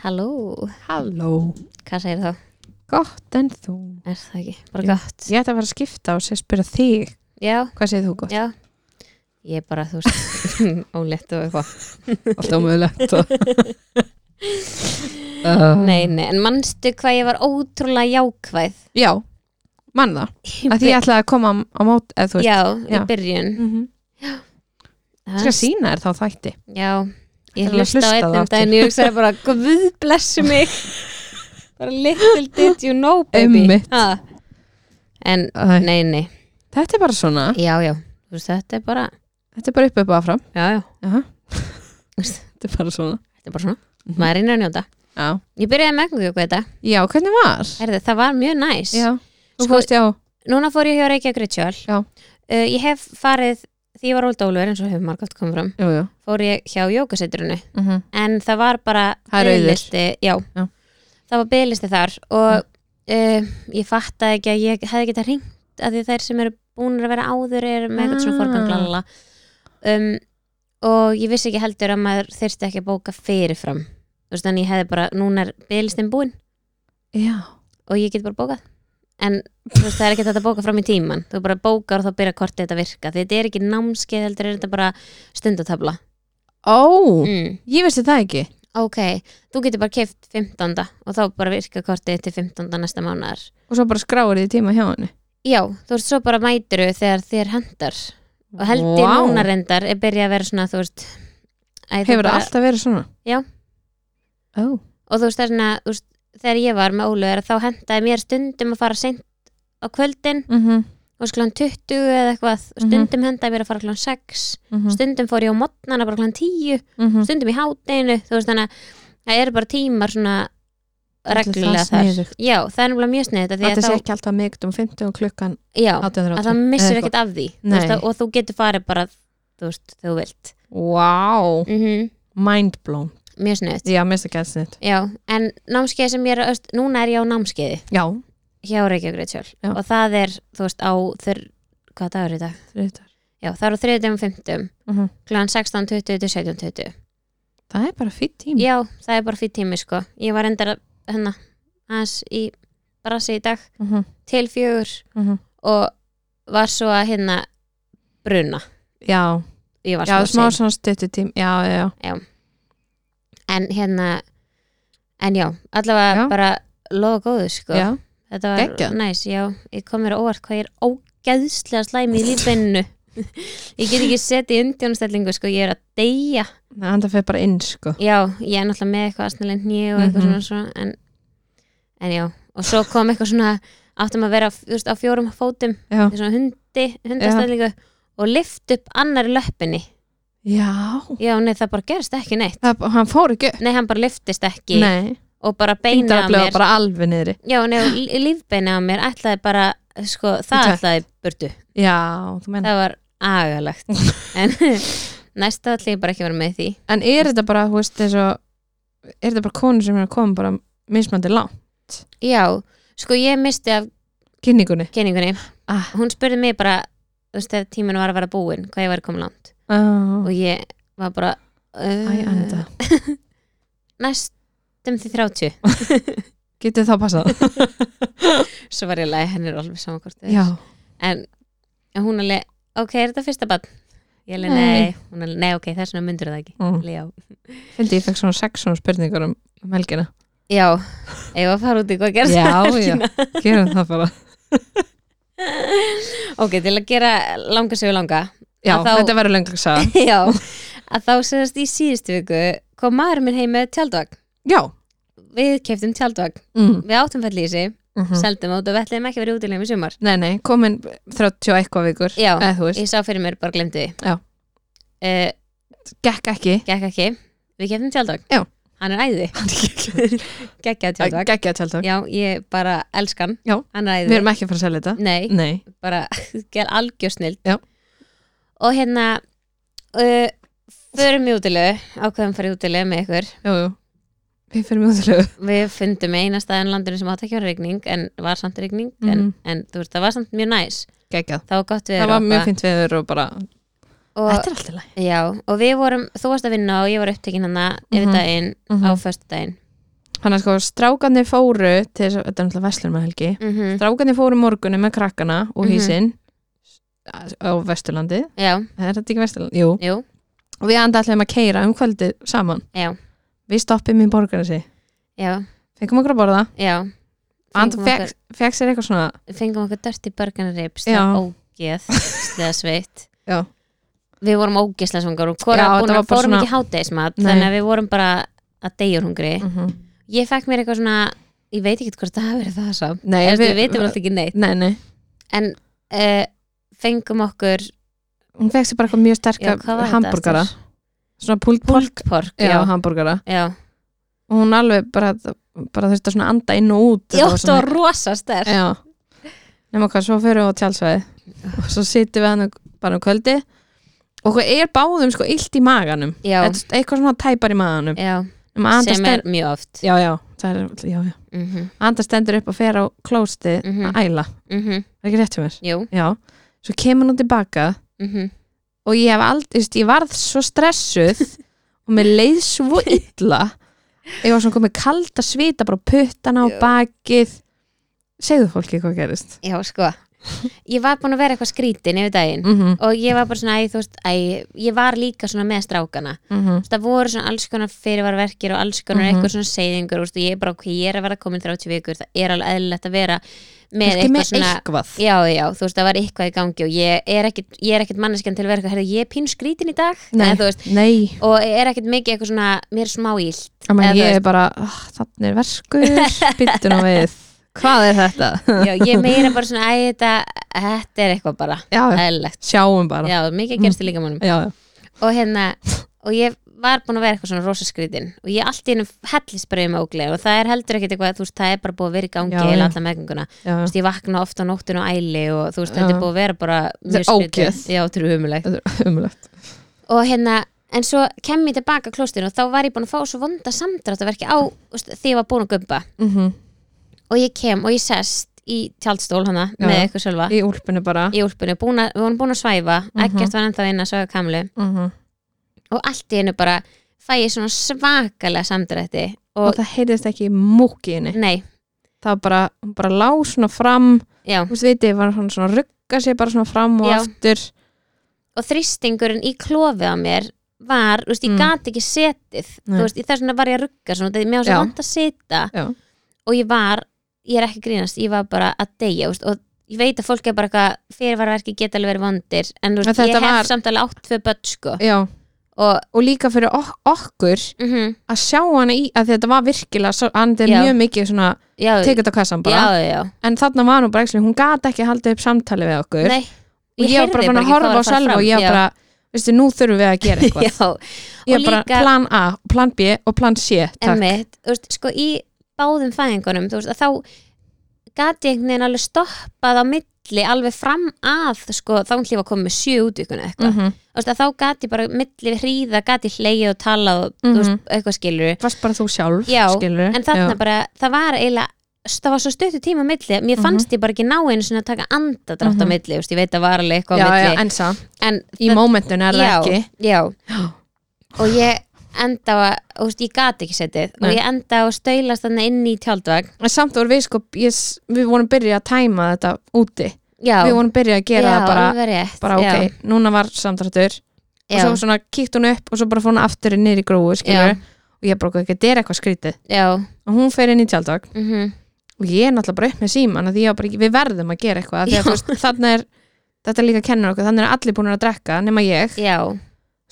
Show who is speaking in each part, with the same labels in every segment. Speaker 1: Halló,
Speaker 2: Halló,
Speaker 1: hvað segir þá?
Speaker 2: gott en þú
Speaker 1: Er það ekki? Bara gott
Speaker 2: Ég ætti að fara að skipta og sér spyrja þig
Speaker 1: Já,
Speaker 2: Hvað segir þú gott?
Speaker 1: já Ég er bara, þú veist, ólétt og eitthvað
Speaker 2: Allt ómöðulegt og... Ah. Mm.
Speaker 1: Nei, nei, en manstu hvað ég var ótrúlega jákvæð
Speaker 2: Já, mann það að Því ég ætlaði að koma á mót eða þú veist
Speaker 1: Já, í
Speaker 2: já.
Speaker 1: byrjun
Speaker 2: mm -hmm. Skal sína þér þá þætti
Speaker 1: Já, ég
Speaker 2: Ætlarðu að
Speaker 1: hlusta á
Speaker 2: hlusta á
Speaker 1: einn
Speaker 2: það
Speaker 1: um daginn og ég hugsaði bara, guð blessu mig Bara little did you know, baby
Speaker 2: Einmitt.
Speaker 1: ha. En,
Speaker 2: Æ.
Speaker 1: nei, nei,
Speaker 2: Þetta er bara svona,
Speaker 1: já, já Þú veist, þetta er bara,
Speaker 2: þetta er bara upp upp og áfram
Speaker 1: já, já
Speaker 2: Aha.
Speaker 1: Úst.
Speaker 2: Þetta er bara svona
Speaker 1: Þetta er bara svona,
Speaker 2: Mhm.
Speaker 1: maður reynir að njóta
Speaker 2: Já,
Speaker 1: Ég byrjaði með einhverju þetta
Speaker 2: Já hvernig var?
Speaker 1: Herði, það var mjög næs
Speaker 2: Já, þú
Speaker 1: Sko-
Speaker 2: fórst já
Speaker 1: Núna fór ég hjá Reykjavík Ritual
Speaker 2: Já.
Speaker 1: uh, Ég hef farið, því ég var óldólfur eins og hefur margátt komið fram
Speaker 2: Jú, jú
Speaker 1: Fór ég hjá jókasetrunu
Speaker 2: mm -hmm.
Speaker 1: En það var bara
Speaker 2: Það er auður.
Speaker 1: biðlisti- já.
Speaker 2: Já.
Speaker 1: Það var byggðlisti þar Og uh, ég fattaði ekki að ég hefði getað hringt Af því þær sem eru búnir að vera áður eru með eitthvað svona
Speaker 2: Ah.
Speaker 1: forganglalala um, Og ég vissi ekki heldur að maður þyrfti ekki að bóka fyrirfram Þú veist, en ég hefði bara, núna er byggðlistin búin
Speaker 2: Já,
Speaker 1: og ég get bara bókað en þú veist, það er ekki þetta að bóka fram í tíman þú bara bókar og þá byrja kortið þetta að virka því þetta er ekki námskeið heldur er þetta bara stundatabla
Speaker 2: ó,
Speaker 1: mm.
Speaker 2: ég vissi það ekki
Speaker 1: ok, þú getur bara keft 15. og þá bara virka kortið til 15. næsta mánar
Speaker 2: Og svo bara skráir því tíma hjá henni
Speaker 1: já, þú veist, svo bara mætiru þegar þér hendar og held ég
Speaker 2: Vá.
Speaker 1: núna reyndar er byrja að vera svona, þú veist æ, þú
Speaker 2: Hefur það
Speaker 1: bara-
Speaker 2: alltaf verið svona?
Speaker 1: Já.
Speaker 2: Ó,
Speaker 1: og þú veist, það er svona, þú veist, þegar ég var með Óluður þá hendaði mér stundum að fara seint á kvöldin
Speaker 2: mhm mm
Speaker 1: og sklán 20 eða eitthvað og
Speaker 2: Mhm.
Speaker 1: stundum hendaði mér að fara klán 6 stundum fór ég á modnana bara klant 10
Speaker 2: mhm.
Speaker 1: stundum í hátdeinu þú veist þannig að það eru bara tímar svona
Speaker 2: Ætli
Speaker 1: reglulega
Speaker 2: það
Speaker 1: þar
Speaker 2: sniðugt.
Speaker 1: já, það er nefnilega mjög sniðið því
Speaker 2: Þetta
Speaker 1: að
Speaker 2: sé
Speaker 1: þá,
Speaker 2: ekki alltaf myggt um 50 og klukkan
Speaker 1: já, að
Speaker 2: 18.30
Speaker 1: það missir
Speaker 2: Eða
Speaker 1: ekkert af því þú
Speaker 2: Nei.
Speaker 1: veist, að- og þú getur farið bara þú veist, þegar þú vilt
Speaker 2: Wow,
Speaker 1: mm
Speaker 2: mindblown
Speaker 1: mjög sniðið
Speaker 2: Mhm. Já, mista gæðsnitt
Speaker 1: já, en námskeið sem ég er að- öst, núna er ég á námskeiði
Speaker 2: Já,
Speaker 1: hjá Reykjavík Ritual
Speaker 2: Já.
Speaker 1: og það er, þú veist, á þurr, hvað dagur er í dag?
Speaker 2: þrjóttar
Speaker 1: já, það er á 3. og 5.
Speaker 2: Mhm.
Speaker 1: kl. 16.20 til 17.20
Speaker 2: Það er bara fýtt tíma
Speaker 1: Já, það er bara fyrir tími sko Ég var endar að, hérna, aðeins í brasi í dag
Speaker 2: mm -hmm.
Speaker 1: til fjögur
Speaker 2: Mhm.
Speaker 1: og var svo að hérna bruna
Speaker 2: Já,
Speaker 1: Ég var
Speaker 2: já
Speaker 1: smá sein.
Speaker 2: smá svona stuttu tím Já, já, já
Speaker 1: En hérna, en já, allavega
Speaker 2: Já.
Speaker 1: bara lofa góðu sko
Speaker 2: Já,
Speaker 1: Þetta var
Speaker 2: Geggjað.
Speaker 1: næs, já Ég kom mér á óvart hvað ég er ógeðslega slæmi í lífinu Ég get ekki setið í undjónstellingu sko, ég er að deyja
Speaker 2: þannig að fyrir bara inn sko
Speaker 1: Já, ég er náttúrulega með eitthvað aðsnalinn hnið og eitthvað
Speaker 2: Mhm.
Speaker 1: svona svona en, en já, og svo kom eitthvað svona áttum að vera þú veist, á fjórum fótum
Speaker 2: Já,
Speaker 1: í svona hundi, hundastæðlingu og lift upp annar löppinni
Speaker 2: já.
Speaker 1: Já, nei, það bara gerst ekki neitt
Speaker 2: Það, hann fór ekki upp
Speaker 1: Nei, hann bara liftist ekki
Speaker 2: Nei,
Speaker 1: og bara beinið
Speaker 2: þetta
Speaker 1: á mér
Speaker 2: bleið bara alveg niðri
Speaker 1: Já, nei, og lí- lífbeinið á mér ætlaði bara, sko, það
Speaker 2: Í tvennt.
Speaker 1: ætlaði burtu
Speaker 2: Já, þú menn
Speaker 1: Það var agalegt En næsta ætla ég bara ekki að vera með í því
Speaker 2: En er þetta bara, þú veist, þess að Er þetta bara konur sem er að koma bara mismandi langt
Speaker 1: Já, sko, ég misti af
Speaker 2: Kynningunni
Speaker 1: kynningunni
Speaker 2: Ah.
Speaker 1: hún spurði mig bara þú veist, þegar tíminn var að vera búinn, hvað ég væri komin langt
Speaker 2: oh.
Speaker 1: og ég var bara
Speaker 2: Æ,
Speaker 1: uh,
Speaker 2: Anita
Speaker 1: næstum því 30
Speaker 2: Getið þá passað?
Speaker 1: svo var ég leið, henni er alveg saman hvort það er.
Speaker 2: Já
Speaker 1: en, en hún alveg, ok, er þetta fyrsta barn? ég alveg, nei,
Speaker 2: Nei.
Speaker 1: nei. hún alveg, nei, ok, þess vegna myndur það ekki
Speaker 2: mm.
Speaker 1: Alveg, Já,
Speaker 2: Fylgdi ég fekk svona sex svona spurningar um, um helgina
Speaker 1: já eigum við að fara út í hvað gerst
Speaker 2: Já,
Speaker 1: um
Speaker 2: já,
Speaker 1: helgina?
Speaker 2: gerum það bara
Speaker 1: ok, til að gera langa sögu langa
Speaker 2: Já,
Speaker 1: Að þá-
Speaker 2: þetta verður lengur að sagða
Speaker 1: já, að þá séðast í síðustu viku kom maður minn heim með tjaldvagn
Speaker 2: Já
Speaker 1: við keftum tjaldvagn
Speaker 2: mm.
Speaker 1: við áttum fæll í þessi,
Speaker 2: Mm
Speaker 1: seldum át og við ætliðum ekki að vera útilegum í sumar
Speaker 2: Nei, nei, komin 30 og eitthvað vikur
Speaker 1: Já,
Speaker 2: eða þú veist,
Speaker 1: ég sá fyrir mér, bara glemdi því
Speaker 2: Já.
Speaker 1: Eh,
Speaker 2: gekk ekki
Speaker 1: Gekk ekki, við keftum tjaldvagn
Speaker 2: Já.
Speaker 1: Hann er æði Gekkjað tjaldvagn
Speaker 2: Gekk að tjálta
Speaker 1: Já, ég bara elska hann
Speaker 2: Já.
Speaker 1: Hann er
Speaker 2: Við
Speaker 1: æði
Speaker 2: erum ekki að fara að selja þetta
Speaker 1: Nei,
Speaker 2: Nei,
Speaker 1: bara ger algjörsnild
Speaker 2: Já.
Speaker 1: Og hérna uh, Förum í útilegu Ákveðum fara í útilegu með ykkur
Speaker 2: jú, jú Við fyrir mjög útilegu
Speaker 1: Við fundum eina staðan landinu sem átt ekki að vera rigning En var samt rigning en,
Speaker 2: Mhm.
Speaker 1: en þú veist, það var samt mjög næs
Speaker 2: Gekkað
Speaker 1: Það var gott við
Speaker 2: Það var mjög fint veður og bara
Speaker 1: og,
Speaker 2: Þetta er alltaf læg
Speaker 1: Já, og við vorum, þú varst að vinna og ég var upptekinn hana hérna yfir
Speaker 2: Mhm.
Speaker 1: daginn
Speaker 2: Mhm.
Speaker 1: á föstudaginn
Speaker 2: Þannig að sko strákanir fóru til þess að, þetta er náttúrulega vestlur með helgi
Speaker 1: mm
Speaker 2: Strákanir Mhm. fóru morgunni með krakkana og
Speaker 1: Mhm.
Speaker 2: hísinn á Vesturlandi
Speaker 1: já,
Speaker 2: Er þetta ekki Vesturlandi? Jú
Speaker 1: jú,
Speaker 2: Og við enda allir að keira um kvöldið saman
Speaker 1: Já.
Speaker 2: Við stoppum í borgarnasi
Speaker 1: já,
Speaker 2: Fengum okkur að borða
Speaker 1: já
Speaker 2: Andi fekk, fekk sér eitthvað svona
Speaker 1: fengum okkur dörti börgarnarips
Speaker 2: Já.
Speaker 1: það var ógeð, sleða sveitt
Speaker 2: Já.
Speaker 1: við vorum ógeðslega svangar og hvora
Speaker 2: Já,
Speaker 1: búin að
Speaker 2: þetta var bara
Speaker 1: fórum
Speaker 2: svona-
Speaker 1: ekki hátegismat
Speaker 2: Nei.
Speaker 1: þannig að við vorum bara að deyjur hungri
Speaker 2: mm
Speaker 1: ég fekk mér eitthvað svona, ég veit ekki hvort það hafi verið það samt,
Speaker 2: Nei,
Speaker 1: Eftir, við veitum alltaf ekki neitt
Speaker 2: Nei, nei
Speaker 1: en uh, fengum okkur
Speaker 2: Hún fekk sér bara eitthvað mjög
Speaker 1: já,
Speaker 2: sterka
Speaker 1: hvað var
Speaker 2: hambúrgara
Speaker 1: þetta?
Speaker 2: Svona púlt
Speaker 1: Pulk pork,
Speaker 2: Já,
Speaker 1: já,
Speaker 2: hambúrgara
Speaker 1: já.
Speaker 2: Og hún alveg bara, bara þurfti að svona anda inn og út
Speaker 1: Já, það var rosa sterk
Speaker 2: Já Nefnum okkar, svo fyrir við á tjálsvæði og svo sittum við hann bara um kvöldi og okkur er báðum sko illt í maganum
Speaker 1: Já,
Speaker 2: Þetta er eitthvað svona tæpar í maganum
Speaker 1: já,
Speaker 2: um anda
Speaker 1: sem er
Speaker 2: stend...
Speaker 1: mjög oft
Speaker 2: Já, já, það er, já, já
Speaker 1: Mhm,
Speaker 2: Anda stendur upp og fer á klósti
Speaker 1: Mhm.
Speaker 2: að æla,
Speaker 1: mhm,
Speaker 2: er ekki rétt hjá mér?
Speaker 1: Jú,
Speaker 2: Já, svo kemur hún tilbaka
Speaker 1: mhm,
Speaker 2: og ég hef aldrei, þú veist, ég varð svo stressuð og mér leið svo illa ég var svona komið kalda svita bara á puttana og
Speaker 1: Já.
Speaker 2: bakið segðu fólki hvað gerist
Speaker 1: já, sko Ég var búin að vera eitthvað skrítin yfir daginn
Speaker 2: mm -hmm.
Speaker 1: og ég var bara svona, æ, þú veist, æ ég var líka svona með strákana
Speaker 2: Mm -hmm.
Speaker 1: Þú veist, það voru svona alls konar fyrirvarverkir og alls konar
Speaker 2: Mhm.
Speaker 1: eitthvað svona seyðingur úst, og ég er bara, ok, ég er að vera komin 30 vikur það er alveg eðlilegt að vera með eitthvað svona
Speaker 2: eitthvað
Speaker 1: Já, já, þú veist, það var eitthvað í gangi og ég er ekkit, ég er ekkit manneskjan til að vera eitthvað, herrðu, ég er pín skrítin í dag
Speaker 2: Nei.
Speaker 1: en, þú veist,
Speaker 2: Nei,
Speaker 1: og er ekkit mikið eitthvað svona, mér er smá ílt
Speaker 2: ég, meina,
Speaker 1: Eða þú
Speaker 2: ég er
Speaker 1: veist-
Speaker 2: bara oh, þannig er verskur, byttu nú við hvað er þetta?
Speaker 1: Já, ég er meira bara svona, æ, þetta, þetta er eitthvað bara
Speaker 2: Já, já,
Speaker 1: eðlilegt,
Speaker 2: sjáum bara Mm.
Speaker 1: já, mikið gerst í líkamannum
Speaker 2: já, já.
Speaker 1: og hérna, og ég var búin að vera eitthvað svona rosaskritin og ég allt í hennu hellist bara um óglega og það er heldur ekkit eitthvað, þú veist, það er bara búið að vera í gangi
Speaker 2: Já,
Speaker 1: í
Speaker 2: já.
Speaker 1: alla meðgönguna,
Speaker 2: já.
Speaker 1: þú veist, ég vakna ofta á nóttinu og æli og þú veist, þetta
Speaker 2: Já.
Speaker 1: er búið að vera bara
Speaker 2: Þetta
Speaker 1: mjög
Speaker 2: er
Speaker 1: skrítið,
Speaker 2: ógeð.
Speaker 1: já, þetta er umulegt
Speaker 2: Þetta er umlegt
Speaker 1: og hérna, en svo kem ég tilbaka klóstinu og þá var ég búin að fá svo vonda samdráttarverki á, þú veist, því ég var búin að gumba
Speaker 2: mm
Speaker 1: og ég kem og ég sest í tjaldstól hana
Speaker 2: Já. Mhm.
Speaker 1: með eitthvað sjálfa
Speaker 2: í úlpunni bara
Speaker 1: í úlpunni, búin að, við vorum búin að svæfa ekkert var ennþá inn að sögja kamlu
Speaker 2: mm -hmm.
Speaker 1: og allt í hennu bara fæ ég svona svakalega samdrætti
Speaker 2: og,
Speaker 1: og
Speaker 2: það heyrðist ekki í múkiðinni
Speaker 1: nei,
Speaker 2: það var bara, hún bara lá svona fram
Speaker 1: já
Speaker 2: þú veist, vitið, var hann svona að rugga sér bara svona fram og
Speaker 1: Já.
Speaker 2: aftur
Speaker 1: og þrýstingurinn í klofið á mér var, þú veist, ég
Speaker 2: Mm.
Speaker 1: gat ekki setið
Speaker 2: Nei.
Speaker 1: þú veist, í þess vegna var ég að rugga svona, því mér var svo
Speaker 2: Já.
Speaker 1: vant að sita
Speaker 2: Já.
Speaker 1: og ég var, ég er ekki að grínast ég var bara að deyja, þú veist, og ég veit að fólk er bara eitthvað, fyrirvarverki geta alveg verið vondir, en þú veist,
Speaker 2: En
Speaker 1: ég
Speaker 2: þetta
Speaker 1: hef
Speaker 2: var-
Speaker 1: samt alveg átt tvö börn, sko
Speaker 2: Já.
Speaker 1: og,
Speaker 2: og líka fyrir ok okkur
Speaker 1: mm
Speaker 2: að sjá hana í, að þetta var virkilega svo- hann er
Speaker 1: Já.
Speaker 2: mjög mikið svona,
Speaker 1: já,
Speaker 2: tekið þetta á kassan bara
Speaker 1: já, já,
Speaker 2: en þarna var hún bara, actually, hún gat ekki haldið upp samtali við okkur
Speaker 1: nei
Speaker 2: og ég var
Speaker 1: heyrði
Speaker 2: bara búin að
Speaker 1: ekki hvað var
Speaker 2: horfa á
Speaker 1: fara
Speaker 2: selva
Speaker 1: fram,
Speaker 2: og ég
Speaker 1: já.
Speaker 2: var bara, veistu, nú þurfum við að gera eitthvað
Speaker 1: Já,
Speaker 2: ég
Speaker 1: og
Speaker 2: var bara,
Speaker 1: líka-
Speaker 2: plan A, plan B og plan C takk,
Speaker 1: emmitt, þú veist, sko í báðum fæðingunum, þú veist, að þá gat ég einhvern veginn alveg stoppað á milli alveg fram að, sko, þá hljófa komið með sjö útvikuna eitthvað,
Speaker 2: mm -hmm.
Speaker 1: þú veist, að þá gat ég bara milli hríða, gat ég hleyið og talað og, þú
Speaker 2: Mhm.
Speaker 1: veist, eitthvað skilur
Speaker 2: varst bara þú sjálf
Speaker 1: Já,
Speaker 2: skilur
Speaker 1: en þarna bara, það var eiginlega það var svo stuttu tíma á milli, mér fannst ég bara ekki ná einu svona að taka andadrátt á
Speaker 2: Mhm.
Speaker 1: milli, þú veist, ég veit að var alveg eitthvað
Speaker 2: já,
Speaker 1: á milli,
Speaker 2: já, en samt
Speaker 1: en
Speaker 2: í
Speaker 1: það-
Speaker 2: mómentinu er það ekki
Speaker 1: já, já. og ég enda á að, þú veist, ég gat ekki setið og
Speaker 2: Nei.
Speaker 1: ég enda á að staulast þannig inn í tjaldvagn
Speaker 2: en samt voru við sko ég, s- við vorum byrjað að tæma þetta úti
Speaker 1: já,
Speaker 2: við vorum byrjað að gera
Speaker 1: já,
Speaker 2: það bara,
Speaker 1: alveg rétt
Speaker 2: bara
Speaker 1: já,
Speaker 2: ok, núna var samdrættur og
Speaker 1: já,
Speaker 2: svo svona kíkt hún upp og svo bara fór hún aftur niður í gróu
Speaker 1: Já.
Speaker 2: skilur, og ég bara ekki, þetta er eitthvað skrítið
Speaker 1: já,
Speaker 2: og hún fer inn í tjaldag
Speaker 1: mhm,
Speaker 2: og ég er náttúrulega bara upp með síman því ég var bara, ekki, við verðum að gera eitthvað af því
Speaker 1: Já.
Speaker 2: að, þú veist, þannig er, þetta er líka kennur okkur þannig er allir búin að drekka nema ég
Speaker 1: já,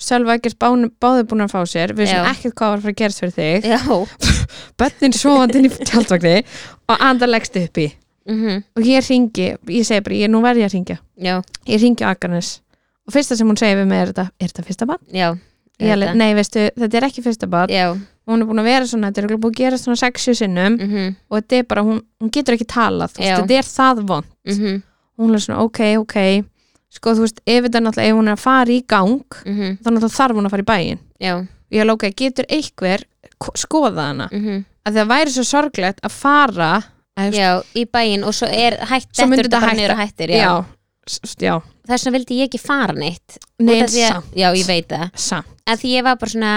Speaker 2: Sölva ekkert báði búin að fá sér við
Speaker 1: Já.
Speaker 2: sem ekkert hvað var að fara að gerast fyrir þig
Speaker 1: já
Speaker 2: börnin sofandi inn í tjaldvagni og andar leggst upp í
Speaker 1: mhm,
Speaker 2: og ég ringi, ég segi bara, ég nú verð ég að ringja
Speaker 1: já,
Speaker 2: ég ringi á Akarnes og fyrsta sem hún segir við mig er þetta, er þetta fyrsta barn?
Speaker 1: já auðvitað.
Speaker 2: Ég alveg, nei, veistu, þetta er ekki fyrsta barn
Speaker 1: já,
Speaker 2: og hún er búin að vera svona, þetta er örugglega búin að gera svona sexu sinnum
Speaker 1: mhm,
Speaker 2: og þetta er bara, hún, hún getur ekki talað þú veist,
Speaker 1: Já.
Speaker 2: þetta er það vond
Speaker 1: mhm,
Speaker 2: og hún er svona, ok, ok sko, þú veist, ef þetta er náttúrulega, ef hún er að fara í gang
Speaker 1: mhm,
Speaker 2: þá náttúrulega þarf hún að fara í bæin
Speaker 1: já,
Speaker 2: og ég alveg, ok, getur einhver ko- skoðað hana,
Speaker 1: mhm
Speaker 2: að það væri svo sorglegt að fara að,
Speaker 1: já, í bæinn og svo er hætt
Speaker 2: Svo myndi
Speaker 1: dettur þetta
Speaker 2: þetta
Speaker 1: bara niður og hættir, já,
Speaker 2: s- s- já,
Speaker 1: þess vegna vildi ég ekki fara neitt
Speaker 2: nei,
Speaker 1: Út
Speaker 2: en
Speaker 1: af því að-
Speaker 2: samt
Speaker 1: já, ég veit það
Speaker 2: samt
Speaker 1: að því ég var bara svona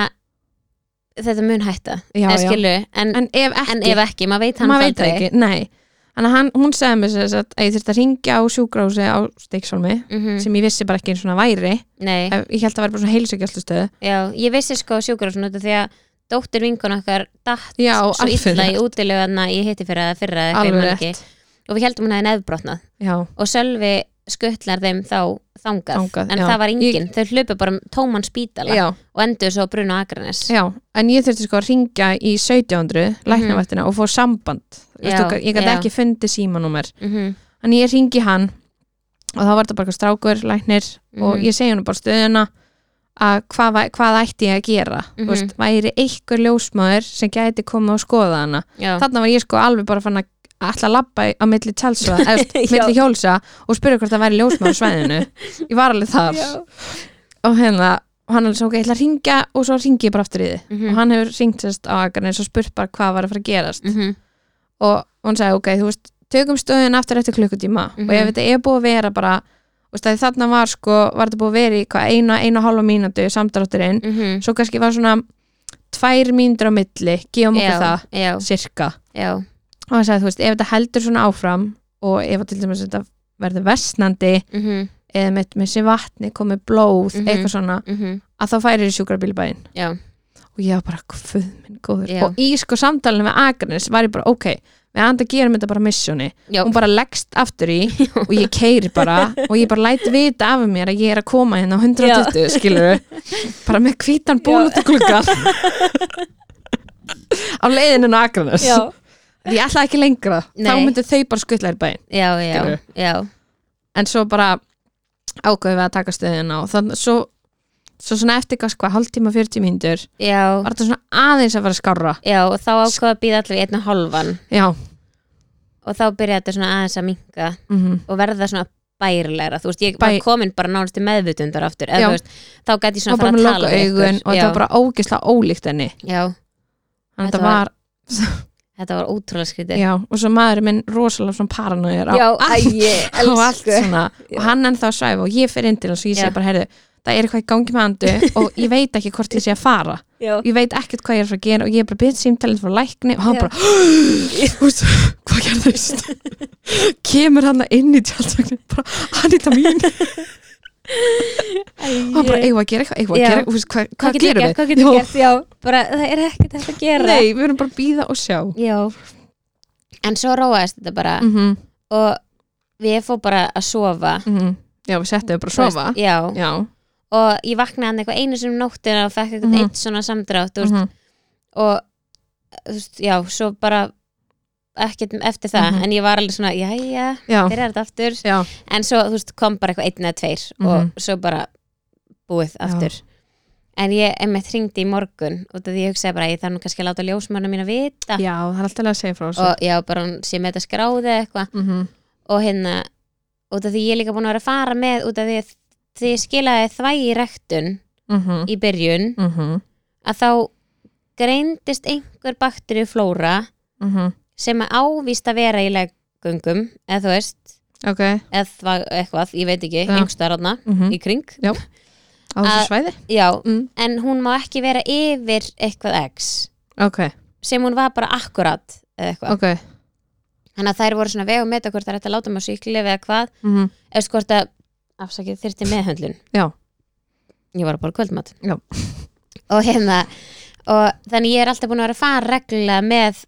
Speaker 1: þetta mun hætta
Speaker 2: já,
Speaker 1: eða
Speaker 2: já.
Speaker 1: skilu, en, en,
Speaker 2: en ef ekki,
Speaker 1: ef ekki, maður veit hann
Speaker 2: maður veit
Speaker 1: það
Speaker 2: það ekki nei. Þannig að hann, hún segði mér sem sagt að ég þurfti að ringja á sjúkrási á Steikshólmi
Speaker 1: Mhm.
Speaker 2: sem ég vissi bara ekki eins og það væri
Speaker 1: Nei,
Speaker 2: Ef- ég held að það væri bara svona heilsugjarslustöð
Speaker 1: já, ég vissi sko sjúkurásinu út af því að dóttir vinkun okkar datt
Speaker 2: já,
Speaker 1: svo illa í útilegana í hitti fyrir að fyrra eða eitthvað, ég
Speaker 2: alveg
Speaker 1: man ekki.
Speaker 2: rétt
Speaker 1: og við heldum hún hefði nefnbrotnað
Speaker 2: já,
Speaker 1: og Sölvi skuttlar þeim þá þangað,
Speaker 2: Þangað,
Speaker 1: en
Speaker 2: já.
Speaker 1: það var engin þau hlupu bara um tóman spítala
Speaker 2: já,
Speaker 1: og endur svo á Bruno Akranes
Speaker 2: já, en ég þurfti sko að ringja í 1700 læknavættina og fór samband Þú
Speaker 1: Mhm.
Speaker 2: veist,
Speaker 1: Já,
Speaker 2: okkar- ég gæti
Speaker 1: já.
Speaker 2: ekki fundið símanúmer
Speaker 1: mm -hmm.
Speaker 2: en ég ringi hann og þá var þetta bara eitthvað strákur læknir og
Speaker 1: Mhm.
Speaker 2: ég segi hann bara stöðuna að hvað, væ- hvað ætti ég að gera þú
Speaker 1: Mhm.
Speaker 2: veist, væri einhver ljósmaður sem gæti komið og skoða hana
Speaker 1: já.
Speaker 2: þarna var ég sko alveg bara fann að ætla að labba í- á milli tjálsa, eða
Speaker 1: Já.
Speaker 2: milli hjólsa og spyrja hvort það væri ljósmaður á svæðinu ég var alveg þar og hérna, og hann alveg svo ok, ég ætla að ringja og svo ringi ég bara aftur í þið
Speaker 1: Mhm.
Speaker 2: og hann hefur ringt sérst á Akarnes og spurt bara hvað var að fara að gerast
Speaker 1: Mhm.
Speaker 2: og hann sagði ok, þú veist, tökum stöðun aftur eftir klukkutíma
Speaker 1: Mhm.
Speaker 2: og ef þetta er búið að vera bara þú veist, að þarna var sko, var þetta búið að vera í hvað eina, eina og hálfa mínútu samdrátturinn
Speaker 1: Mhm.
Speaker 2: svo kannski var svona tvær mínútur á milli, gefum okkur
Speaker 1: já,
Speaker 2: það
Speaker 1: já,
Speaker 2: cirka,
Speaker 1: já,
Speaker 2: og hann sagði þú veist, ef þetta heldur svona áfram og ef að til dæmis þetta verður versnandi
Speaker 1: mhm,
Speaker 2: eða með, með sér vatni, komið blóð
Speaker 1: Mhm.
Speaker 2: eitthvað svona,
Speaker 1: mhm,
Speaker 2: að þá færir sjúkrabílbæinn
Speaker 1: já,
Speaker 2: og ég var bara, hvað minn góður
Speaker 1: Já.
Speaker 2: og í sko samtalinu með Agnes var ég bara, ok við anda gerum þetta bara missjóni
Speaker 1: já,
Speaker 2: hún bara leggst aftur í og ég keiri bara og ég bara læt vita af mér að ég er að koma hérna á 120 skilur bara með hvítan ból út úr gluggan á leiðinu á Agnes
Speaker 1: já,
Speaker 2: ég ætlaði ekki lengra, þá
Speaker 1: Nei.
Speaker 2: myndu þau bara skuttla í bæinn
Speaker 1: já, já,
Speaker 2: Skilurðu?
Speaker 1: já,
Speaker 2: en svo bara ákveðum við að taka stöðina og þannig svo, svo svona eftir kannski hvað, hálftíma 40 mínútur
Speaker 1: já,
Speaker 2: var þetta svona aðeins að fara að skárra
Speaker 1: já, og þá ákvaða að býða allir í einna hálfan
Speaker 2: já,
Speaker 1: og þá byrjaði þetta svona aðeins að minka
Speaker 2: mm
Speaker 1: og verða svona bærilegra, þú veist, ég
Speaker 2: Bæ-
Speaker 1: var komin bara nánast til meðvutundar aftur, eða
Speaker 2: Já.
Speaker 1: þú veist, þá gæti ég
Speaker 2: og
Speaker 1: svona
Speaker 2: bara
Speaker 1: fara
Speaker 2: með
Speaker 1: að
Speaker 2: loka
Speaker 1: tala við ykkur.
Speaker 2: augun og þetta var bara ógislega ólíkt henni
Speaker 1: já,
Speaker 2: þannig að
Speaker 1: Þetta
Speaker 2: þetta var,
Speaker 1: þetta var ótrúlega skrítið
Speaker 2: já, og svo maður minn rosalega svona paranoir á,
Speaker 1: æ, ég
Speaker 2: á allt svona
Speaker 1: Já.
Speaker 2: og hann ennþá að svæfa og ég fyrir inn til hans og ég
Speaker 1: Já.
Speaker 2: segi bara, heyrðu, það er eitthvað í gangi með andu og ég veit ekki hvort ég sé að fara
Speaker 1: já,
Speaker 2: ég veit ekkert hvað ég er að fara að gera og ég er bara byrð símtælinn frá lækni og hann
Speaker 1: Já.
Speaker 2: bara Þú veist, hvað gerðist kemur hann inn í tjaldsvagnin bara, hann er það mín og hann bara, eigum við að gera eitthvað, eigum við
Speaker 1: Já.
Speaker 2: að gera eitthvað þú veist, hvað,
Speaker 1: hvað
Speaker 2: hvað
Speaker 1: getur
Speaker 2: gerum
Speaker 1: gert,
Speaker 2: við?
Speaker 1: hvað getur
Speaker 2: Já.
Speaker 1: gert, já, bara það er ekkert hægt að gera
Speaker 2: nei, við erum bara að býða og sjá
Speaker 1: já, en svo róaðist þetta bara
Speaker 2: mm -hmm.
Speaker 1: og við fór bara að sofa
Speaker 2: já, við settum bara að sofa
Speaker 1: mhm. Þú veist, já.
Speaker 2: já,
Speaker 1: og ég vaknaði hann eitthvað einu sinni um nóttina og fekk eitthvað
Speaker 2: Mhm.
Speaker 1: eitt svona samdrátt mm
Speaker 2: mm -hmm.
Speaker 1: og þú veist, já, svo bara ekkert eftir það,
Speaker 2: Mhm.
Speaker 1: en ég var alveg svona jæja,
Speaker 2: já,
Speaker 1: byrjar þetta aftur
Speaker 2: já.
Speaker 1: en svo, þú veist, kom bara eitthvað einn eða tveir
Speaker 2: Mhm.
Speaker 1: og svo bara búið aftur en ég einmitt hringdi í morgun út af því ég hugsaði bara, ég þarf nú kannski að láta ljósmanna mína vita
Speaker 2: já, það er alltaf að segja frá þessu
Speaker 1: og já, bara hún sé með þetta skráði eða eitthvað
Speaker 2: mm -hmm.
Speaker 1: og hérna út af því ég er líka búin að vera að fara með út af því að því ég skilaði þvægi rektun
Speaker 2: Mm -hmm.
Speaker 1: í byrjun
Speaker 2: Mm -hmm.
Speaker 1: að þá greindist einhver bakteri flóra
Speaker 2: mhm.
Speaker 1: sem að ávist að vera í leggöngum eða þú veist,
Speaker 2: ok
Speaker 1: eða þva- eitthvað ég veit ekki,
Speaker 2: Já.
Speaker 1: einhverstaðar hana
Speaker 2: mm
Speaker 1: í kring,
Speaker 2: á þessu
Speaker 1: að-
Speaker 2: svæði
Speaker 1: já
Speaker 2: mm.
Speaker 1: en hún má ekki vera yfir eitthvað x
Speaker 2: ok,
Speaker 1: sem hún var bara akkurat eða eitthvað,
Speaker 2: ok
Speaker 1: þannig að þær voru svona vegum með hvort það er hægt að láta maður sýkli eða hvað
Speaker 2: mm -hmm.
Speaker 1: eða sko hvort að afsakið þyrfti meðhöndlun
Speaker 2: Já.
Speaker 1: ég var að bara kvöldmat
Speaker 2: Já.
Speaker 1: og hérna og þannig ég er alltaf búin að vera að fara reglulega með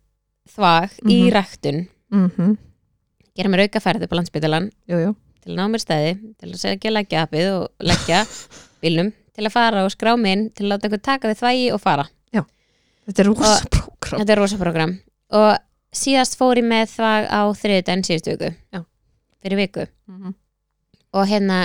Speaker 1: þvag í
Speaker 2: Mhm.
Speaker 1: ræktun gera mér auka ferði upp á landsbytalan
Speaker 2: jú, jú
Speaker 1: til að ná mér stæði, til að segja leggja appið og leggja bílnum til að fara og skrá mig inn til að láta einhver taka við þvægi og fara
Speaker 2: Þetta er rosa prógram
Speaker 1: þetta er rosa program og síðast fór ég með þvag á þriðudaginn síðustu viku
Speaker 2: Já.
Speaker 1: fyrir viku
Speaker 2: Mm-hmm.
Speaker 1: og hérna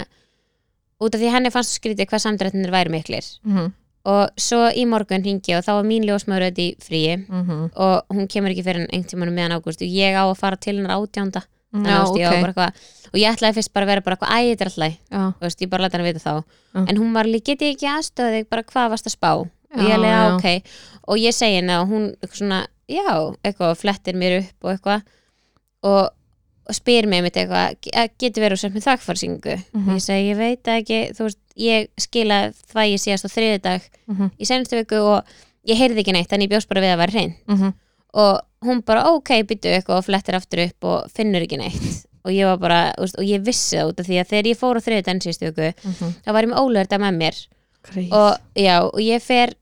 Speaker 1: út af því henni fannst svo skrítið hvað samdrættinir væri miklir
Speaker 2: Mm-hmm.
Speaker 1: og svo í morgun hringi ég og þá var mín ljósmaður auðvitað í fríi
Speaker 2: Mm-hmm.
Speaker 1: og hún kemur ekki fyrir einhvern tímann um meðan ágúst og ég á að fara til hennar átjánda
Speaker 2: Já, ok
Speaker 1: okay. og ég ætlaði fyrst bara að vera bara eitthvað æ, þetta er alltaf í lagi."
Speaker 2: Já,
Speaker 1: Þú veist, ég bara leta hann vita þá
Speaker 2: Já.
Speaker 1: en hún var líka, get ég ekki aðstöða þig bara hvað varst að spá og
Speaker 2: Já,
Speaker 1: ég lega
Speaker 2: já.
Speaker 1: ok og ég segi henni og hún eitthvað svona, já, eitthvað flettir mér upp og eitthvað og, og spyr mér mitt eitthvað "Ge- að getur verið sem með þakfarsingu
Speaker 2: Mhm.
Speaker 1: ég segi, ég veit það ekki, þú veist ég skila þvægi síðast á þriðudag
Speaker 2: Mhm.
Speaker 1: í senstu viku og ég heyrði ekki neitt en ég bjóst bara við að vera hrein
Speaker 2: mhm,
Speaker 1: og hún bara ok, byttu eitthvað og flettir aftur upp og finnur ekki neitt og ég var bara, þú veist, og ég vissi það út af því að þegar ég fór á þriðudaginn síðustu viku
Speaker 2: mhm.
Speaker 1: þá var ég með ólöðurdag með mér
Speaker 2: Greið.
Speaker 1: og já, og ég fer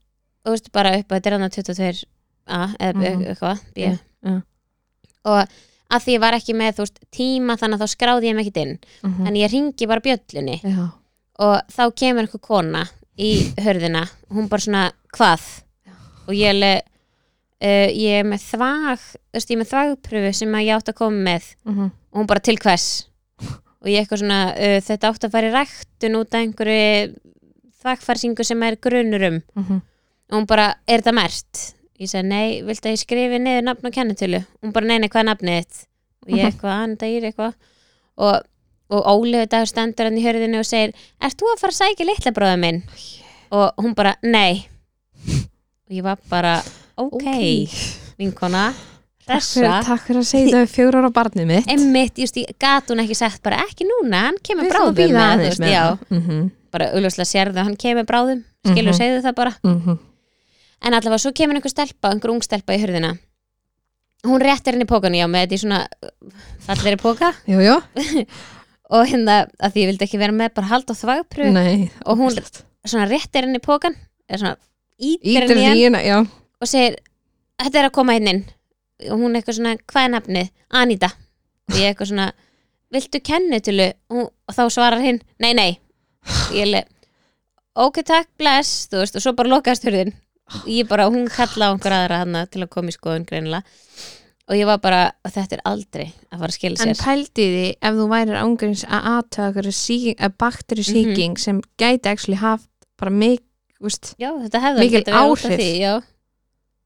Speaker 1: þú veist, bara upp, þetta er hann 22 a, eða
Speaker 2: Mhm.
Speaker 1: eitthvað, b
Speaker 2: Já, já.
Speaker 1: og að því ég var ekki með, þú veist, tíma þannig að þá skráði ég mig ekkert inn
Speaker 2: Mhm.
Speaker 1: en ég ringi bara bjöllunni
Speaker 2: Já,
Speaker 1: og þá kemur einhver kona í hörðina og hún bara svona, hvað? og ég alveg uh, ég er með þvag þú veist, ég er með þvagpröfu sem að ég átt að koma með
Speaker 2: mhm,
Speaker 1: og hún bara til hvers og ég eitthvað svona, uh, þetta átt að fara í ræktun út af einhverju þvagfarsingu sem er grunurum
Speaker 2: mhm.
Speaker 1: og hún bara, er þetta mert? ég sagði, nei, viltu að ég skrifi niður nafn og kennitölu? hún bara, nei, nei, hvað er nafnið þitt? og ég eitthvað, hann dagir eitthvað og, og Ólegu dagur stendur hann í hörðinu og segir, ert þú að fara að sækja litla bróða minn? og hún bara, nei og ég var bara, ok, vinkona
Speaker 2: Takk fyrir,
Speaker 1: þessa,
Speaker 2: takk fyrir að segja þetta við fjóra ára barnið mitt
Speaker 1: emmitt, just, ég gat hún ekki sagt bara, ekki núna, hann kemur
Speaker 2: Við þurfum að
Speaker 1: bráðum
Speaker 2: bíða
Speaker 1: eða, þú
Speaker 2: aðeins
Speaker 1: veist,
Speaker 2: með
Speaker 1: já,
Speaker 2: það. Mhm,
Speaker 1: bara augljóslega sérðu, að hann kemur bráðum skilur,
Speaker 2: Mhm.
Speaker 1: segðu það bara
Speaker 2: mhm.
Speaker 1: En allavega svo kemur einhver stelpa, einhver ung stelpa í hurðina Hún réttir henni pókanu já með þetta í svona falleri póka
Speaker 2: Jú, jú,
Speaker 1: og hérna að því ég vildi ekki vera með bara hald og þvagpröf
Speaker 2: nei
Speaker 1: og hún svona réttir henni pókan eða svona ítir
Speaker 2: Ítir
Speaker 1: henni í hann
Speaker 2: þína, já
Speaker 1: og segir þetta er að koma henni inn og hún eitthvað svona, hvað er nafnið? Anita og ég eitthvað svona, viltu kennitölu? Hún- og þá svarar hinn, nei, nei ég leið, ok, takk, bless þú veist, og svo bara lokaðast hurðin ég bara, hún kallaði á einhver aðra hana til að koma í skoðun greinilega og ég var bara, þetta er aldrei að fara að skilja
Speaker 2: En
Speaker 1: sér
Speaker 2: pældi því ef þú værir ángurins að aðtöða að bakteri sýking eh,
Speaker 1: Mhm.
Speaker 2: sem gæti actually haft bara mik, veist
Speaker 1: já, þetta hefði alveg
Speaker 2: Mikil
Speaker 1: getað verið út af
Speaker 2: áhrif.
Speaker 1: því, já.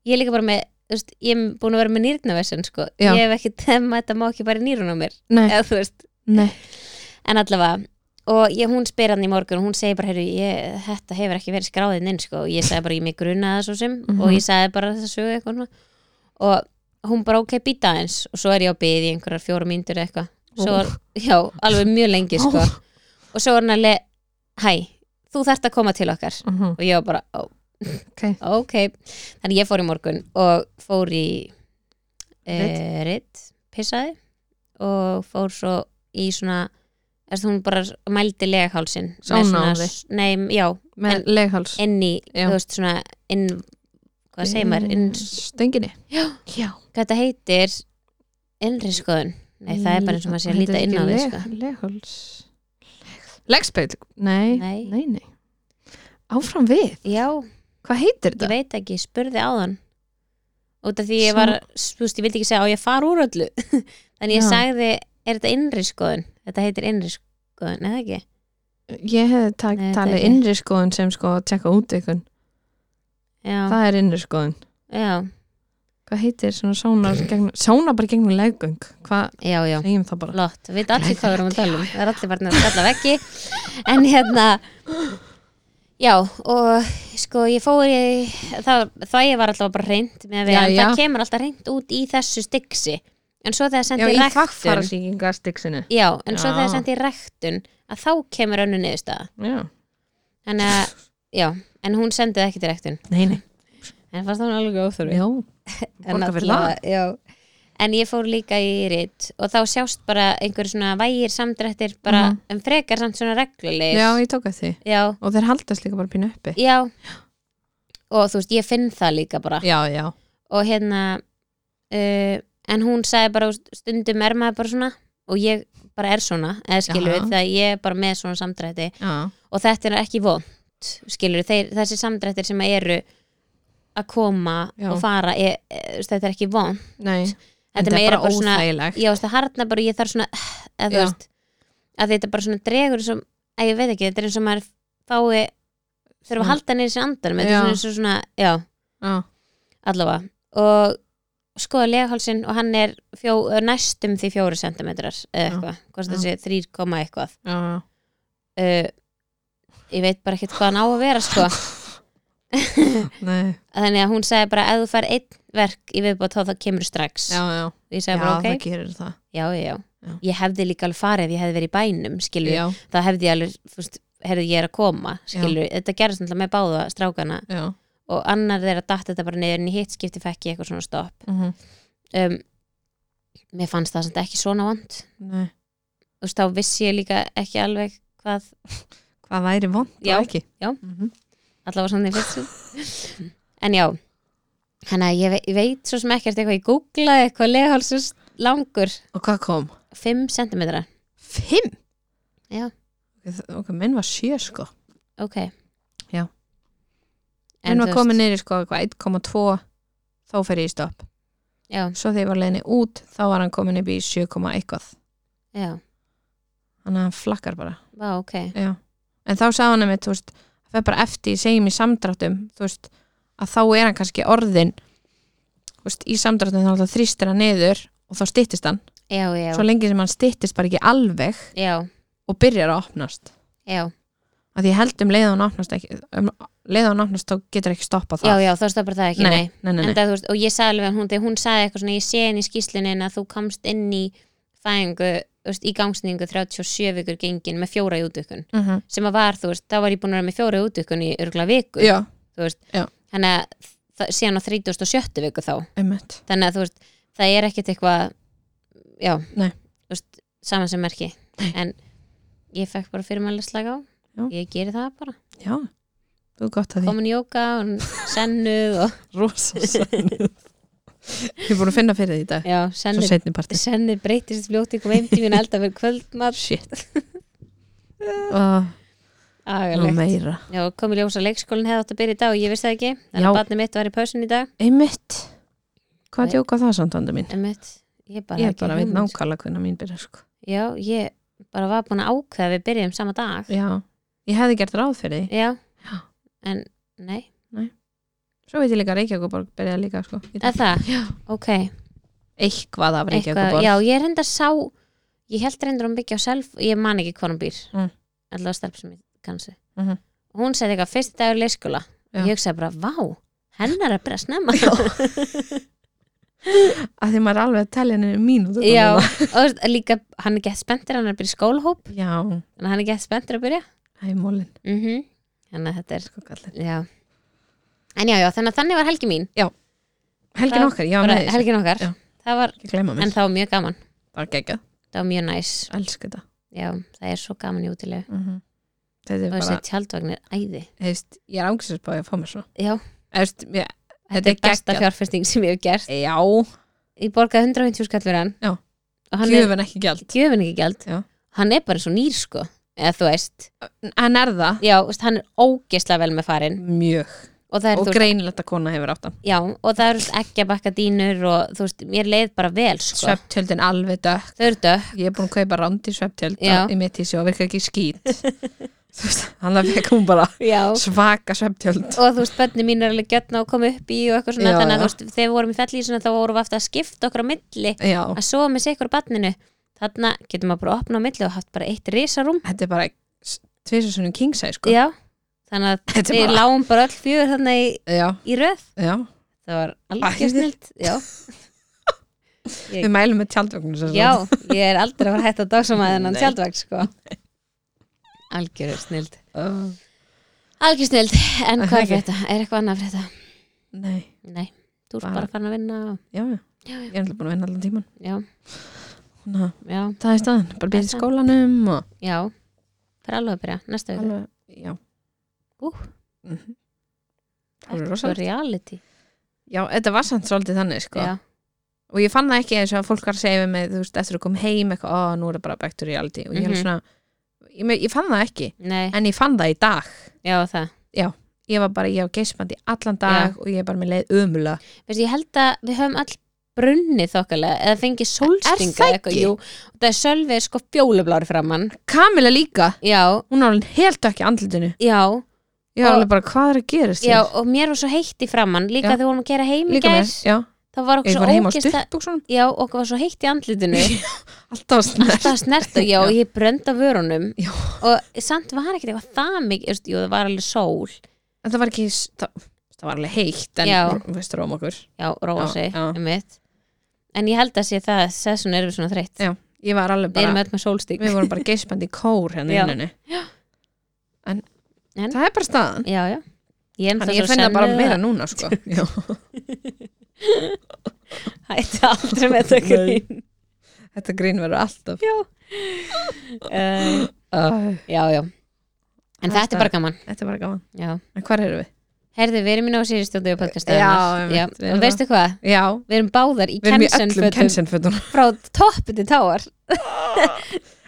Speaker 1: ég er líka bara með þú veist, ég er búin að vera með nýrnavessin sko.
Speaker 2: Já.
Speaker 1: ég hef ekki temma, þetta má ekki bara nýrun á mér
Speaker 2: Nei,
Speaker 1: eða þú veist
Speaker 2: nei
Speaker 1: en allavega og ég, hún spyr hann í morgun og hún segir bara heyrðu, ég, þetta hefur ekki verið skráðin inn sko. og ég sagði bara, ég mig grunaði það svo sem
Speaker 2: Mhm.
Speaker 1: og ég sagði bara þess að sögu eitthvað svona. og hún bara, ok, býta eins og svo er ég á byði í einhverjar fjóra mínútur eða eitthvað svo, er, já, alveg mjög lengi sko.
Speaker 2: Ó.
Speaker 1: og svo er hann alveg hæ, þú þarft að koma til okkar
Speaker 2: Mhm,
Speaker 1: og ég var bara, ó,
Speaker 2: Ok,
Speaker 1: ok þannig ég fór í morgun og fór í e, ritt, pissaði og fór svo í svona þess að hún bara mældi legahálsin með svona-
Speaker 2: Sónáði.
Speaker 1: nei, já,
Speaker 2: með legháls
Speaker 1: inn í,
Speaker 2: Já.
Speaker 1: þú veist svona inn, hvað segir maður inn,
Speaker 2: Stönginni
Speaker 1: já,
Speaker 2: Já
Speaker 1: hvað þetta heitir innri skoðun nei, það er bara eins og maður sé að líta inn á því sko.
Speaker 2: Legháls Legspeil, nei,
Speaker 1: Nei.
Speaker 2: nei, nei Áfram við,
Speaker 1: já,
Speaker 2: hvað
Speaker 1: ég
Speaker 2: heitir þetta?
Speaker 1: veit ekki, spurði á þann út af því ég var þú veist, ég vildi ekki segja á ég að fara úr öllu þannig ég
Speaker 2: Já.
Speaker 1: sagði, er þetta innri skoðun þetta heitir innri skoðun, eða ekki
Speaker 2: Ég hefði tak-
Speaker 1: Nei, þetta er
Speaker 2: talið
Speaker 1: ekki.
Speaker 2: innri skoðun sem sko að tjekka út ykkur
Speaker 1: já,
Speaker 2: Það er innri skoðun
Speaker 1: já,
Speaker 2: Hvað heitir svona sónar gegnum, sónar bara gegnum leggöng Hvað
Speaker 1: já, já
Speaker 2: segjum það bara?
Speaker 1: Lott, við veitum allir hvað við erum að tala um Það er allir bara að kalla veggi En hérna Já, og sko ég fór í, það, það ég var alltaf bara reynd með að vera,
Speaker 2: Já,
Speaker 1: en
Speaker 2: já.
Speaker 1: það kemur alltaf reynd út í þessu stygsi en svo þegar
Speaker 2: Já,
Speaker 1: sendi
Speaker 2: í
Speaker 1: ég rektun
Speaker 2: þakfarasíkingastiksinu
Speaker 1: Já, en svo
Speaker 2: Já.
Speaker 1: þegar sendi ég rektun að þá kemur önnu niðurstaða
Speaker 2: Já,
Speaker 1: Þannig að, já, en hún sendið ekki til rektun
Speaker 2: nei, nei
Speaker 1: en fannst hún alveg óþurfi
Speaker 2: Já,
Speaker 1: en,
Speaker 2: borga fyrir
Speaker 1: allavega, já. en ég fór líka í rit og þá sjást bara einhver svona vægir samdrættir bara,
Speaker 2: Mhm.
Speaker 1: en frekar samt svona reglulegir
Speaker 2: já ég tók að því
Speaker 1: já,
Speaker 2: Og þeir haldast líka bara pínu uppi
Speaker 1: já. og þú veist, ég finn það líka bara
Speaker 2: Já, já
Speaker 1: og hérna uh, en hún sagði bara þú veist, stundum er maður bara svona og ég bara er svona, eða skilur
Speaker 2: Jaha.
Speaker 1: við það ég er bara með svona samdrætti
Speaker 2: Já,
Speaker 1: og þetta er ekki vond skilur þeir, þessi samdrættir sem eru að koma
Speaker 2: Já.
Speaker 1: og fara er, er, þú veist, þetta er ekki vond
Speaker 2: nei
Speaker 1: Þetta
Speaker 2: En
Speaker 1: meira bara svona-
Speaker 2: óþægilegt
Speaker 1: já, þú veist, það harnar bara, ég þarf svona eh, eða þú
Speaker 2: Já.
Speaker 1: veist, að þetta bara svona dregur sem, að ég veit ekki, þetta er eins og maður fái, þurfa
Speaker 2: Mm.
Speaker 1: að halda niður sér andanum, þetta
Speaker 2: Já.
Speaker 1: er svona eins og svona já,
Speaker 2: Já,
Speaker 1: allavega og skoða legahálsin og hann er fjó, næstum því fjóri sentimetrar eða
Speaker 2: Já.
Speaker 1: eitthvað, hvort það
Speaker 2: Já.
Speaker 1: sé 3, komma eitthvað
Speaker 2: já, já
Speaker 1: uh, ég veit bara ekkert hvað hann á að vera sko,
Speaker 2: Nei,
Speaker 1: þannig að hún sagði bara ef þú fær einn verk í viðbót þá þá kemur strax
Speaker 2: já, já
Speaker 1: ég
Speaker 2: Já,
Speaker 1: sagði bara
Speaker 2: það
Speaker 1: ok,
Speaker 2: gerir það
Speaker 1: já, já, já
Speaker 2: Já.
Speaker 1: ég hefði líka alveg farið ef ég hefði verið í bænum skilju,
Speaker 2: Já,
Speaker 1: þá hefði ég alveg fúst, herðu ég er að koma, skilur, þetta gerðist náttúrulega með báða strákana
Speaker 2: já,
Speaker 1: og annar þeirra datt þetta bara neyður en í hitt skipti fekk ég eitthvað svona stopp
Speaker 2: mhm.
Speaker 1: um, mér fannst það samt ekki svona vond
Speaker 2: Nei.
Speaker 1: þú veist, þá vissi ég líka ekki alveg hvað
Speaker 2: Hvað væri vond
Speaker 1: Já,
Speaker 2: og ekki?
Speaker 1: já.
Speaker 2: Mhm.
Speaker 1: allavega svona í fyrstu en já, hann að ég, ve ég veit svo sem ekkert eitthvað, ég googlaði eitthvað leghalsus langur,
Speaker 2: Og hvað kom?
Speaker 1: 5 cm
Speaker 2: Fimm?
Speaker 1: Já.
Speaker 2: Ok, minn var sjö sko.
Speaker 1: ok
Speaker 2: Já.
Speaker 1: en, þú
Speaker 2: Minn var
Speaker 1: veist,
Speaker 2: komin niður í sko eitthvað 1,2 þá fer ég í stopp.
Speaker 1: já,
Speaker 2: Svo þegar ég var leiðinni út þá var hann komin upp í 7, eitthvað.
Speaker 1: já,
Speaker 2: Þannig að hann flakkar bara.
Speaker 1: vá, ok
Speaker 2: Já. En þá sagði hann einmitt, þú veist, það er bara eftir, ég segi mér samdráttum, þú veist, að þá er hann kannski orðin, þú veist, í samdráttum þá alltaf þrýstir hann niður og þá styttist hann.
Speaker 1: já, já,
Speaker 2: Svo lengi sem hann styttist bara ekki alveg
Speaker 1: já,
Speaker 2: og byrjar að opnast.
Speaker 1: já
Speaker 2: Af því ég held um leið og hann opnast ekki, um leið og hann opnast þá getur ekki stoppað
Speaker 1: já,
Speaker 2: það.
Speaker 1: já, þá stoppar það ekki, nei,
Speaker 2: nei, nei,
Speaker 1: En
Speaker 2: nei.
Speaker 1: það, veist, og ég sagði alveg að hún, þegar hún sagði eitthvað svona ég sé henni í skýslinni en að þú komst inn í fæðingu, þú veist, í gangsningu 37 vikur gengin með fjóra í útökun
Speaker 2: Mm -hmm.
Speaker 1: sem að var, þú veist, þá var ég búin að vera með fjóra í útökun í örgla viku,
Speaker 2: Já,
Speaker 1: þú veist
Speaker 2: Já.
Speaker 1: þannig að það, síðan á 37 viku þá
Speaker 2: einmitt.
Speaker 1: þannig að þú veist, það er ekkit eitthvað já,
Speaker 2: Nei.
Speaker 1: þú veist, saman sem merki Nei. en ég fekk bara fyrirmæli slag á
Speaker 2: Já.
Speaker 1: ég geri það bara,
Speaker 2: Já, þú er gott að því.
Speaker 1: komin í jóka og sennu og,
Speaker 2: Rosa sænnið. Ég er búin að finna fyrir því í dag.
Speaker 1: já,
Speaker 2: Svo
Speaker 1: sennu
Speaker 2: setni partí.
Speaker 1: Senni breytist fljótt í kom heim til mín alltaf fyrir kvöldmat
Speaker 2: Shit. Uh, og
Speaker 1: Agalegt
Speaker 2: meira.
Speaker 1: Já, kom í ljós að leikskólinn hefði átt að byrja í dag og ég vissi það ekki Þannig
Speaker 2: Já.
Speaker 1: að barnið mitt var í pausin í dag
Speaker 2: Einmitt Hvað
Speaker 1: Nei.
Speaker 2: djóka það samt andur mín?
Speaker 1: En mitt, ég bara,
Speaker 2: Ég
Speaker 1: ekki
Speaker 2: bara veit
Speaker 1: hugmynd.
Speaker 2: nákvæmlega hvernig mín byrja sko.
Speaker 1: Já, ég bara var búin að ákveða að við byrjum sama dag
Speaker 2: Já, ég hefði gert ráð fyrir því
Speaker 1: Já,
Speaker 2: Já.
Speaker 1: en nei
Speaker 2: Svo veit ég líka að Reykjavíkuborg byrja líka sko. Í dag.
Speaker 1: Eða það, já. ok
Speaker 2: Eitthvað af
Speaker 1: Eitthvað,
Speaker 2: Reykjavíkuborg
Speaker 1: Já, ég reyndar sá Ég held reyndar hún byggja á self Ég man ekki hvað hún býr
Speaker 2: Mm.
Speaker 1: Alltaf stelp sem ég kannski
Speaker 2: Mhm.
Speaker 1: Hún sagði eitthvað, fyrst dagur leikskóla
Speaker 2: Já.
Speaker 1: Ég hugsaði bara, vá, hennar er að byrja snemma
Speaker 2: að því maður er alveg að telja henni mínútur
Speaker 1: Já, og þú veist, líka hann er gett spenntir hann er að byrja í skólahóp
Speaker 2: Já,
Speaker 1: en hann er gett spenntir að byrja
Speaker 2: það er mólin
Speaker 1: mm þannig að þetta er
Speaker 2: sko kallinn.
Speaker 1: já. en já, já, þannig að þannig var helgi mín
Speaker 2: Helgin
Speaker 1: Það-
Speaker 2: okkar, já,
Speaker 1: bara,
Speaker 2: með þessu
Speaker 1: helgin okkar
Speaker 2: Já.
Speaker 1: það var,
Speaker 2: Ekki gleyma
Speaker 1: en
Speaker 2: mér,
Speaker 1: það var mjög gaman
Speaker 2: bara geggjað
Speaker 1: það var mjög næs,
Speaker 2: Elsku þetta
Speaker 1: já, það er svo gaman í útilegu
Speaker 2: Þetta er
Speaker 1: Mhm. og þessi
Speaker 2: bara,
Speaker 1: tjaldvagnir æði
Speaker 2: hefst, ég er ángstast bá ég að fá mér svo
Speaker 1: já,
Speaker 2: hefst, ég,
Speaker 1: þetta
Speaker 2: Þetta
Speaker 1: er
Speaker 2: er
Speaker 1: besta
Speaker 2: geggjað.
Speaker 1: fjárfesting sem ég hef gert
Speaker 2: Já,
Speaker 1: ég borgaði 150 skall fyrir hann
Speaker 2: Já.
Speaker 1: og hann er
Speaker 2: gjöfun ekki gjald
Speaker 1: gjöfin ekki gjald
Speaker 2: Já.
Speaker 1: hann er bara svo nýr sko eða þú veist,
Speaker 2: En er það?
Speaker 1: já, þú veist, hann er ógeðslega vel með farin
Speaker 2: Mjög
Speaker 1: og það er
Speaker 2: Og greinilegt að kona hefur átt hann
Speaker 1: Já, og það eru ekki að bakka dýnur og þú veist, mér leið bara vel sko.
Speaker 2: Svepptjöldin alveg dökk
Speaker 1: Þau eru dökk,
Speaker 2: ég er búin að kaupa rándi
Speaker 1: Já.
Speaker 2: svefntjölda í mitt tísi og virka ekki skýt þú veist, hann það fekk hún bara
Speaker 1: já
Speaker 2: svaka svefntjöld
Speaker 1: og þú veist, bönni mín er alveg gjötna og koma upp í og eitthvað svona,
Speaker 2: Já,
Speaker 1: þannig að
Speaker 2: já.
Speaker 1: þú veist, þegar við vorum í fellísuna þá vorum við aftur að skipta okkur á milli
Speaker 2: já,
Speaker 1: að sofa með sikur á barninu þannig að getum maður bara að opna á milli og haft bara eitt risarúm
Speaker 2: þetta er bara tvisasunum kingsæ sko
Speaker 1: Já, þannig að
Speaker 2: þetta
Speaker 1: við
Speaker 2: er bara,
Speaker 1: lágum bara öll fjögur þannig í,
Speaker 2: já,
Speaker 1: í röð
Speaker 2: já
Speaker 1: það var
Speaker 2: Æði.
Speaker 1: algjör snilt Já, Ég-
Speaker 2: við mælum með tjaldvögnum
Speaker 1: já, ég er aldrei að fara hægt að dagsama þennan
Speaker 2: Nei.
Speaker 1: tjaldvagn sko. algjör snilt
Speaker 2: uh,
Speaker 1: Algjör snild, en hvað
Speaker 2: Er það
Speaker 1: er
Speaker 2: ekki?
Speaker 1: frétta? Er eitthvað annað að frétta?
Speaker 2: nei,
Speaker 1: Nei, þú ert
Speaker 2: Bara-
Speaker 1: bara farin að vinna og-
Speaker 2: já, já,
Speaker 1: Já, já,
Speaker 2: ég er alltaf búin að vinna allan tíman
Speaker 1: já,
Speaker 2: Ná,
Speaker 1: já,
Speaker 2: það er staðan, bara býðið
Speaker 1: Það er
Speaker 2: skólanum og
Speaker 1: já Fyrir alveg að byrja, næsta vika
Speaker 2: alveg, já
Speaker 1: Ú.
Speaker 2: Mhm. það
Speaker 1: Allt
Speaker 2: er
Speaker 1: svo
Speaker 2: rosalegt
Speaker 1: reality
Speaker 2: já, þetta var samt svolítið þannig sko
Speaker 1: Já,
Speaker 2: og ég fann það ekki eins og að fólk var að segja við mig þú veist, eftir að kom heim eitthvað, ó, nú er það bara back to reality og ég mm
Speaker 1: Mhm.
Speaker 2: svona, ég, me- ég fann það ekki
Speaker 1: nei,
Speaker 2: en ég fann það í dag
Speaker 1: já það
Speaker 2: ég var bara, ég á geismandi allan dag og ég er bara með leið umla
Speaker 1: Veistu, ég held að við höfum all brunnið þokkalega eða fengið sólstinga
Speaker 2: það
Speaker 1: eitthvað,
Speaker 2: ekki?
Speaker 1: jú og það er sölvið sko fjólublári framann
Speaker 2: Kamila líka,
Speaker 1: Já,
Speaker 2: hún er alveg helt ekki andlutinu
Speaker 1: já,
Speaker 2: ég var
Speaker 1: Og-
Speaker 2: alveg bara, hvað er að gerast
Speaker 1: já
Speaker 2: hér?
Speaker 1: og mér var svo heitt í framann líka
Speaker 2: Já.
Speaker 1: þegar við vorum að gera heim í
Speaker 2: líka
Speaker 1: gær
Speaker 2: mér, já
Speaker 1: þá var okkur
Speaker 2: ég
Speaker 1: svo
Speaker 2: var heim á
Speaker 1: ógeðslega
Speaker 2: stuttbúksunum
Speaker 1: Já, okkur var svo heitt í andlitinu
Speaker 2: alltaf snert
Speaker 1: alltaf snert og já, og ég brönd á vörunum
Speaker 2: Já.
Speaker 1: og samt var ekkert eitthvað það mikið þú veist, jú, það var alveg sól
Speaker 2: þetta var ekki, það, það var alveg heitt en
Speaker 1: Já.
Speaker 2: þú veist, róm okkur
Speaker 1: já, róa
Speaker 2: Já,
Speaker 1: sig,
Speaker 2: já.
Speaker 1: einmitt en ég held að sé það, þess vegna erum við svona þreytt
Speaker 2: Já, ég var alveg
Speaker 1: við erum
Speaker 2: bara,
Speaker 1: öll með sólstík
Speaker 2: við vorum bara geismandi í kór hérna í
Speaker 1: Já.
Speaker 2: vinnunni en,
Speaker 1: En-
Speaker 2: það er bara staðan
Speaker 1: já, já, Ég er
Speaker 2: Þannig
Speaker 1: náttúrulega
Speaker 2: ég
Speaker 1: svo
Speaker 2: finn það bara
Speaker 1: sönnuð
Speaker 2: meira núna sko. Já.
Speaker 1: að hætti aldrei með þetta
Speaker 2: Nei.
Speaker 1: grín
Speaker 2: Þetta grín verður alltaf
Speaker 1: Já uh,
Speaker 2: uh,
Speaker 1: Já, já En þetta
Speaker 2: Alltaf.
Speaker 1: er bara gaman
Speaker 2: Þetta er bara gaman
Speaker 1: já.
Speaker 2: En hvar eru við?
Speaker 1: Herðu, við erum í Nósýri stúdíu podcasta
Speaker 2: Já,
Speaker 1: annars.
Speaker 2: einmitt,
Speaker 1: já.
Speaker 2: við erum
Speaker 1: Og veistu hvað?
Speaker 2: Já,
Speaker 1: Við erum báðar í
Speaker 2: við erum í öllum
Speaker 1: kensenfötum
Speaker 2: kensenfötunum
Speaker 1: frá toppu til táar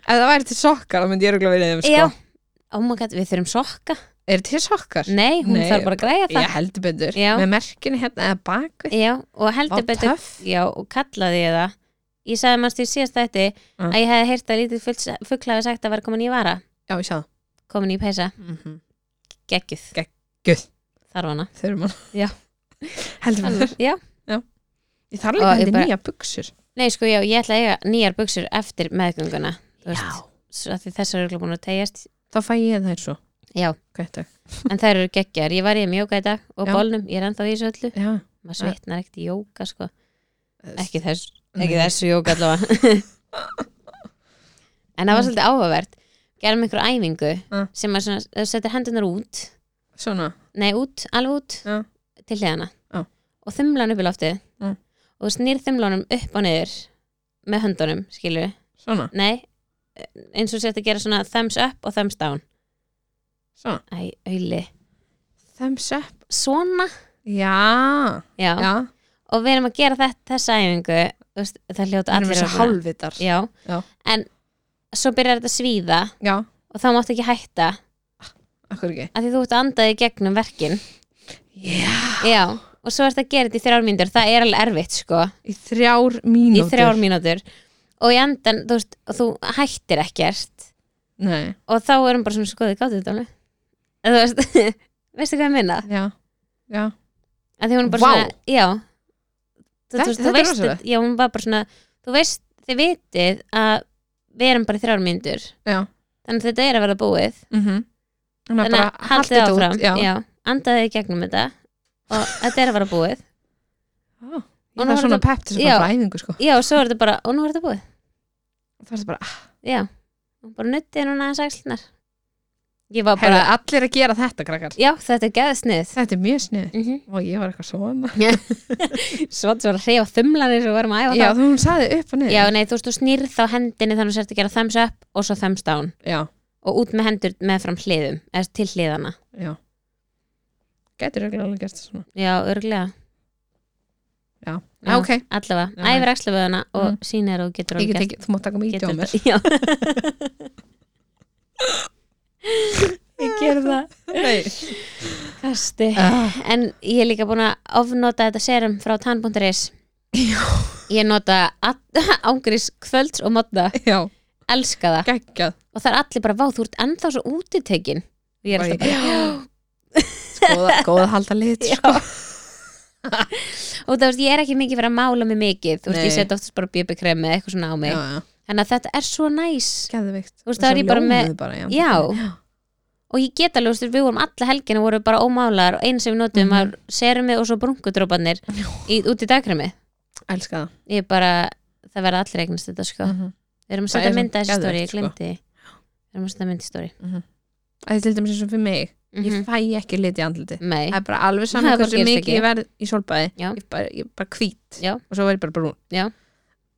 Speaker 2: Ef það væri til sokkar, þá myndi ég rúglega verið þeim sko.
Speaker 1: Já, oh my god, við þurfum sokka
Speaker 2: Er til sokkar?
Speaker 1: Nei, hún
Speaker 2: Nei,
Speaker 1: þarf bara að græja Mm, það
Speaker 2: Ég heldur betur
Speaker 1: Já.
Speaker 2: Með merkinu hérna eða bakvið
Speaker 1: Já, og heldur
Speaker 2: Vá,
Speaker 1: betur
Speaker 2: töff.
Speaker 1: Já, og kallaði ég það Ég sagði mannst í síðast þætti
Speaker 2: Ah.
Speaker 1: að ég hefði heyrt að lítið fugl- fugl hafi sagt að vera komin í vara
Speaker 2: Já, ég sá það
Speaker 1: komin í peysa,
Speaker 2: mm -hmm.
Speaker 1: geggjuð
Speaker 2: Guð,
Speaker 1: þarf hana
Speaker 2: þau eru mann
Speaker 1: Já.
Speaker 2: Heldur betur
Speaker 1: Já,
Speaker 2: Ég þarf
Speaker 1: Og
Speaker 2: líka
Speaker 1: ég
Speaker 2: heldur
Speaker 1: bara-
Speaker 2: nýja buksur
Speaker 1: nei sko já, ég ætla að eiga nýjar buksur eftir meðgönguna þú veist, svo að því þessar eru búin að tegjast
Speaker 2: Þá fæ ég þær svo
Speaker 1: Já,
Speaker 2: Hvað er
Speaker 1: en þær eru geggjar, ég var í þeim jóka í dag og
Speaker 2: Já.
Speaker 1: bólnum, ég er ennþá í þessu öllu
Speaker 2: þetta?
Speaker 1: maður svitnar ekkert í jóka sko
Speaker 2: Já
Speaker 1: ekki, þess,
Speaker 2: Nei.
Speaker 1: ekki þessu jóka allavega en
Speaker 2: Mm.
Speaker 1: það var svolítið áhugavert gerum einhver æfingu
Speaker 2: Ah.
Speaker 1: sem að svona, þú setur hendunar út
Speaker 2: Svona
Speaker 1: nei út, alveg út
Speaker 2: Já.
Speaker 1: til hliðana
Speaker 2: Já.
Speaker 1: og þumlan upp í loftið
Speaker 2: Mm.
Speaker 1: og þú snýr þumlanum upp og niður með höndunum, skilur
Speaker 2: Svona
Speaker 1: nei, eh, eins og sért að gera svona thumbs up og thumbs down
Speaker 2: Svona
Speaker 1: æ, auðli,
Speaker 2: Thumbs up
Speaker 1: svona
Speaker 2: Já
Speaker 1: já.
Speaker 2: Já
Speaker 1: og við erum að gera þetta, þessa æfingu þú veist, það hljóta
Speaker 2: Það er
Speaker 1: allir
Speaker 2: þessi
Speaker 1: að-
Speaker 2: hálfvitar
Speaker 1: já.
Speaker 2: Já.
Speaker 1: en svo byrjar þetta að svíða
Speaker 2: Já,
Speaker 1: og þá máttu ekki hætta
Speaker 2: akkur ekki
Speaker 1: af því þú ert að andaði gegnum verkin
Speaker 2: Já
Speaker 1: já, og svo ert að gera þetta í þrjár mínútur það er alveg erfitt sko,
Speaker 2: Í þrjár
Speaker 1: í
Speaker 2: mínútur
Speaker 1: þrjár mínútur og í andan, þú veist, og þú hættir ekkert
Speaker 2: Nei
Speaker 1: og þá erum bara svona skoðið gátu þetta alveg En þú veist, veistu hvað ég minna?
Speaker 2: Já Já
Speaker 1: að því hún er bara
Speaker 2: Vá.
Speaker 1: svona, já þú, þú,
Speaker 2: Þetta-
Speaker 1: veist,
Speaker 2: þetta
Speaker 1: þú
Speaker 2: er
Speaker 1: veist,
Speaker 2: rosalegt.
Speaker 1: já hún var bara svona þú veist, þið vitið að við erum bara í þrjár mínútur
Speaker 2: Já.
Speaker 1: þannig að þetta er að verða búið
Speaker 2: mm -hmm.
Speaker 1: Mhm. þannig að haldið
Speaker 2: þetta
Speaker 1: áfram
Speaker 2: út, Já,
Speaker 1: já, andaðið í gegnum þetta og þetta er að vera búið
Speaker 2: Já.
Speaker 1: Og nú
Speaker 2: Ég þarf
Speaker 1: er
Speaker 2: svona
Speaker 1: þetta-
Speaker 2: pepp til þess
Speaker 1: Já.
Speaker 2: að fara á æfingu sko
Speaker 1: já, og svo er þetta bara, og nú er þetta búið
Speaker 2: Það er bara, ah,
Speaker 1: já, og bara nuttið núna aðeins axlunar ég var
Speaker 2: herra,
Speaker 1: bara,
Speaker 2: allir að gera þetta krakkar
Speaker 1: já, þetta er geðsnið
Speaker 2: Þetta er mjög snið
Speaker 1: mm -hmm.
Speaker 2: Og ég var eitthvað svona
Speaker 1: svo þetta var að reyfa þumlanir og varum að æfa
Speaker 2: Já,
Speaker 1: það
Speaker 2: þú hún saði upp og niður
Speaker 1: já, nei, þú veist, þú snýrð þá hendinni þannig að þú sért að gera thumbs up og svo thumbs down
Speaker 2: já,
Speaker 1: og út með hendur með fram hliðum eða til hliðana
Speaker 2: já. Gætir örugglega alveg gert þetta svona
Speaker 1: já, örglega,
Speaker 2: Já,
Speaker 1: Já.
Speaker 2: já ok
Speaker 1: allavega,
Speaker 2: Já,
Speaker 1: æfir axlaföðuna og
Speaker 2: Mm.
Speaker 1: mm. sýnir og getur
Speaker 2: Ég
Speaker 1: alveg
Speaker 2: get ekki, þú mátt taka mig í
Speaker 1: getur
Speaker 2: djómir
Speaker 1: þetta já ég ger það
Speaker 2: Nei
Speaker 1: kasti
Speaker 2: Ah.
Speaker 1: en ég er líka búin að ofnota þetta serum frá tan.is ég nota ángurís kvölds og modna
Speaker 2: Já,
Speaker 1: elska það
Speaker 2: geggjað
Speaker 1: og það er allir bara vá, þú ert ennþá svo útitekin og ég er alltaf bara
Speaker 2: Góða, góða halda lit
Speaker 1: Já.
Speaker 2: sko.
Speaker 1: og þú veist, ég er ekki mikið fyrir að mála mig mikið þú veist, ég
Speaker 2: Nei.
Speaker 1: set oftast bara bjöbikremi eða eitthvað svona á mig
Speaker 2: Já, já,
Speaker 1: þannig að þetta er svo næs
Speaker 2: geðvikt
Speaker 1: Þú veist, þá er ég bara með-
Speaker 2: bara, já,
Speaker 1: Já. og ég get alveg, þú veist, við vorum alla helgina voru bara ómálar og einu sem við notum
Speaker 2: Mhm.
Speaker 1: var serumi og svo brunkudrópanir í, út í dagkremi
Speaker 2: Elska það
Speaker 1: ég bara, það verða allir eignast þetta sko
Speaker 2: Mhm.
Speaker 1: við erum að
Speaker 2: Það
Speaker 1: setja
Speaker 2: er
Speaker 1: mynda þessi
Speaker 2: geðveikt,
Speaker 1: stóri, ég
Speaker 2: sko.
Speaker 1: glemdi við erum að setja mynda í stóri
Speaker 2: Það er til dæmis eins og fyrir mig Ég fæ ekki lit í andliti
Speaker 1: mei,
Speaker 2: Mhm. það er bara alveg
Speaker 1: Mhm. Það
Speaker 2: saman
Speaker 1: er bara
Speaker 2: hversu
Speaker 1: gerist
Speaker 2: mikið
Speaker 1: ekki.
Speaker 2: ég verð í solbæði
Speaker 1: Já.
Speaker 2: ég bara, ég bara hvít
Speaker 1: Já.
Speaker 2: og svo verð ég bara brún
Speaker 1: Já.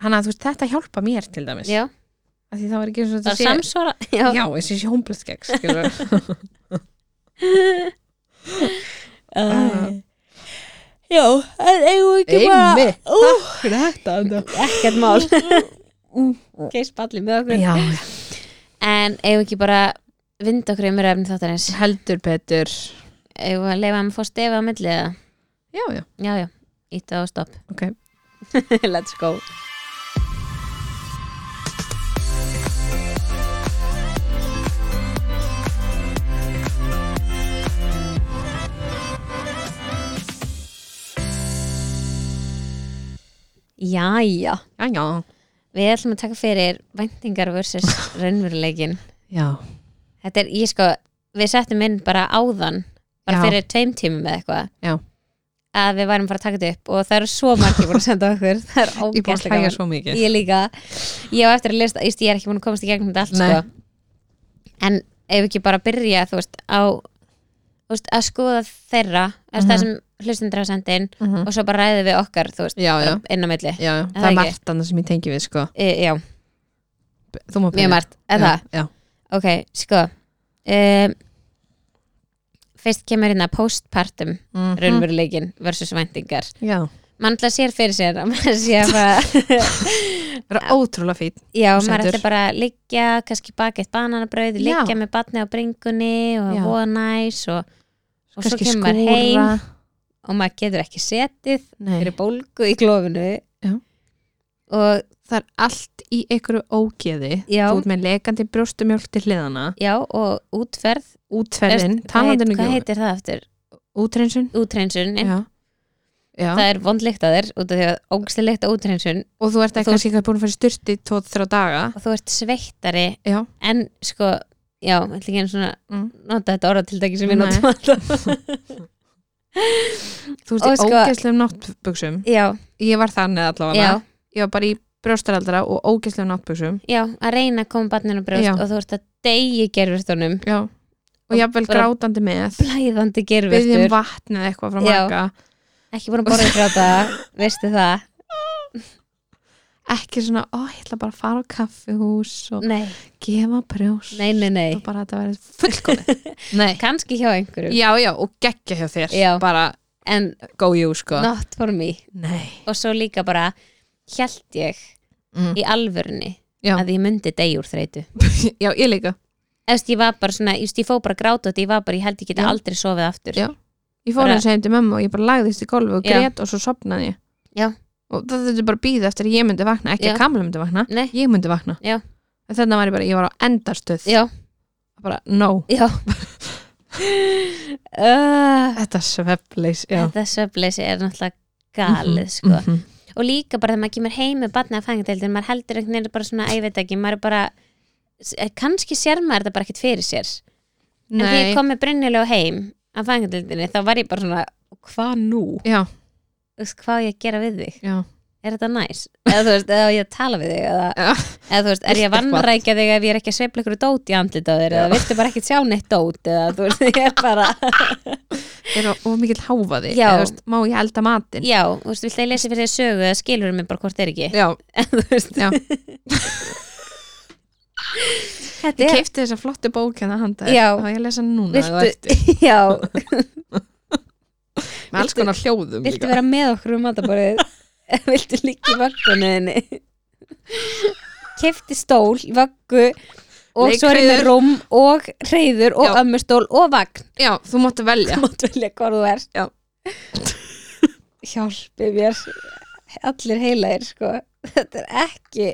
Speaker 2: þannig að þú veist, þetta hjálpa mér til dæmis
Speaker 1: já,
Speaker 2: af því þá er ekki eins
Speaker 1: það
Speaker 2: og
Speaker 1: er
Speaker 2: þetta sé
Speaker 1: samsvara já,
Speaker 2: já, eins og sé hómblast gegn skilurðu.
Speaker 1: Æ. já en eigum við ekki bara
Speaker 2: einmitt, takk fyrir þetta Andra.
Speaker 1: ekkert mál ok, spalli með okkur
Speaker 2: já,
Speaker 1: en eigum við ekki bara vind okkur um röfni þáttarins
Speaker 2: heldur betur
Speaker 1: eigum við að leifa hann að fá stefa á milli eða
Speaker 2: já, já,
Speaker 1: já, já, ítta og stopp
Speaker 2: ok
Speaker 1: let's go Jæja,
Speaker 2: já, já,
Speaker 1: við ætlum að taka fyrir væntingar versus raunveruleikin
Speaker 2: já,
Speaker 1: Þetta er, ég sko, við settum inn bara áðan bara
Speaker 2: Já.
Speaker 1: fyrir tveim tímum eða
Speaker 2: Já.
Speaker 1: eitthvað að við værum fara að taka þetta upp og það eru svo margir búin að senda okkur það er
Speaker 2: ég er búin að
Speaker 1: ógæslega
Speaker 2: hlæja
Speaker 1: gaman
Speaker 2: svo mikið
Speaker 1: ég líka, ég á eftir að lista ég er ekki búin að sko. komast í gegnum þetta allt
Speaker 2: Nei.
Speaker 1: sko. en ef ekki bara byrja þú veist á úst, að skoða þeirra mm -hmm.
Speaker 2: Mhm.
Speaker 1: það sem hlustendur hafa sendin mm
Speaker 2: Mhm.
Speaker 1: og svo bara ræðum við okkar þú veist,
Speaker 2: já, já,
Speaker 1: bara inn á milli
Speaker 2: já, já.
Speaker 1: það ekki?
Speaker 2: það er margt annað sem ég tengi við sko.
Speaker 1: e, já,
Speaker 2: þú má
Speaker 1: mjög margt eða,
Speaker 2: já, já.
Speaker 1: ok, sko um, fyrst kemur hérna postpartum mm
Speaker 2: Mm
Speaker 1: raunveruleikin versus væntingar
Speaker 2: já.
Speaker 1: mann alltaf sér fyrir sér að maður sé að bara
Speaker 2: það er ótrúlega fít
Speaker 1: já,
Speaker 2: Þú
Speaker 1: maður
Speaker 2: sendur.
Speaker 1: ætti bara að liggja kannski bakið bananabrauð,
Speaker 2: Já.
Speaker 1: liggja með batni á bringunni og
Speaker 2: Já.
Speaker 1: voða næs og, og svo kemur maður heim og maður getur ekki setið
Speaker 2: Nei,
Speaker 1: fyrir bólgu í klófinu
Speaker 2: Já.
Speaker 1: og
Speaker 2: það er allt í einhverju ógeði
Speaker 1: Já.
Speaker 2: þú ert með lekandi brjóstumjólk til hliðana
Speaker 1: já, og útferð
Speaker 2: útferðin,
Speaker 1: Veist, hvað, heit,
Speaker 2: talandinu
Speaker 1: hvað heitir það eftir?
Speaker 2: útreinsun
Speaker 1: Útreinsun,
Speaker 2: um já. Já.
Speaker 1: það er vond lykt að þér út af því að ógstlega lykt á útreinsun
Speaker 2: og þú ert
Speaker 1: Og
Speaker 2: ekki
Speaker 1: þú-
Speaker 2: kannski eitthvað búin að fara í styrti tóð þrjá daga
Speaker 1: og þú ert sveittari
Speaker 2: já,
Speaker 1: en sko, já, ætla ekki einu svona
Speaker 2: Mm.
Speaker 1: nota þetta orðatildaki sem ég
Speaker 2: Nei.
Speaker 1: notum alltaf
Speaker 2: þú
Speaker 1: Og
Speaker 2: ert í
Speaker 1: sko-
Speaker 2: ógeðslegum náttbuksum
Speaker 1: já,
Speaker 2: ég var þannig allavega
Speaker 1: Já.
Speaker 2: ég var bara í brjóstaraldra og ógeðslegum náttbuksum
Speaker 1: já, að reyna að koma barninu á brjóst
Speaker 2: Já.
Speaker 1: og þú ert að deyja gerfurtunum
Speaker 2: já. og
Speaker 1: Og
Speaker 2: jafnvel
Speaker 1: bara-
Speaker 2: grátandi með
Speaker 1: blæðandi
Speaker 2: byggjum
Speaker 1: gerfurtur,
Speaker 2: vatn eða eitthvað frá
Speaker 1: Já.
Speaker 2: maka
Speaker 1: ekki búin að borða frá það veistu það,
Speaker 2: ekki svona, ó, ég ætla bara að fara á kaffihús og
Speaker 1: nei,
Speaker 2: gefa brjóst
Speaker 1: nei, nei, nei
Speaker 2: og bara að þetta verið fullkomið nei
Speaker 1: kannski hjá einhverjum,
Speaker 2: Já, já, og geggja hjá þér
Speaker 1: Já.
Speaker 2: bara
Speaker 1: en
Speaker 2: go you sko
Speaker 1: not for me
Speaker 2: Nei
Speaker 1: og svo líka bara hjælt ég
Speaker 2: mm.
Speaker 1: í alvörni
Speaker 2: Já.
Speaker 1: að ég myndi deyja úr þreytu
Speaker 2: Já, ég líka
Speaker 1: Eftir, ég var bara svona, ég, ég fó bara að gráta þetta, ég var bara, ég held ég geta
Speaker 2: Já.
Speaker 1: aldrei sofið aftur
Speaker 2: Já. Ég fór
Speaker 1: Bara-
Speaker 2: hans heim til mömmu og ég bara lagðist í golfi og
Speaker 1: Já.
Speaker 2: grét og svo sopnaði ég
Speaker 1: Já.
Speaker 2: Og það þurfti bara að býða eftir að ég myndi vakna ekki
Speaker 1: Já.
Speaker 2: að Kamla myndi vakna,
Speaker 1: Nei,
Speaker 2: ég myndi vakna
Speaker 1: Já.
Speaker 2: En þarna var ég bara, ég var á endarstöð
Speaker 1: já,
Speaker 2: bara, no,
Speaker 1: já uh,
Speaker 2: þetta svefleis Já,
Speaker 1: Þetta svefleysi er náttúrulega galið sko.
Speaker 2: Mhm.
Speaker 1: og líka bara þegar maður kemur heim með batnið að fangadeildin, maður heldur einhvern veginn bara svona, æ, ég veit ekki, maður er bara eh, kannski sér maður þetta bara ekkert fyrir sér en þegar
Speaker 2: Nei,
Speaker 1: ég kom með brunnilega heim að fangadeildinni, þá var ég bara svona hvað nú?
Speaker 2: já,
Speaker 1: Þú veist, Hvað á ég að gera við þig?
Speaker 2: já
Speaker 1: Er þetta næs? Eða þú veist, eða á ég að tala við þig eða eða þú veist, er ég að
Speaker 2: Viltu eitthvað?
Speaker 1: vannrækja þig ef ég er ekki að sveifla ykkur dót í andlit á þér eða viltu bara ekki sjá neitt dót eða þú veist, ég er bara
Speaker 2: Er það of mikill háfaði
Speaker 1: Já.
Speaker 2: Eða, þú veist, Má ég elda matinn
Speaker 1: já, þú veist, viltu að ég lesi fyrir þér sögu eða skilur mig bara hvort er ekki
Speaker 2: Já,
Speaker 1: þú veist,
Speaker 2: já
Speaker 1: þetta
Speaker 2: Ég
Speaker 1: er
Speaker 2: keipti þessa flottu bók hérna handa
Speaker 1: Já.
Speaker 2: og ég að lesa hana núna ef þú ert-
Speaker 1: viltu, já,
Speaker 2: með alls konar hljóðum
Speaker 1: viltu vera með okkur um mataborið eða viltu líka í vaggunniðinni kefti stól í vaggu og svo er ég með
Speaker 2: Leikreiður.
Speaker 1: rúm og reyður og
Speaker 2: Já.
Speaker 1: ömmustól og vagn
Speaker 2: Já, þú máttu velja
Speaker 1: þú mátt velja hvað þú er
Speaker 2: Já.
Speaker 1: hjálpi mér allir heilaðir sko þetta er ekki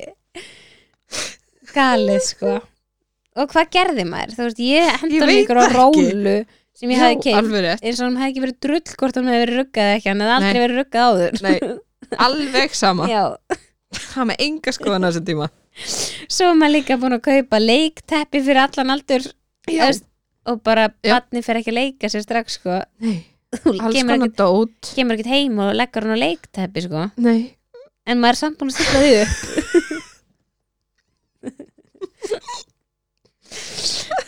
Speaker 1: galið sko og hvað gerði maður, þú veist, ég
Speaker 2: Ég
Speaker 1: hendur
Speaker 2: veit
Speaker 1: ykkur á
Speaker 2: það ekki.
Speaker 1: rólu sem ég
Speaker 2: Já,
Speaker 1: hafði keift
Speaker 2: alveg rétt
Speaker 1: eins og hann hefði ekki verið drull hvort hann hefði verið ruggað eða ekki, hann hefði aldrei
Speaker 2: Nei.
Speaker 1: verið ruggað áður
Speaker 2: Nei, alveg sama
Speaker 1: já,
Speaker 2: Það með enga skoðan á þessu tíma
Speaker 1: svo er maður líka búin að kaupa leikteppi fyrir allan aldur
Speaker 2: Já.
Speaker 1: veist, og bara
Speaker 2: Já.
Speaker 1: batni fyrir ekki að leika sér strax sko,
Speaker 2: Nei,
Speaker 1: þú
Speaker 2: alls
Speaker 1: kemur
Speaker 2: konar
Speaker 1: ekki
Speaker 2: dót
Speaker 1: kemur ekkert heim og leggur hann á leikteppi sko.
Speaker 2: Nei,
Speaker 1: en maður er samt búin að stilla því upp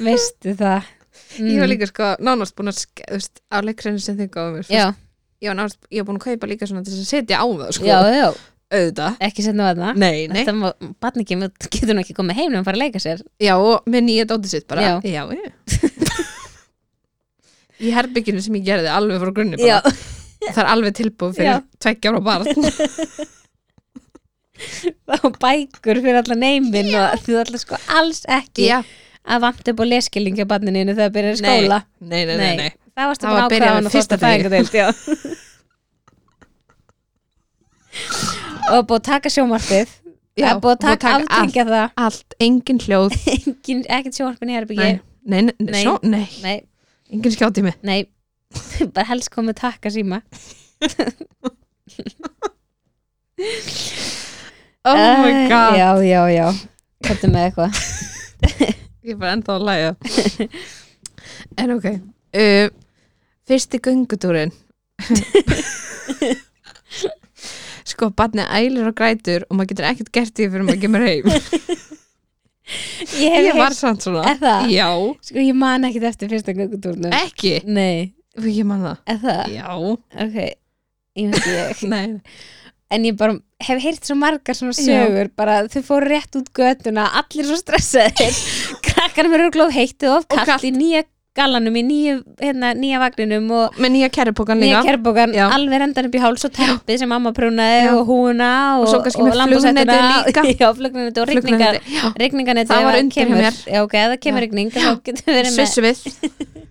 Speaker 1: veistu það mm.
Speaker 2: ég var líka sko nánast búin að ske- þú veist, á leikreinu sem þið gáðum mér þú
Speaker 1: já,
Speaker 2: veist, ég var nánast, ég var búin að kaupa líka svona til þess að setja á það sko,
Speaker 1: já, já,
Speaker 2: auðvitað
Speaker 1: ekki setna að það
Speaker 2: Nei, nei,
Speaker 1: þetta má- barn ekki, getur nú ekki komið heim nefnum að fara að leika sér
Speaker 2: já, og með nýja dótið sitt bara
Speaker 1: Já.
Speaker 2: já ég. Í herbygginu sem ég gerði alveg frá grunni bara, það er alveg tilbúið fyrir
Speaker 1: Já.
Speaker 2: tveggja ára barn
Speaker 1: og bækur fyrir allan neymin og þú ætla sko alls ekki
Speaker 2: Já,
Speaker 1: að vanta upp á leskilningi á barnininu þegar það byrjar í skóla
Speaker 2: nei, nei, nei, nei.
Speaker 1: það varstu
Speaker 2: Það
Speaker 1: bara
Speaker 2: var byrjað
Speaker 1: ákvæðan
Speaker 2: við
Speaker 1: og fyrsta
Speaker 2: fyrsta degi.
Speaker 1: fæðingadeild já. og búið að taka sjómarfið
Speaker 2: Já,
Speaker 1: það er búið að taka, taka aftengja það
Speaker 2: allt, engin hljóð
Speaker 1: engin, ekkert sjónvarpin í herbyggi
Speaker 2: nei,
Speaker 1: nei,
Speaker 2: nei, nei, nei,
Speaker 1: Nei.
Speaker 2: Svo, nei.
Speaker 1: nei,
Speaker 2: engin skjátími
Speaker 1: bara helst komið takka síma
Speaker 2: oh
Speaker 1: Æ,
Speaker 2: my god,
Speaker 1: já, já, já, komdu með eitthvað
Speaker 2: ég er bara ennþá að læja en ok uh, fyrsti göngutúrin sko, barnið ælir og grætur og maður getur ekkert gert því fyrir maður kemur heim
Speaker 1: Ég hef
Speaker 2: ég var
Speaker 1: heyrt,
Speaker 2: samt svona
Speaker 1: er það?
Speaker 2: já,
Speaker 1: Sko, ég man ekkit eftir fyrsta göngutúrnum.
Speaker 2: ekki
Speaker 1: Nei,
Speaker 2: ég man það,
Speaker 1: er það?
Speaker 2: já
Speaker 1: Ok, ég veit ekki.
Speaker 2: nei,
Speaker 1: en ég bara hef heyrt svo margar svona
Speaker 2: Já.
Speaker 1: sögur, bara þau fóru rétt út göttuna, allir svo stressaðir, krakkanum eru glóð heittið of
Speaker 2: Og
Speaker 1: kallt, í nýja gallanum, í nýja, hérna, nýja vagninum og
Speaker 2: með nýja kerrupókan
Speaker 1: nýja
Speaker 2: líka
Speaker 1: kerbókan
Speaker 2: Já.
Speaker 1: alveg rendan upp í háls og teppið sem mamma prúnaði
Speaker 2: Já.
Speaker 1: og húna og,
Speaker 2: Og svo kannski með
Speaker 1: lambhúshettuna.
Speaker 2: flugnetið líka.
Speaker 1: já, flugnetti og rigninga
Speaker 2: Flugnaði- já,
Speaker 1: rigninganetti
Speaker 2: Það
Speaker 1: ef
Speaker 2: var undir hjá
Speaker 1: kemur.
Speaker 2: mér.
Speaker 1: já, ok, ef það kemur
Speaker 2: Já.
Speaker 1: rigning þá getur verið með
Speaker 2: svissu við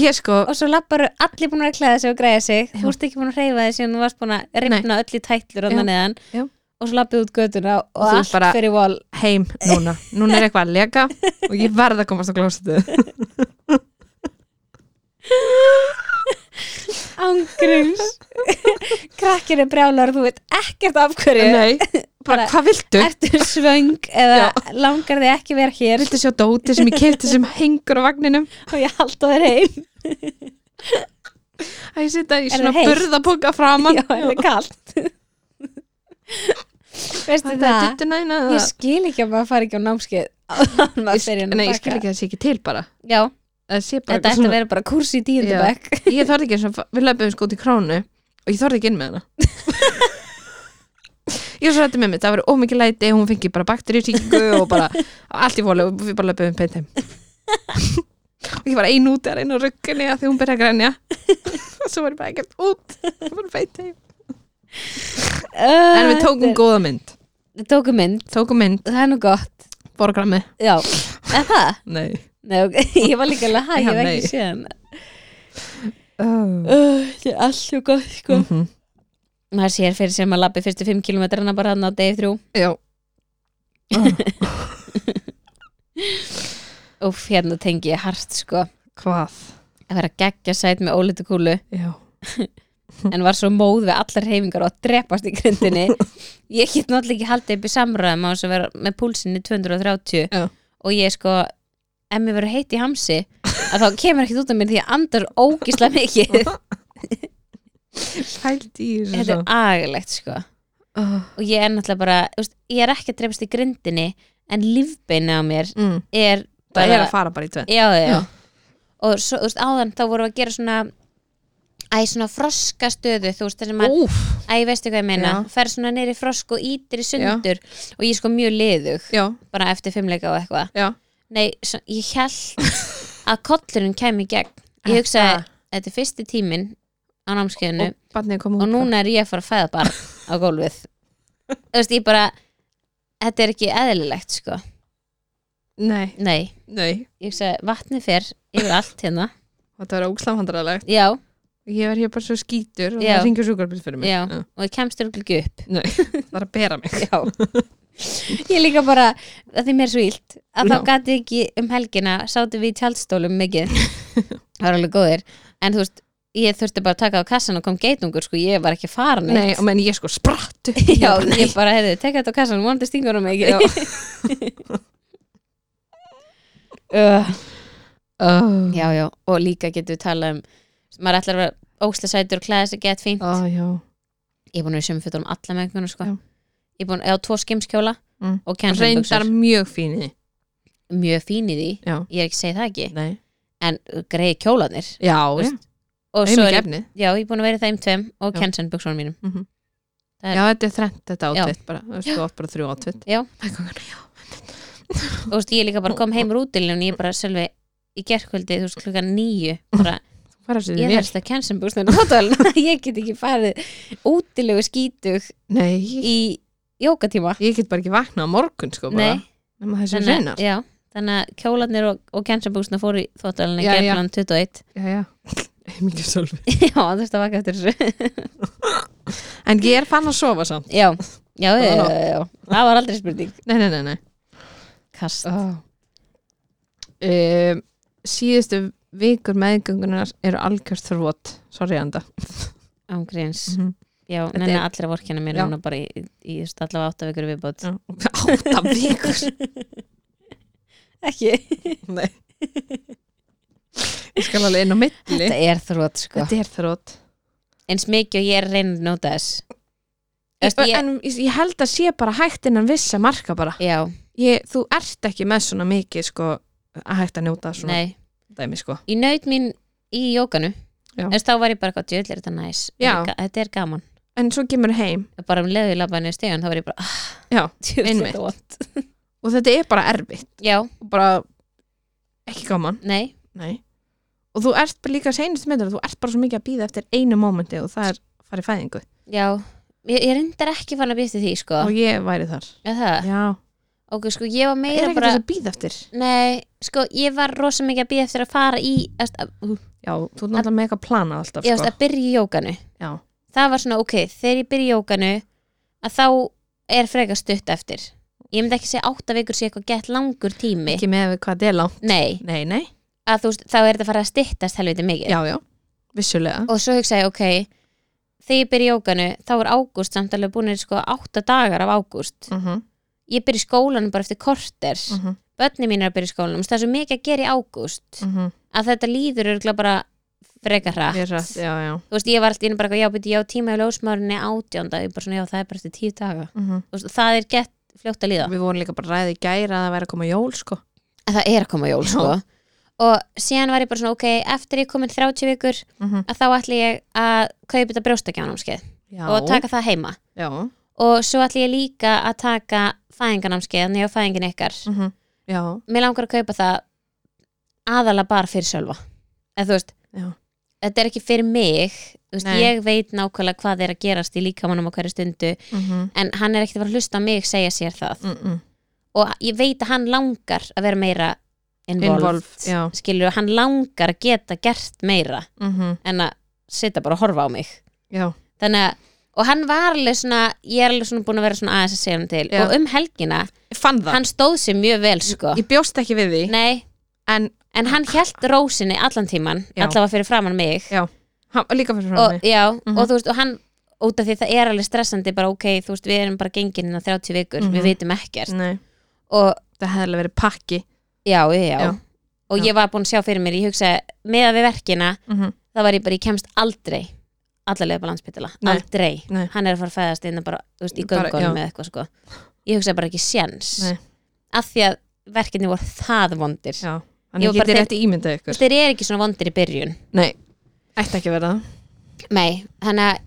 Speaker 2: ég sko
Speaker 1: og svo labbaru allir búin að klæða sig og græða sig
Speaker 2: Já.
Speaker 1: þú ert ekki búin að hreyfa þig síðan þú varst búin að ripna öll í tætlur
Speaker 2: Já.
Speaker 1: andan neðan
Speaker 2: Já.
Speaker 1: og svo labbið út götuna og,
Speaker 2: Og þú
Speaker 1: allt
Speaker 2: bara-
Speaker 1: fyrir vol
Speaker 2: heim núna, núna er eitthvað að leka og ég verð að komast á klósetu
Speaker 1: ángrums krakkir er brjálar þú veit ekkert af hverju
Speaker 2: nei, bara
Speaker 1: Bara-
Speaker 2: hvað viltu?
Speaker 1: ertu svöng eða langar þig ekki vera hér
Speaker 2: Viltu sjá dóti sem ég kefti sem hengur á vagninum
Speaker 1: og ég halda þér heim
Speaker 2: að ég sita í
Speaker 1: Er
Speaker 2: svona
Speaker 1: það heitt?
Speaker 2: burðapoka framan
Speaker 1: Já, þetta er kallt Veistu
Speaker 2: Það er
Speaker 1: það?
Speaker 2: duttu næna
Speaker 1: Ég skil ekki að maður fari ekki á námskeið áður en maður fer inn
Speaker 2: Nei,
Speaker 1: að
Speaker 2: ég skil
Speaker 1: baka.
Speaker 2: ekki að það sé ekki til bara
Speaker 1: Já,
Speaker 2: Það
Speaker 1: þetta
Speaker 2: sé bara eitthvað
Speaker 1: ætti að
Speaker 2: svona
Speaker 1: vera bara kurs í
Speaker 2: Já.
Speaker 1: tíundabæk
Speaker 2: Ég þorði ekki eins og við löpum sko út í kránu og ég þorði ekki inn með hana Ég var svo rætti með mig, það var ómikið læti hún fengi bara bakterísíku og bara allt í fóli og við bara löpum beint heim og ég var ein út að reyna að rugga henni að því hún byrja að grænja og svo var ég bara ekkert út og bara beint heim En við tókum góða mynd
Speaker 1: Við tókum mynd,
Speaker 2: Tókum mynd,
Speaker 1: það er nú gott
Speaker 2: borgrammi
Speaker 1: Já, en það?
Speaker 2: Nei
Speaker 1: Nei, ok, ég var líka alveg hæ, ég
Speaker 2: Já,
Speaker 1: hef
Speaker 2: nei.
Speaker 1: ekki séð hann
Speaker 2: oh.
Speaker 1: Það er allt svo gott, sko
Speaker 2: mm -hmm.
Speaker 1: Maður sér fyrir sem að labbi fyrstu 5 kilometrana bara hann á degi þrjú
Speaker 2: Já
Speaker 1: Úff, hérna tengi ég hart, sko
Speaker 2: Hvað?
Speaker 1: Að vera geggja sæt með ólitu kúlu
Speaker 2: Já
Speaker 1: en var svo móð við allar hreyfingar og að drepast í grindinni ég get náttúrulega ekki haldið upp í samræðum á þess að vera með púlsinni 230
Speaker 2: Já.
Speaker 1: og ég sko ef mér verður heitt í hamsi að þá kemur ekkert út af mér því ég andar ógislega mikið
Speaker 2: Pælt í þessu
Speaker 1: þetta er agalegt sko
Speaker 2: oh.
Speaker 1: og ég er náttúrulega bara, þú veist, ég er ekki að drepast í grindinni en lífbeinu á mér
Speaker 2: mm.
Speaker 1: er bara
Speaker 2: Það er að fara bara í tvenn
Speaker 1: já, já,
Speaker 2: Já.
Speaker 1: og svo, þú veist, áðan þá vorum við að gera svona æ, svona froskastöðu, þú veist, þar sem að
Speaker 2: Úf
Speaker 1: Æ, veistu hvað ég meina,
Speaker 2: Já.
Speaker 1: fer svona neyri frosk og ítir í sundur og ég er sko mjög liðug
Speaker 2: Já,
Speaker 1: bara eftir fimmleika og eitthvað
Speaker 2: já
Speaker 1: Nei, svo, ég held að kollurinn kæmi í gegn Ég hugsaði, þetta er fyrsti tíminn á námskeiðinu
Speaker 2: Og Ah, barnið kom út
Speaker 1: og núna er ég að fara að fæða barn á gólfið Þú veist, ég bara þetta er ekki eðlilegt, sko
Speaker 2: Nei,
Speaker 1: Nei,
Speaker 2: nei
Speaker 1: ég hugsaði, vatni fer yfir allt hérna
Speaker 2: Þetta var ógslamhandralegt
Speaker 1: Já,
Speaker 2: Ég var hér bara svo skítur og
Speaker 1: Já.
Speaker 2: það ringur sjúkarbyrð fyrir mig
Speaker 1: Já. og ég kemst þér ekki upp
Speaker 2: Nei, það er að bera mig
Speaker 1: Já Ég líka bara, að því mér er svo illt að
Speaker 2: Já.
Speaker 1: þá gati ekki um helgina sátum við í tjaldstólum mikið það var alveg góðir, en þú veist ég þurfti bara að taka á kassan og kom geitungur sko, ég var ekki farin
Speaker 2: Nei, og menn ég sko spratt upp.
Speaker 1: Já,
Speaker 2: Ég bara,
Speaker 1: ég bara hefði, teka þetta á kassan vonandi stingur hún mig ekki uh,
Speaker 2: Ó,
Speaker 1: Já, já, og líka getur við talað um maður ætlar að vera ósla sætur og klæða sig gett fínt
Speaker 2: Ó, já
Speaker 1: Ég er búin að vera sömfjöld um alla mengunum sko.
Speaker 2: Já.
Speaker 1: Ég er búin að á tvo skimskjóla
Speaker 2: Mm.
Speaker 1: og kennsumbuxur
Speaker 2: Reyndar mjög fíni
Speaker 1: mjög fín í því,
Speaker 2: Já,
Speaker 1: ég er ekki að segja það ekki
Speaker 2: nei
Speaker 1: en greiði kjólanir
Speaker 2: Já, já,
Speaker 1: Veist, og
Speaker 2: heim
Speaker 1: svo
Speaker 2: ekki
Speaker 1: er,
Speaker 2: efnið
Speaker 1: já, ég er búin að vera í þeim tveim og
Speaker 2: Já.
Speaker 1: kensan buksunum mínum
Speaker 2: Mhm.
Speaker 1: Það er-
Speaker 2: Já, þetta er þrennt þetta
Speaker 1: Já.
Speaker 2: átvitt bara, þú veist, þú átt bara þrjú átvitt
Speaker 1: Já.
Speaker 2: Já,
Speaker 1: og þú veist, ég líka bara kom heim úr útilinu og ég bara selvi í gerkvöldi þú veist klukkan nýju bara,
Speaker 2: þú fara sér
Speaker 1: ég
Speaker 2: mér
Speaker 1: þarst að kensan buksunum hóttalina ég get ekki farið útilegu skítug
Speaker 2: Nei,
Speaker 1: í jókatíma
Speaker 2: ég get bara ekki vakna á morgun sko bara,
Speaker 1: Nei.
Speaker 2: nema það sem
Speaker 1: þannig,
Speaker 2: reynar
Speaker 1: að- já, þannig að kjólanir og, og kensan buksunum fóru í þóttalina
Speaker 2: Já, já.
Speaker 1: gerðan 21
Speaker 2: já, já. mikið sölvi
Speaker 1: já, þú veist að vaka eftir þessu
Speaker 2: en ég er fann að sofa samt
Speaker 1: já, já, já,
Speaker 2: Það var
Speaker 1: já, já, já. það var aldrei spurning
Speaker 2: nei, nei, nei, nei.
Speaker 1: kast,
Speaker 2: Oh. Um, síðustu vikur meðgöngunar eru algjörst þrvot sorry anda
Speaker 1: ángríns
Speaker 2: Mhm.
Speaker 1: Já,
Speaker 2: Þetta
Speaker 1: neina
Speaker 2: er-
Speaker 1: allra vorkina mér
Speaker 2: Já.
Speaker 1: núna bara í, í, í þú veist, allavega átta vikur í viðbót
Speaker 2: Já. átta vikur
Speaker 1: Ekki
Speaker 2: nei ég skal alveg inn á milli
Speaker 1: Þetta er þrótt sko
Speaker 2: þetta er þrvot
Speaker 1: Eins mikið og ég er að reyna að nota þess Þú veist, ég,
Speaker 2: en ég held að sé bara hægt innan vissa marka bara
Speaker 1: Já,
Speaker 2: ég, þú ert ekki með svona mikið sko, að hægt að njóta svona
Speaker 1: Nei,
Speaker 2: dæmi sko.
Speaker 1: ég naut mín í jókanu
Speaker 2: Já.
Speaker 1: en þá var ég bara gott, jöll er þetta næs
Speaker 2: Já.
Speaker 1: Þetta er ga- þetta er gaman,
Speaker 2: en svo kemur heim
Speaker 1: bara um leiðu í labbaðinu stegan þá var ég bara, ah,
Speaker 2: Já,
Speaker 1: djöfull,
Speaker 2: einmitt.
Speaker 1: þetta er vont.
Speaker 2: og þetta er bara erfitt
Speaker 1: Já,
Speaker 2: og bara ekki gaman
Speaker 1: nei,
Speaker 2: Nei. og þú ert bara líka seinust meður þú ert bara svo mikið að býða eftir einu mómenti og það er farið fæðingu
Speaker 1: já Ég, ég reyndar ekki fann að býta því, sko
Speaker 2: og ég væri þar
Speaker 1: Er það?
Speaker 2: Já.
Speaker 1: Ok, sko, ég var
Speaker 2: er
Speaker 1: meira
Speaker 2: ekki
Speaker 1: bara
Speaker 2: þess að býða eftir
Speaker 1: Nei, sko, ég var rosa mikið að býða eftir að fara í að, að,
Speaker 2: Já, þú ert náttúrulega með eitthvað planað alltaf
Speaker 1: ég,
Speaker 2: sko.
Speaker 1: að byrja í jókanu
Speaker 2: Já.
Speaker 1: það var svona ok, þegar ég byrja í jókanu að þá er frekar stutt eftir ég myndi ekki segja átta vikur sé eitthvað gett langur tími
Speaker 2: Ekki með hvað þetta er langt
Speaker 1: nei,
Speaker 2: Nei, nei,
Speaker 1: að þú veist, þá er þetta að fara að styttast helviti mikið
Speaker 2: já, já, vissulega
Speaker 1: og svo hugsa ég ok þegar ég byrja í jókanu, þá er ágúst samt alveg búinir sko átta dagar af ágúst
Speaker 2: uh -huh,
Speaker 1: ég byrja í skólanum bara eftir korter
Speaker 2: uh -huh,
Speaker 1: börni mín er að byrja í skólanum, þú veist, það er svo mikið að gera í
Speaker 2: Mm.
Speaker 1: ágúst
Speaker 2: mhm.
Speaker 1: að þetta líður örgulega bara frekar hratt
Speaker 2: Já, já
Speaker 1: þú veist, ég var alltaf inn bara eitthvað, já, byrju, já, tíma í ljósmárinni átjónda, ég bara svona, já, það er bara eftir tíu daga
Speaker 2: uh
Speaker 1: Þú veist, það er gett fljótt að líða
Speaker 2: Við vorum líka bara ræði gæra að það væri að koma jól sko.
Speaker 1: en það er að koma jól, sko og síðan var ég bara svona, ok, eftir ég komin 30 vikur,
Speaker 2: uh -huh.
Speaker 1: að þá ætli ég að kaupa þetta brjóstakjánámskeið
Speaker 2: Já,
Speaker 1: og taka það heima
Speaker 2: já uh
Speaker 1: og svo ætli ég líka að taka fæðinganámskeið, þannig að fæðingin ykkar
Speaker 2: Já,
Speaker 1: mér langar að kaupa það aðalega bara fyrir sjálfa eða þú veist,
Speaker 2: já,
Speaker 1: þetta er ekki fyrir mig þú veist,
Speaker 2: Nei.
Speaker 1: ég veit nákvæmlega hvað er að gerast í líkamanum á hverju stundu
Speaker 2: uh -huh.
Speaker 1: en hann er ekkert að fara að hlusta á mig segja sér það
Speaker 2: Mm -mm.
Speaker 1: og ég veit að hann langar að vera meira involved,
Speaker 2: Involved, já.
Speaker 1: skilur, hann langar að geta gert meira
Speaker 2: Mm
Speaker 1: en að sitja bara og horfa á mig
Speaker 2: já.
Speaker 1: þannig að, og hann var alveg svona ég er alveg svona búin að vera svona aðeins að segja hann til
Speaker 2: Já.
Speaker 1: og um helgina,
Speaker 2: Ég fann það,
Speaker 1: hann stóð sér mjög vel sko,
Speaker 2: ég bjóst ekki við því
Speaker 1: nei
Speaker 2: En
Speaker 1: en hann hélt rósinni allan tíman
Speaker 2: Já.
Speaker 1: allavega fyrir framann mig
Speaker 2: Já, hann, líka fyrir frá
Speaker 1: og,
Speaker 2: mig
Speaker 1: já,
Speaker 2: Mhm.
Speaker 1: og þú veist, og hann út af því það er alveg stressandi bara ok, þú veist, við erum bara gengin innan 30 vikur,
Speaker 2: Mhm.
Speaker 1: við vitum ekkert
Speaker 2: Nei,
Speaker 1: og
Speaker 2: það hefði alveg verið pakki
Speaker 1: já, já, já.
Speaker 2: Já.
Speaker 1: og
Speaker 2: Já.
Speaker 1: ég var búin að sjá fyrir mér ég hugsaði, með að við verkina
Speaker 2: uh -huh.
Speaker 1: þá var ég bara, ég kemst aldrei allarlega upp á landspítala,
Speaker 2: Nei.
Speaker 1: aldrei
Speaker 2: Nei.
Speaker 1: hann er að fara að fæðast innan bara, þú veist, í
Speaker 2: Bara, já.
Speaker 1: göngunum eða eitthvað sko ég hugsaði bara ekki séns
Speaker 2: Nei.
Speaker 1: af því að verkinni voru það vondir
Speaker 2: Já,
Speaker 1: Ég
Speaker 2: þannig
Speaker 1: var bara
Speaker 2: getið
Speaker 1: þeir-
Speaker 2: rétt ímyndað ykkur
Speaker 1: þeir eru ekki svona vondir í byrjun
Speaker 2: Nei, ætti ekki að vera það
Speaker 1: nei, hann að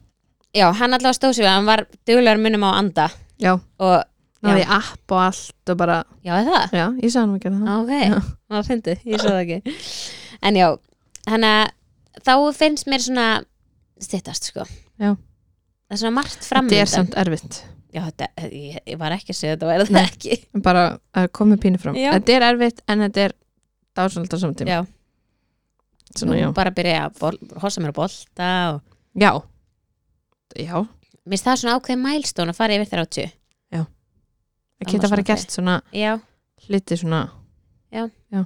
Speaker 1: já, hann allavega stóð sér við, hann var duglegar munum á að anda
Speaker 2: Já,
Speaker 1: og,
Speaker 2: náði
Speaker 1: Já.
Speaker 2: í app og allt og bara
Speaker 1: já, er það
Speaker 2: Já, ég sagði hann að gera það
Speaker 1: Ah, ok, það fyndi, ég svo það ekki en já, þannig að þá finnst mér svona stittast sko
Speaker 2: Já.
Speaker 1: það er svona margt
Speaker 2: Þetta er
Speaker 1: framöndan
Speaker 2: samt erfitt
Speaker 1: já, þetta, ég, ég var ekki að segja þetta væri það ekki
Speaker 2: bara að koma pínu fram
Speaker 1: Já.
Speaker 2: Þetta er erfitt en þetta er dásanlega samtíma
Speaker 1: já,
Speaker 2: Svona, já.
Speaker 1: bara byrja að bol, hossa mér að bolta og
Speaker 2: já Já,
Speaker 1: mér finnst það svona ákveðin mælstón að fara yfir þér á tjú
Speaker 2: það
Speaker 1: Annars
Speaker 2: geta bara
Speaker 1: mátti.
Speaker 2: gert svona
Speaker 1: já,
Speaker 2: hluti svona
Speaker 1: Já.
Speaker 2: já.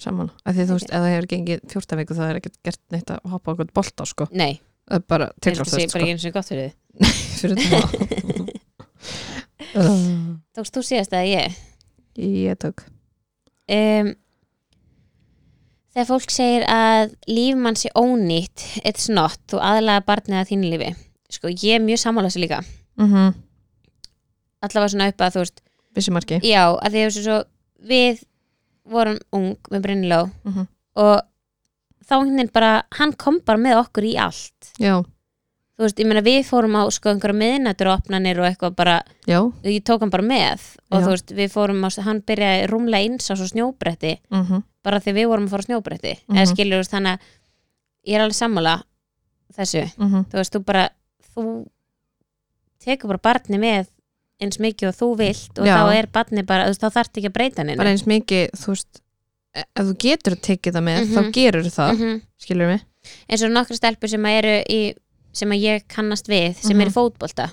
Speaker 2: Saman, af því að þú
Speaker 1: Ok.
Speaker 2: veist, ef það hefur gengið 14 viku það er ekkert gert neitt að hoppa okkur bolta sko,
Speaker 1: nei,
Speaker 2: það er bara
Speaker 1: þetta sé
Speaker 2: tilgjóðsvöld
Speaker 1: bara
Speaker 2: sko,
Speaker 1: ekki eins og gott fyrir þið
Speaker 2: fyrir það Uh,
Speaker 1: tókst þú síðast að ég
Speaker 2: Ég tók
Speaker 1: um, þegar fólk segir að líf mann sé ónýtt it's not, þú aðlaga barnið að þínu lífi sko, ég er mjög sammála sér líka
Speaker 2: mm -hmm.
Speaker 1: allavega svona upp að þú veist
Speaker 2: Vissumarki
Speaker 1: já, að því að þessu svo við vorum ung með Brynló
Speaker 2: mm -hmm.
Speaker 1: og þá hennin bara, hann kom bara með okkur í allt
Speaker 2: Já,
Speaker 1: þú veist, ég meina við fórum á sko einhverja miðnættur opnanir og eitthvað bara
Speaker 2: já
Speaker 1: ég tók hann bara með og
Speaker 2: Já.
Speaker 1: þú veist, við fórum á, hann byrjaði rúmlega eins á svo snjóbretti
Speaker 2: mm -hmm.
Speaker 1: bara því við vorum að fara á snjóbretti
Speaker 2: Mhm.
Speaker 1: eða skilur þú veist, þannig að ég er alveg sammála þessu,
Speaker 2: Mm -hmm.
Speaker 1: þú veist, þú bara þú tekur bara barni með eins mikið og þú vilt og
Speaker 2: Já.
Speaker 1: þá er barni bara, þú veist, þá þarft ekki að breyta henni
Speaker 2: bara eins mikið, þú veist e- ef þú getur tekið það með,
Speaker 1: Mhm.
Speaker 2: þá gerur það mm
Speaker 1: -hmm.
Speaker 2: skilur mig,
Speaker 1: eins og nokkru stelpur sem að eru í, sem að ég kannast við sem
Speaker 2: Mhm.
Speaker 1: eru í fótbolta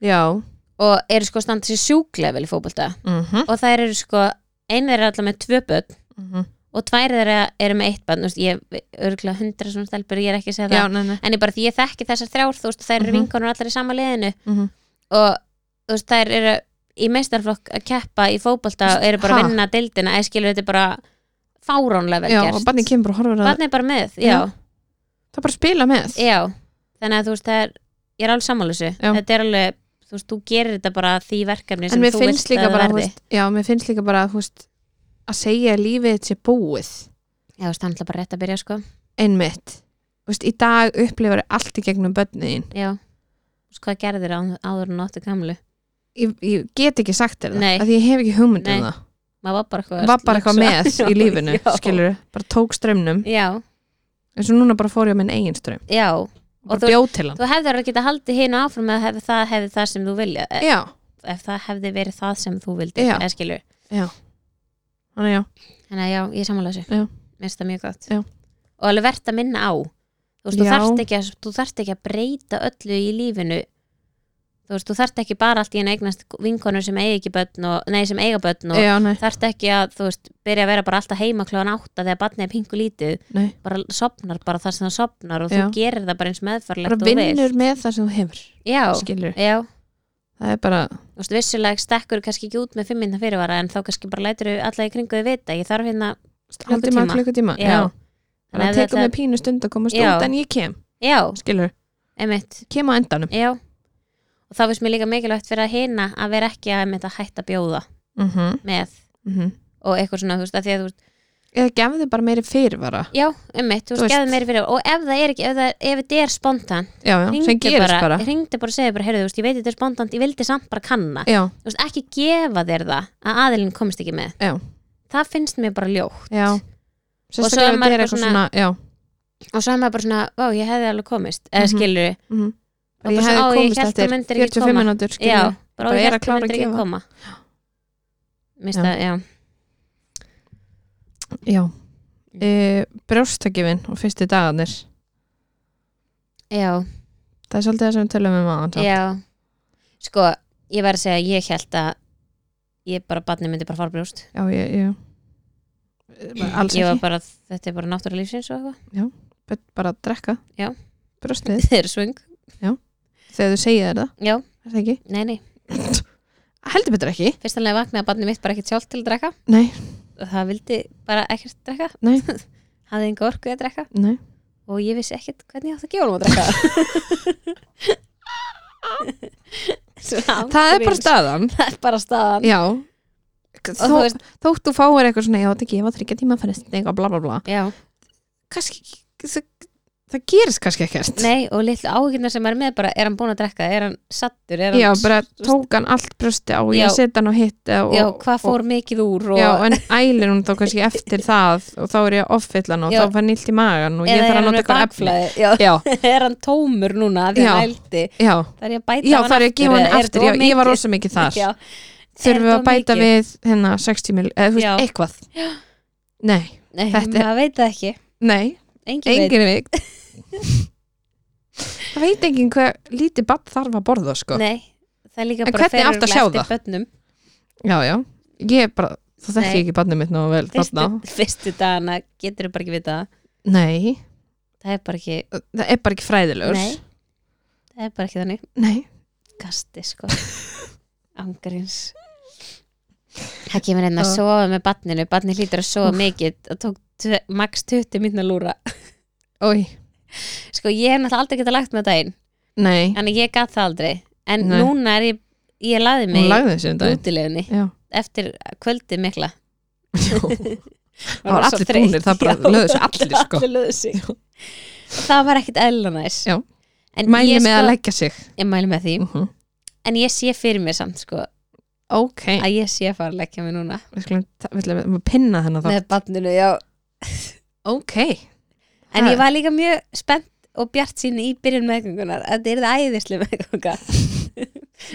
Speaker 2: já
Speaker 1: og eru sko að standa sér sjúklega vel í fótbolta
Speaker 2: mm -hmm.
Speaker 1: og þær eru sko einu þeirra er allavega með tvö börn
Speaker 2: Mm -hmm.
Speaker 1: og tvær þeirra eru með eitt barn þú veist, ég örgulega hundra svona stelpur ég er ekki að segja
Speaker 2: já,
Speaker 1: það
Speaker 2: nei, nei
Speaker 1: en ég bara því ég þekki þessar þrjár þú veist, þær eru
Speaker 2: Mhm.
Speaker 1: vinkonur allar í sama liðinu
Speaker 2: mm -hmm.
Speaker 1: og þú veist, þær eru í meistarflokk að keppa í fótbolta og eru bara
Speaker 2: Ha?
Speaker 1: að vinna deildina eða skilur þetta er bara fáránlega vel
Speaker 2: já,
Speaker 1: gert
Speaker 2: og barnið kemur bara og horfur að
Speaker 1: barnið er bara með,
Speaker 2: Já.
Speaker 1: já.
Speaker 2: það er bara að spila með
Speaker 1: Já, þannig að þú veist það er ég er alveg sammálusu,
Speaker 2: Já.
Speaker 1: þetta er alveg þú veist, þú gerir þetta bara því verkefni
Speaker 2: en
Speaker 1: sem
Speaker 2: mér
Speaker 1: þú
Speaker 2: finnst
Speaker 1: vilt að
Speaker 2: líka
Speaker 1: það
Speaker 2: bara
Speaker 1: verði
Speaker 2: húst, já, mér finnst líka bara húst, að segja að lífið þetta sé búið
Speaker 1: Já, þú veist, hann ætla bara rétt að byrja, sko
Speaker 2: einmitt húst, í dag upplifur allt í gegnum börniðin
Speaker 1: Já, þú veist, hvað gerðir áður en áttu gamlu
Speaker 2: ég, ég get ekki sagt þér
Speaker 1: Nei.
Speaker 2: það að ég hef ekki hugmynd um
Speaker 1: Nei.
Speaker 2: það
Speaker 1: maður var bara eitthvað,
Speaker 2: var bara eitthvað með
Speaker 1: Já,
Speaker 2: í lífinu
Speaker 1: já.
Speaker 2: skilur, bara tók strömmnum
Speaker 1: Já,
Speaker 2: eins og núna bara fór ég á minn eigin strömm
Speaker 1: já,
Speaker 2: og
Speaker 1: þú-
Speaker 2: bara bjóð til hann
Speaker 1: þú hefðir alveg geta haldið hérna áfram ef það hefði það sem þú vilja ef,
Speaker 2: já,
Speaker 1: ef það hefði verið það sem þú vildi
Speaker 2: Já.
Speaker 1: eða skilur,
Speaker 2: þannig já,
Speaker 1: þannig að já, ég samanlega þessu
Speaker 2: Já.
Speaker 1: mér finnst það mjög gott
Speaker 2: Já.
Speaker 1: og alveg verðt að minna á þú veist, þú
Speaker 2: Já.
Speaker 1: þarft, ekki að, þú þarft ekki að breyta öllu í lífinu þú veist, þú þarft ekki bara allt í einu að eignast vinkonur sem eiga ekki börn og, nei, sem eiga börn og
Speaker 2: já, nei,
Speaker 1: þarft ekki að, þú veist, byrja að vera bara alltaf heima kljóðan átta þegar barnið er pingu lítið
Speaker 2: nei
Speaker 1: bara sopnar bara þar sem það sopnar og
Speaker 2: Já.
Speaker 1: þú gerir það bara eins meðfarlægt
Speaker 2: bara vinnur með það sem þú hefur
Speaker 1: já,
Speaker 2: skilur,
Speaker 1: já,
Speaker 2: það er bara
Speaker 1: þú veist, vissulega stekkur kannski ekki út með fimm minna fyrirvara en þá kannski bara lætur þau alla í kringu þau vita ég þarf hérna,
Speaker 2: haldtíma,
Speaker 1: Klukkutíma.
Speaker 2: klukkutíma
Speaker 1: Já.
Speaker 2: já.
Speaker 1: Þannig
Speaker 2: bara
Speaker 1: að
Speaker 2: tekum
Speaker 1: þetta-
Speaker 2: við pínu stund að komast
Speaker 1: Já.
Speaker 2: út en ég kem,
Speaker 1: já,
Speaker 2: skilur
Speaker 1: einmitt
Speaker 2: kem á endanum
Speaker 1: já, og þá finnst mér líka mikilvægt fyrir að hina að vera ekki að einmitt að hætta að bjóða
Speaker 2: mm
Speaker 1: með og eitthvað svona, þú veist, að því að þú veist
Speaker 2: eða gefðu bara meiri fyrirvara
Speaker 1: já, einmitt, þú
Speaker 2: Þú
Speaker 1: veist,
Speaker 2: veist.
Speaker 1: gefðu meiri fyrir og ef það er ekki, ef, það, ef þetta er spontan
Speaker 2: já, já, sem
Speaker 1: hringdu
Speaker 2: gerist bara,
Speaker 1: hringdu bara og segja bara, heyrðu, þú veist, ég veit þetta er spontan ég vildi samt bara kanna
Speaker 2: Já,
Speaker 1: þú veist, ekki gefa þér það að aðilinn komist ekki með
Speaker 2: Já.
Speaker 1: það finnst mér bara ljótt
Speaker 2: já
Speaker 1: svo
Speaker 2: sérstaklega
Speaker 1: er
Speaker 2: ef
Speaker 1: maður
Speaker 2: þetta er
Speaker 1: bara
Speaker 2: eitthvað svona,
Speaker 1: svona-
Speaker 2: já,
Speaker 1: og svo er maður bara svona, ó, ég hefði alveg komist eða
Speaker 2: Mhm.
Speaker 1: skilur,
Speaker 2: mm -hmm.
Speaker 1: Og bara
Speaker 2: ég
Speaker 1: svo,
Speaker 2: hefði
Speaker 1: "Á, ég
Speaker 2: komist
Speaker 1: hélt þú
Speaker 2: eftir
Speaker 1: myndir ekki
Speaker 2: 45
Speaker 1: koma."
Speaker 2: minútur
Speaker 1: já,
Speaker 2: skilur,
Speaker 1: bara,
Speaker 2: Bara
Speaker 1: bara
Speaker 2: er
Speaker 1: ég
Speaker 2: að
Speaker 1: held
Speaker 2: klára
Speaker 1: að
Speaker 2: að
Speaker 1: myndi ekki
Speaker 2: gefa.
Speaker 1: koma
Speaker 2: Já.
Speaker 1: Mista, já.
Speaker 2: já e, brjóstakifin og fyrstu dagarnir
Speaker 1: Já,
Speaker 2: það er svolítið það sem við tölum um aðan
Speaker 1: já, sko ég var að segja, ég held að ég bara, barnið myndi bara fara brjóst
Speaker 2: já, ég, ég bara alls
Speaker 1: ég var
Speaker 2: ekki,
Speaker 1: bara, þetta er bara náttúra lífsins og eitthvað,
Speaker 2: bara, bara að drekka
Speaker 1: Já.
Speaker 2: brjóstið,
Speaker 1: þið eru svöng
Speaker 2: þegar þú segir þér það,
Speaker 1: já,
Speaker 2: er það ekki
Speaker 1: nei, nei,
Speaker 2: heldur betur ekki,
Speaker 1: fyrst alveg vaknaði barnið mitt bara ekkert sjálf til að drekka
Speaker 2: nei,
Speaker 1: og það vildi bara ekkert drekka
Speaker 2: Nei.
Speaker 1: hafði enga orkuði að drekka
Speaker 2: nei
Speaker 1: og ég vissi ekkert hvernig ég átt að gefa hún að drekka Svona
Speaker 2: það er
Speaker 1: ángríns.
Speaker 2: bara staðan
Speaker 1: það er bara staðan
Speaker 2: já
Speaker 1: og þú
Speaker 2: Þó,
Speaker 1: veist,
Speaker 2: þótt þú fáir eitthvað svona, já þetta ekki, ég var þryggja tíma fyrir eitthvað bla bla bla
Speaker 1: já,
Speaker 2: kannski, það, það gerist kannski ekkert
Speaker 1: nei og litlu áhyggjurnar sem er með bara, er hann búinn að drekka, er hann sattur er hann,
Speaker 2: já, bara tók hann allt brjósti á
Speaker 1: Já.
Speaker 2: ég seti hann á hitt og,
Speaker 1: já, hvað fór mikið úr og,
Speaker 2: Já, en ælir hún þá kannski eftir það og þá er ég að offylla hann og
Speaker 1: Já.
Speaker 2: þá fann nýtt í magan og ég
Speaker 1: eða
Speaker 2: þarf
Speaker 1: er
Speaker 2: að
Speaker 1: hann
Speaker 2: nota
Speaker 1: með
Speaker 2: eitthvað efni
Speaker 1: bakflæði já,
Speaker 2: Já,
Speaker 1: er hann tómur núna af því
Speaker 2: Já.
Speaker 1: hann ældi
Speaker 2: já,
Speaker 1: það er ég að bæta
Speaker 2: já
Speaker 1: hann
Speaker 2: það er ég að gefa
Speaker 1: eða
Speaker 2: hann
Speaker 1: er
Speaker 2: aftur
Speaker 1: þetta
Speaker 2: já,
Speaker 1: of
Speaker 2: Ég
Speaker 1: mikið?
Speaker 2: var rosa mikið þar
Speaker 1: Já. þetta
Speaker 2: Þurfum við að
Speaker 1: of
Speaker 2: bæta
Speaker 1: mikið?
Speaker 2: við hérna 60 mil, eða þú
Speaker 1: Já.
Speaker 2: veist, eitthvað Nei,
Speaker 1: nei,
Speaker 2: Þetta er-
Speaker 1: maður veit það ekki,
Speaker 2: nei,
Speaker 1: engin, veit
Speaker 2: engin veikt Það veit enginn hvað lítið bann þarf að borða sko
Speaker 1: nei, það er líka
Speaker 2: En
Speaker 1: bara
Speaker 2: hvernig átti að sjá það?
Speaker 1: bönnum
Speaker 2: Já, já, ég er bara, það þekki
Speaker 1: Nei.
Speaker 2: ekki bannið mitt nógu vel
Speaker 1: fyrstu,
Speaker 2: þarna
Speaker 1: fyrstu dagana getur þú bara ekki vita það.
Speaker 2: Nei,
Speaker 1: það er bara ekki,
Speaker 2: það er bara ekki fræðilegur
Speaker 1: Nei. það er bara ekki þannig
Speaker 2: Nei.
Speaker 1: gasti sko angarins það kemur einn að
Speaker 2: Já.
Speaker 1: sofa með batninu batnið hlýtur að sofa mikið það tók tve- max 20 minna lúra
Speaker 2: Ói,
Speaker 1: sko ég hef náttúrulega aldrei geta lagt með daginn
Speaker 2: nei,
Speaker 1: þannig ég gat það aldrei en
Speaker 2: Nei.
Speaker 1: núna er ég, ég laði mig
Speaker 2: hún lagði þessi um
Speaker 1: í
Speaker 2: daginn
Speaker 1: útilegunni
Speaker 2: Já
Speaker 1: eftir kvöldið mikla
Speaker 2: Já. það
Speaker 1: Var
Speaker 2: var
Speaker 1: svo
Speaker 2: allir
Speaker 1: þreytt,
Speaker 2: búnir, það bara
Speaker 1: já.
Speaker 2: löðu sér allir sko.
Speaker 1: allir löðu sig það var ekkit eðla næs
Speaker 2: Já.
Speaker 1: en
Speaker 2: mæli
Speaker 1: ég, Mhm. sko,
Speaker 2: með að leggja sig
Speaker 1: ég mæli með því
Speaker 2: uh -huh.
Speaker 1: en ég sé fyrir mér samt sko
Speaker 2: ok,
Speaker 1: að ég sé að fara að leggja mig núna
Speaker 2: við skulum ta- við ætlum að pinna þennan þá
Speaker 1: með batninu, já
Speaker 2: ok,
Speaker 1: En
Speaker 2: Ha.
Speaker 1: ég var líka mjög spennt og bjart sín í byrjun meðgöngunar að þetta er það æðislu meðgönga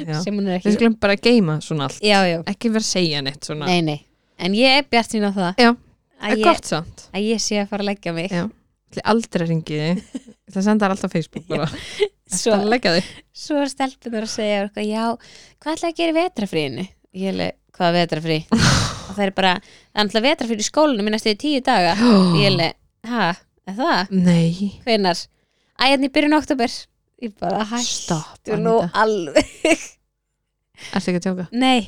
Speaker 2: Já.
Speaker 1: sem hún er
Speaker 2: við
Speaker 1: ekki
Speaker 2: skulum bara geima svona allt
Speaker 1: Já, já,
Speaker 2: ekki vera að segja neitt svona
Speaker 1: nei, nei En ég er bjart sín á það
Speaker 2: Já.
Speaker 1: að,
Speaker 2: er
Speaker 1: ég,
Speaker 2: gott samt,
Speaker 1: að ég sé að fara að leggja mig
Speaker 2: Já. Ætli aldrei ringi þig Ég ætla að senda þér alltaf Facebook bara Ertu
Speaker 1: Svo,
Speaker 2: að leggja þig
Speaker 1: svo er stelpunar að segja eitthvað, Já, hvað ætla að gera í vetrafríinu? Ég hefði, hvað er vetrafrí? og það er bara, það er alltaf vetrafrí í skólinu minnast í tíu daga Ég hefði, ha, er það?
Speaker 2: nei,
Speaker 1: Hvenar? Æ, hérna í byrjun oktober Ég bara,
Speaker 2: Stopp,
Speaker 1: hættu nú
Speaker 2: Anita.
Speaker 1: alveg
Speaker 2: ertu ekki að tjóka
Speaker 1: Nei,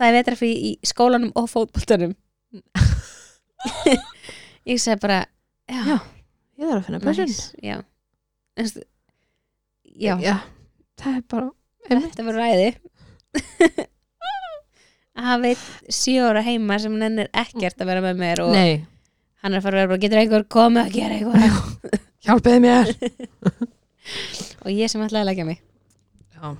Speaker 1: það er vetrafrí í skólanum og fótboltanum Ég segi bara Já,
Speaker 2: ég þarf að finna
Speaker 1: næs, já. Þú veist, já,
Speaker 2: já, það er bara Einmitt.
Speaker 1: Þetta voru ræði að hafa eitt sjö ára heima sem hann ennir ekkert að vera með mér og
Speaker 2: Nei,
Speaker 1: hann er að fara að vera bara, getur einhver komið að gera eitthvað
Speaker 2: hjálpiði mér
Speaker 1: og ég sem ætlaði að leggja mig
Speaker 2: Já,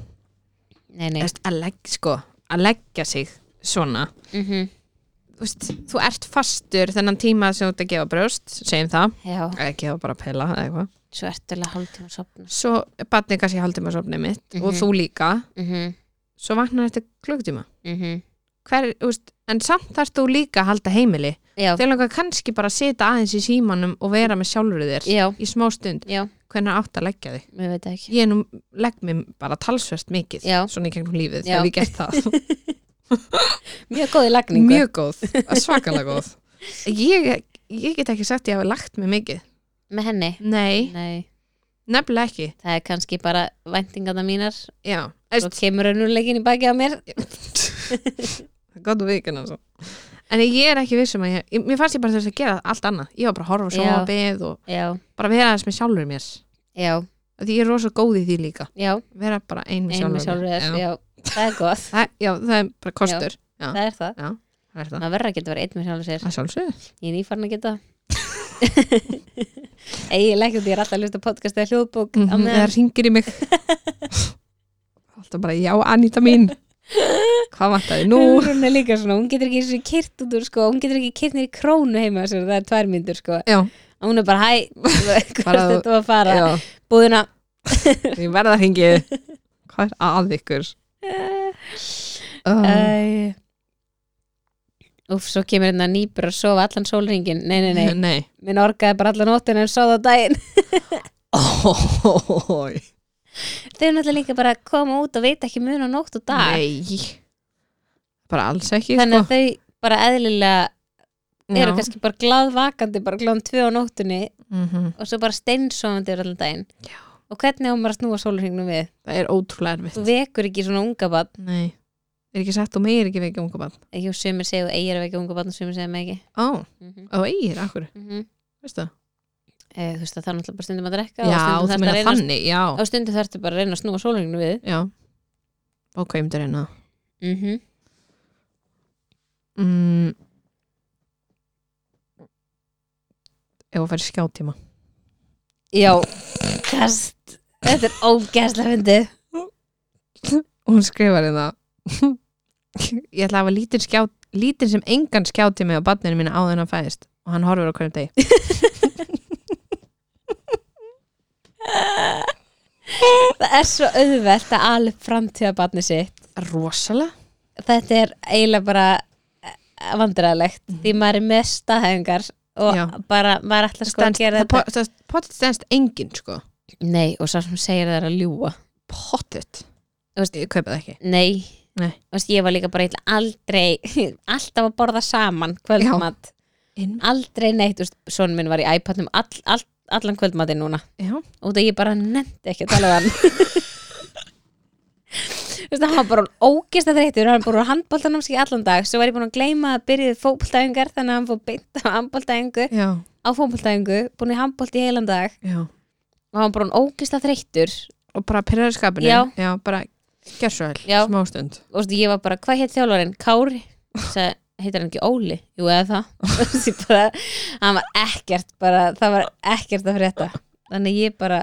Speaker 1: Nei, nei,
Speaker 2: Erst að leggja sko, að leggja sig svona
Speaker 1: mm
Speaker 2: þú, veist, þú ert fastur þennan tíma sem þú ert að gefa brjóst segjum það,
Speaker 1: já,
Speaker 2: eða gefa bara pela eða eitthvað,
Speaker 1: svo ertu alveg hálftíma að sopna
Speaker 2: svo er barnið kannski haldum að sofni mitt
Speaker 1: Mhm.
Speaker 2: og þú líka
Speaker 1: mm -hmm,
Speaker 2: svo vaknar þetta klukkutíma
Speaker 1: mm -hmm.
Speaker 2: Hver, þú veist, en samt þarf þú líka að halda heimili
Speaker 1: Já,
Speaker 2: þegar langar kannski bara að sita aðeins í símanum og vera með sjálfur þér
Speaker 1: já,
Speaker 2: í smá stund,
Speaker 1: já,
Speaker 2: hvernig átt að leggja þig
Speaker 1: ég veit það ekki
Speaker 2: ég nú legg mér bara talsvert mikið
Speaker 1: Já.
Speaker 2: svona í gegnum lífið,
Speaker 1: Já.
Speaker 2: þegar við gert það
Speaker 1: Mjög góði lagningu
Speaker 2: mjög góð, svakalega góð ég, ég get ekki sagt ég hafi lagt mig mikið
Speaker 1: með henni
Speaker 2: nei,
Speaker 1: Nei,
Speaker 2: nefnilega ekki
Speaker 1: það er kannski bara væntingarna mínar
Speaker 2: já,
Speaker 1: Svo
Speaker 2: Eist,
Speaker 1: kemur önnuleikin í baki á mér
Speaker 2: gott og vikin altså. en ég er ekki vissum að ég, ég mér fannst ég bara þess að gera allt annað ég var bara að horfa á
Speaker 1: Já.
Speaker 2: sjónabið og
Speaker 1: Já,
Speaker 2: bara vera aðeins með sjálfur mér
Speaker 1: já,
Speaker 2: Af því ég er rosa góð í því líka
Speaker 1: já,
Speaker 2: vera bara ein með
Speaker 1: einu með
Speaker 2: sjálfur
Speaker 1: sjálfur
Speaker 2: mér.
Speaker 1: þér
Speaker 2: já.
Speaker 1: Já, það er gott,
Speaker 2: Það, já, það er bara kostur Já.
Speaker 1: það er það
Speaker 2: Það er það.
Speaker 1: maður verður að geta verið einn með sjálfur sér
Speaker 2: að sjálfsögðu
Speaker 1: ég er nýfarn að geta eiginlega ekki, ég er alltaf að hlusta á podcast eða hljóðbók mm
Speaker 2: Mhm, það
Speaker 1: -hmm,
Speaker 2: ringir í mig alltaf bara já Anita mín hvað vantaði nú
Speaker 1: hún er líka svona, hún getur ekki eins og kyrt út úr sko, hún getur ekki kyrt nýri krónu heima sér, það er tvær myndur sko
Speaker 2: já,
Speaker 1: og hún er bara, hæ,
Speaker 2: Bara-
Speaker 1: hvert þetta var að fara
Speaker 2: já,
Speaker 1: búðina
Speaker 2: ég verða að ringi hvað er að ykkur Eh, uh,
Speaker 1: Æ. Úff, svo kemur hérna nýpur að sofa allan sólringin nei, nei, nei,
Speaker 2: nei.
Speaker 1: minn orgaði bara allan óttin en sofa á daginn
Speaker 2: Oh,
Speaker 1: þau er náttúrulega líka bara að koma út og veit ekki mun á nótt og dag
Speaker 2: nei bara alls ekki
Speaker 1: þannig
Speaker 2: sko.
Speaker 1: að þau bara eðlilega eru
Speaker 2: Já.
Speaker 1: kannski bara glaðvakandi bara glóðan tvö á nóttunni
Speaker 2: Mhm.
Speaker 1: og svo bara steinsofandi yfir allan daginn
Speaker 2: Já.
Speaker 1: og hvernig á maður að snúa sólurhingnum við
Speaker 2: það er ótrúlega erfitt
Speaker 1: þú vekur ekki svona unga bann
Speaker 2: nei. er ekki sagt og meir ekki vekja unga bann
Speaker 1: ekki og sumir segja og eigir að vekja unga bann og sumir segja mig ekki
Speaker 2: ó,
Speaker 1: mm -hmm.
Speaker 2: og eigir, akkur,
Speaker 1: Mm -hmm.
Speaker 2: veistu það
Speaker 1: Eh, þú veist að það er náttúrulega bara stundum að drekka og
Speaker 2: já,
Speaker 1: stundum
Speaker 2: þú
Speaker 1: þarftu að
Speaker 2: meina
Speaker 1: reyna
Speaker 2: þannig, já
Speaker 1: á stundum þarftu bara að reyna að snúa sólurhingnum við
Speaker 2: já, ok, ég myndi að reyna það
Speaker 1: mm -hmm.
Speaker 2: mm. ef að færi skjátíma
Speaker 1: já, kast þetta er ógæslega fyndið
Speaker 2: og hún skrifar hérna ég ætla að hafa lítinn skjá lítinn sem engan skjátíma á barninu mínu áður en hann fæðist og hann horfur á hverjum degi
Speaker 1: það er svo auðvelt að ala upp framtíðabarni sitt
Speaker 2: rosalega
Speaker 1: þetta er eiginlega bara vandræðilegt því maður er með staðhengar og
Speaker 2: Já.
Speaker 1: bara maður ætla sko
Speaker 2: Stenst-
Speaker 1: að gera
Speaker 2: það
Speaker 1: þetta
Speaker 2: po- það pottet stendst engin sko
Speaker 1: nei og svo sem segir það er að ljúa
Speaker 2: pottet
Speaker 1: Þú veist-
Speaker 2: ég kaupa það ekki
Speaker 1: nei,
Speaker 2: Nei.
Speaker 1: Vast, ég var líka bara ég ætla aldrei alltaf að borða saman kvöldmat
Speaker 2: Inn.
Speaker 1: aldrei neitt, svona minn var í iPadnum all, all, allan kvöldmati núna
Speaker 2: já,
Speaker 1: út að ég bara nefndi ekki að tala við hann Þú veist, hann var bara ógist að þreyttur hann bara handbóltanum sig allan dag svo var ég búin að gleyma að byrjaði fótboltaðingar þannig að hann fór beint á handbóltaðingu
Speaker 2: já,
Speaker 1: á fótboltaðingu, búin í handbólt í heilan dag
Speaker 2: já
Speaker 1: og hann var bara ógist að þreyttur
Speaker 2: og bara pyrraður skapinu
Speaker 1: Já.
Speaker 2: bara gerð svo vel,
Speaker 1: Já.
Speaker 2: smástund
Speaker 1: og þú veist, ég var bara, hvað heit þjálfarinn? Kári? Sæ, heitar hann ekki Óli? Jú, eða það Þú veist, ég bara, hann var ekkert bara, það var ekkert að frétta þannig ég bara,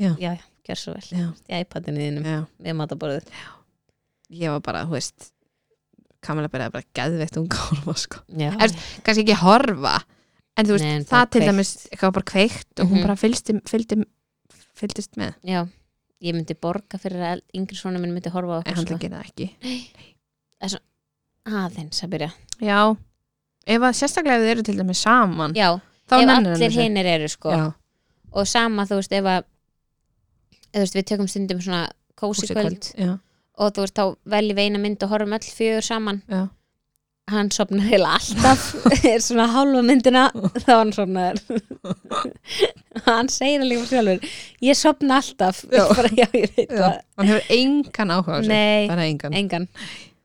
Speaker 2: Já.
Speaker 1: já, gjör svo vel
Speaker 2: já,
Speaker 1: í iPadinu þínum,
Speaker 2: já
Speaker 1: við mataborðið
Speaker 2: ég var bara, þú veist Kamila byrjaði bara geðveikt unga að horfa sko.
Speaker 1: Já,
Speaker 2: Er- kannski ekki horfa en þú veist,
Speaker 1: Nei, en
Speaker 2: það
Speaker 1: bara
Speaker 2: til
Speaker 1: kveikt.
Speaker 2: dæmis eitthvað bara kveikt og hún
Speaker 1: Mhm.
Speaker 2: bara fylgst, fylgdi, fylgdist með
Speaker 1: Já, ég myndi borga fyrir að yngri svona minn myndi horfa á
Speaker 2: en
Speaker 1: okkur
Speaker 2: hann
Speaker 1: svona
Speaker 2: gerir það ekki
Speaker 1: aðeins að byrja.
Speaker 2: já, ef að sérstaklega ef þið eru til dæmis saman
Speaker 1: Já,
Speaker 2: þá
Speaker 1: ef
Speaker 2: nennir hann
Speaker 1: allir
Speaker 2: þessu.
Speaker 1: hinir eru sko
Speaker 2: já,
Speaker 1: og sama þú veist ef að þú veist, við tökum stundum svona kósi
Speaker 2: húsi
Speaker 1: kvöld
Speaker 2: kvöld. Já,
Speaker 1: og þú veist þá veljum við eina mynd og horfum öll fjögur saman
Speaker 2: já.
Speaker 1: hann sopnar heila alltaf er svona hálfa myndina þá hann sopnar hann segir það líka sjálfur ég sopna alltaf
Speaker 2: Já.
Speaker 1: Ég bara, já, ég veit
Speaker 2: Já.
Speaker 1: það
Speaker 2: hann hefur engan áhuga á sig
Speaker 1: Nei,
Speaker 2: bara engan
Speaker 1: engan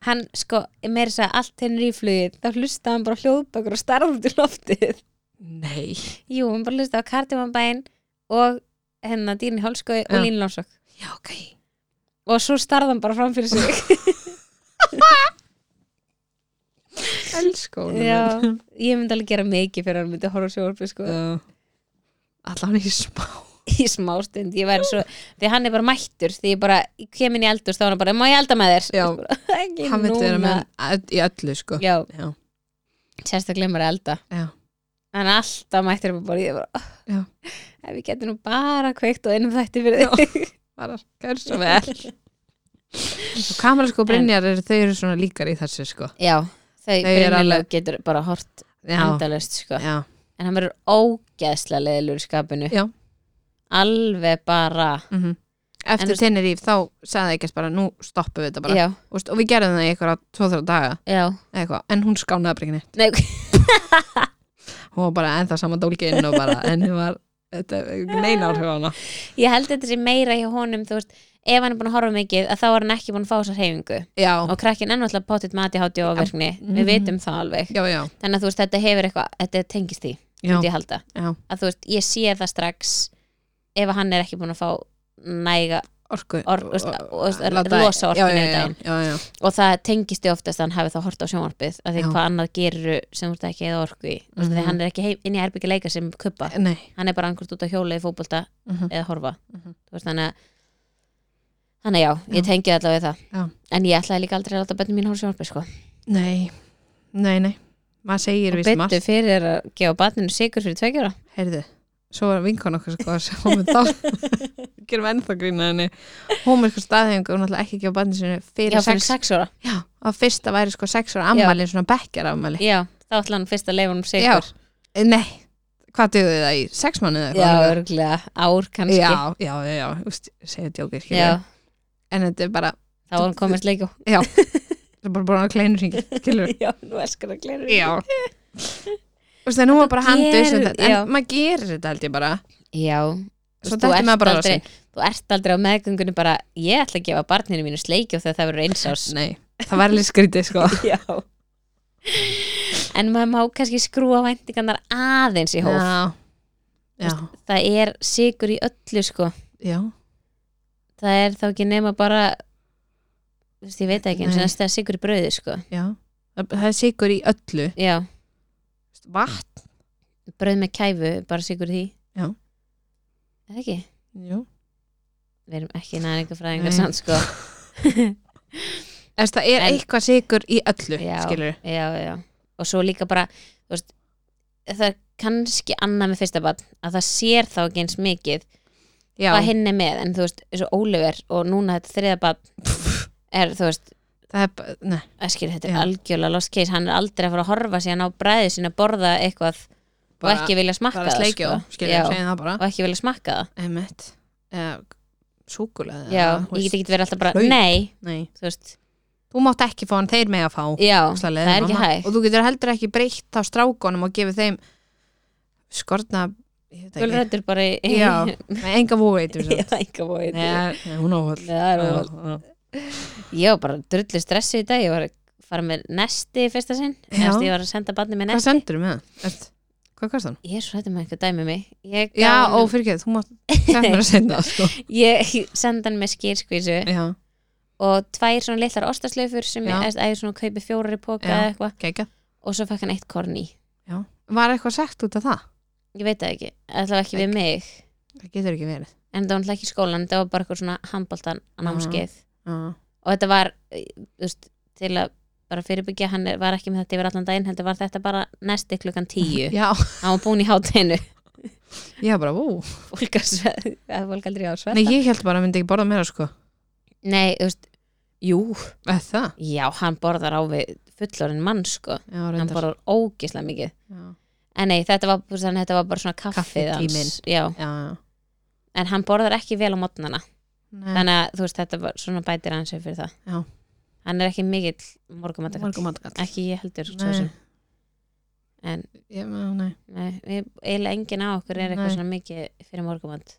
Speaker 1: hann sko, meira þess að allt henni í flugi þá hlustaði hann bara á hljóðbækur og starfði út í loftið
Speaker 2: nei,
Speaker 1: jú, hann bara hlustaði á Kardimambæin og hennar dýrin í hálskói
Speaker 2: Já.
Speaker 1: og Línu Lónsok
Speaker 2: já ok
Speaker 1: og svo starðan bara fram fyrir sig
Speaker 2: Elsku
Speaker 1: Já, ég myndi alveg gera mikið fyrir hann myndi horfa sjóarpi sko
Speaker 2: Alla hann ekki smá
Speaker 1: í smástund, ég væri svo því hann er bara mættur, því ég bara ég kem inn í eldust, þá er hann bara, má ég elda með þér
Speaker 2: Já.
Speaker 1: Ég bara, ekki
Speaker 2: Hann vill vera
Speaker 1: núna
Speaker 2: með hann í öllu sko
Speaker 1: Já,
Speaker 2: Já,
Speaker 1: sérstaklega maður að elda
Speaker 2: já.
Speaker 1: hann er alltaf mættur upp á borðið, ég bara,
Speaker 2: Já.
Speaker 1: ef ég geti nú bara kveikt og innum þætti fyrir þig
Speaker 2: bara gerð svo vel og Kamala sko og Brynjar eru, þau eru svona líkar í þessu sko
Speaker 1: Já, þau
Speaker 2: Þau eru
Speaker 1: brennilega
Speaker 2: alveg-
Speaker 1: getur bara hort
Speaker 2: já,
Speaker 1: endalaust sko,
Speaker 2: já,
Speaker 1: en hann verður ógeðslega leðilur skapinu
Speaker 2: Já.
Speaker 1: alveg bara,
Speaker 2: mm
Speaker 1: En
Speaker 2: eftir
Speaker 1: þú
Speaker 2: en,
Speaker 1: veist-
Speaker 2: Tenerife þá sagði ekki bara nú stoppum við þetta bara
Speaker 1: já,
Speaker 2: og, st- og við gerðum það í eitthvað tvo-þrjá daga
Speaker 1: já
Speaker 2: eða eitthvað, en hún skánaði bara ekki neitt
Speaker 1: Nei,
Speaker 2: hún var bara ennþá sama dólgin og bara en hún var, þetta neina áhrif á hana
Speaker 1: ég held þetta sé meira hjá honum þú veist, ef hann er búin að horfa mikið að þá er hann ekki búin að fá þessa hreyfingu
Speaker 2: já,
Speaker 1: og krakkin ennvætla potið mati hátti og verkni við
Speaker 2: Mhm.
Speaker 1: vitum það alveg
Speaker 2: já, já,
Speaker 1: þannig að þú veist þetta hefur eitthvað, þetta tengist því
Speaker 2: já,
Speaker 1: myndi ég halda,
Speaker 2: já
Speaker 1: að þú veist, ég sé það strax ef að hann er ekki búin að fá næga
Speaker 2: orku,
Speaker 1: Or- þú veist, og- þú veist, að
Speaker 2: láta-
Speaker 1: losa orkuna
Speaker 2: já, já,
Speaker 1: í
Speaker 2: já,
Speaker 1: daginn.
Speaker 2: já, já,
Speaker 1: og það tengist því oftast að hann hafi þá hort á sjónvarpið af því
Speaker 2: Já.
Speaker 1: hvað annað gerir sem þú ert ekki eða orku í mm -hmm. því
Speaker 2: Mhm.
Speaker 1: hann er ekki heim, inn í herbyggja leika sem kubba
Speaker 2: nei
Speaker 1: hann er bara angurt út á hjóla í fótbolta
Speaker 2: uh
Speaker 1: eða horfa
Speaker 2: Mhm.
Speaker 1: Þú veist, þannig að þannig að já, ég tengi það allavega við það
Speaker 2: Já.
Speaker 1: en ég ætlaði líka aldrei að láta bönni mín horfa á sjónvarpið sko.
Speaker 2: nei, nei, nei maður segir
Speaker 1: og
Speaker 2: víst margt
Speaker 1: byttu fyrir er að gefa barninu sigur fyrir tveikjara
Speaker 2: heyrðu, svo var vinkon okkur sko sem hún með þá gerum ennþá grína henni hún með sko staðhengu, hún ætla ekki að gefa barni sinni fyrir
Speaker 1: já, fyrir
Speaker 2: sex,
Speaker 1: sex ára
Speaker 2: já, á fyrsta væri sko sex ára ammali, svona bekkjar afmæli
Speaker 1: já, þá ætlaði hann fyrst að leifa hann sigur
Speaker 2: já, Eh, nei, hvað duðu það í sex
Speaker 1: já
Speaker 2: mánuði eða eitthvað?
Speaker 1: örglega, ár kannski
Speaker 2: já, já, já, já, úst, segja djókir
Speaker 1: já
Speaker 2: en þetta er bara,
Speaker 1: þá var hann komist leikjó
Speaker 2: það er bara búin að kleinur hringi, skilur
Speaker 1: já, nú elskar það gleru
Speaker 2: já Úst, en hún var bara
Speaker 1: Þetta
Speaker 2: handið
Speaker 1: gerir-
Speaker 2: en
Speaker 1: já.
Speaker 2: maður gerir þetta held ég bara
Speaker 1: já, Þú
Speaker 2: svo þetta
Speaker 1: ert
Speaker 2: maður bara
Speaker 1: aldrei-
Speaker 2: rasinn.
Speaker 1: þú ert aldrei á meðgöngunni bara ég ætla að gefa barninu mínu sleikjó þegar það verður eins árs
Speaker 2: nei, það var alveg skrítið sko
Speaker 1: já en maður má kannski skrúa væntingarnar aðeins í hóf
Speaker 2: já, já,
Speaker 1: það er sigur í öllu sko
Speaker 2: já.
Speaker 1: það er þá ekki nema bara þú veist, ég veit ekki eins og
Speaker 2: Nei.
Speaker 1: næst það er sigur í brauði sko
Speaker 2: Já, það það er sigur í öllu
Speaker 1: já,
Speaker 2: Vatn
Speaker 1: brauð með kæfu, bara sigur í því
Speaker 2: Já.
Speaker 1: eða ekki,
Speaker 2: Jú.
Speaker 1: við erum ekki næringu fræðingar
Speaker 2: Nei.
Speaker 1: samt sko
Speaker 2: Þess, Það er
Speaker 1: En-
Speaker 2: eitthvað sigur í öllu
Speaker 1: Já.
Speaker 2: skilur
Speaker 1: já, já, og svo líka bara þú veist, það er kannski annað með fyrsta barn, að það sér þá ekki eins mikið
Speaker 2: Já,
Speaker 1: hvað hinn er með en þú veist, eins og Ólífer og núna þetta þriðabann er þú veist,
Speaker 2: það er bara, nei,
Speaker 1: eskir þetta
Speaker 2: Já.
Speaker 1: er algjörlega lost case, hann er aldrei að fara að horfa síðan á bræði sín að borða eitthvað og
Speaker 2: bara,
Speaker 1: ekki vilja smakka
Speaker 2: bara
Speaker 1: það sko.
Speaker 2: sleikjó skilur,
Speaker 1: Já,
Speaker 2: segjum það bara
Speaker 1: og ekki vilja smakka það
Speaker 2: Emmett uh, Súkulega
Speaker 1: já, ég get ekki verið alltaf bara,
Speaker 2: hlaut.
Speaker 1: nei
Speaker 2: Nei,
Speaker 1: þú veist,
Speaker 2: þú mátt ekki fá hann, þeir mega fá
Speaker 1: já,
Speaker 2: Ógeðslega
Speaker 1: það er
Speaker 2: leiðin
Speaker 1: ekki
Speaker 2: mamma.
Speaker 1: hægt
Speaker 2: Og þú getur heldur ekki breytt þá strákonum og gefið þeim skorna ég veit
Speaker 1: þú
Speaker 2: ekki,
Speaker 1: rættur bara í
Speaker 2: Já. með enga vóveitum
Speaker 1: Já, enga bóið
Speaker 2: Nei, nei, hún áhald
Speaker 1: það er óvægt ég var bara drullu stressi í dag ég var að fara með nesti í fyrsta sinn
Speaker 2: Já.
Speaker 1: Nefst, ég var að senda barni með
Speaker 2: Hvað
Speaker 1: nesti
Speaker 2: sendur með það? Ert- Hvað kostar hann?
Speaker 1: ég er svo hætti með einhver dæmi mig ég, gaf
Speaker 2: Já,
Speaker 1: honum-
Speaker 2: og fyrir þú mátt sagt mér að segna það sko.
Speaker 1: ég senda hann með skýrskvísu
Speaker 2: Já,
Speaker 1: og tvær svona litlar ostaslaufur sem
Speaker 2: Já.
Speaker 1: ég eða ég svona kaupi fjórar í póka
Speaker 2: Já.
Speaker 1: eða eitthvað
Speaker 2: geggjað
Speaker 1: og svo fekk hann eitt korn í
Speaker 2: Var eitthvað sagt út af það?
Speaker 1: ég veit það ekki, allavega ekki við mig
Speaker 2: Það getur ekki verið
Speaker 1: en það var náttúrulega ekki í skólan, það var bara eitthvað svona handboltan
Speaker 2: Mhm.
Speaker 1: námskeið
Speaker 2: Já,
Speaker 1: og þetta var, eh, þú veist, til að bara fyrirbyggja, hann er- var ekki með þetta yfir allan daginn heldur var þetta bara næsti klukkan tíu
Speaker 2: Já,
Speaker 1: hann var búin í hátinu
Speaker 2: ég var bara, vú
Speaker 1: fólk að sveð, að fólk aldrei á að sveta
Speaker 2: Nei, ég held bara að myndi ekki borða meira sko
Speaker 1: nei, þú veist, jú
Speaker 2: Eða það?
Speaker 1: já, hann borðar á við fullorinn mann sko,
Speaker 2: Já,
Speaker 1: hann
Speaker 2: reyndar
Speaker 1: borðar ógislega mikið
Speaker 2: Já,
Speaker 1: En nei, þetta var, þannig, þetta var bara svona kaffið hans
Speaker 2: Kaffitíminn.
Speaker 1: já.
Speaker 2: já, já
Speaker 1: En hann borðar ekki vel á mótnana
Speaker 2: Nei,
Speaker 1: Þannig að þú veist, þetta var svona bætir hans upp fyrir það
Speaker 2: Já.
Speaker 1: Hann er ekki mikill morgumatakall
Speaker 2: morgum matkatt
Speaker 1: Ekki ég heldur svo
Speaker 2: Nei,
Speaker 1: sem En
Speaker 2: ég, nei,
Speaker 1: nei, við, eiginlega enginn á okkur er eitthvað
Speaker 2: Nei.
Speaker 1: svona mikið fyrir morgumat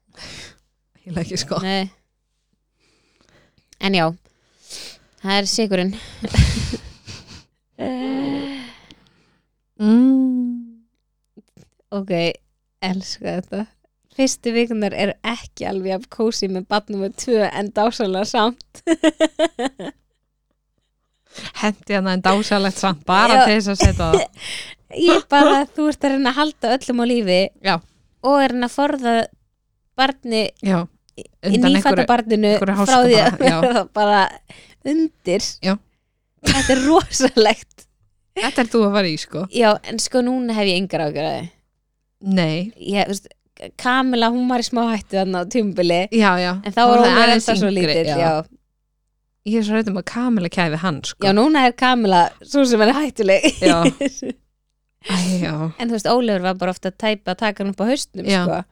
Speaker 2: ég lega ekki sko
Speaker 1: Nei En já Það er sigurinn
Speaker 2: mm.
Speaker 1: Mm. Ok, elska þetta fyrstu vikunar eru ekki alveg af kósi með batnum með tvö en dásalega samt
Speaker 2: hendi hann en dásalegt samt bara
Speaker 1: Já.
Speaker 2: til þess að setja það
Speaker 1: ég bara, þú ert að reyna að halda öllum á lífi
Speaker 2: Já.
Speaker 1: og er hann að forða barni,
Speaker 2: já,
Speaker 1: nýfætta barninu
Speaker 2: einhverju
Speaker 1: frá því að
Speaker 2: háskapara, já.
Speaker 1: verða bara undir
Speaker 2: Já.
Speaker 1: þetta er rosalegt
Speaker 2: þetta er þú að fara í sko
Speaker 1: já, en sko núna hef ég yngar ágjör að
Speaker 2: nei,
Speaker 1: ég, veist, Kamila, hún var í smá hættu þarna á tímbili
Speaker 2: já, já
Speaker 1: en þá var hún
Speaker 2: það
Speaker 1: aðeins
Speaker 2: aðeins
Speaker 1: það svo
Speaker 2: yngri,
Speaker 1: lítill já. Já.
Speaker 2: ég er svo reyndum að Kamila kæfi hann sko
Speaker 1: núna er Kamila svo sem er hættuleg
Speaker 2: já, Æ, já.
Speaker 1: en þú veist, Ólefur var bara ofta að tæpa að taka hann upp á haustnum
Speaker 2: Já.
Speaker 1: sko.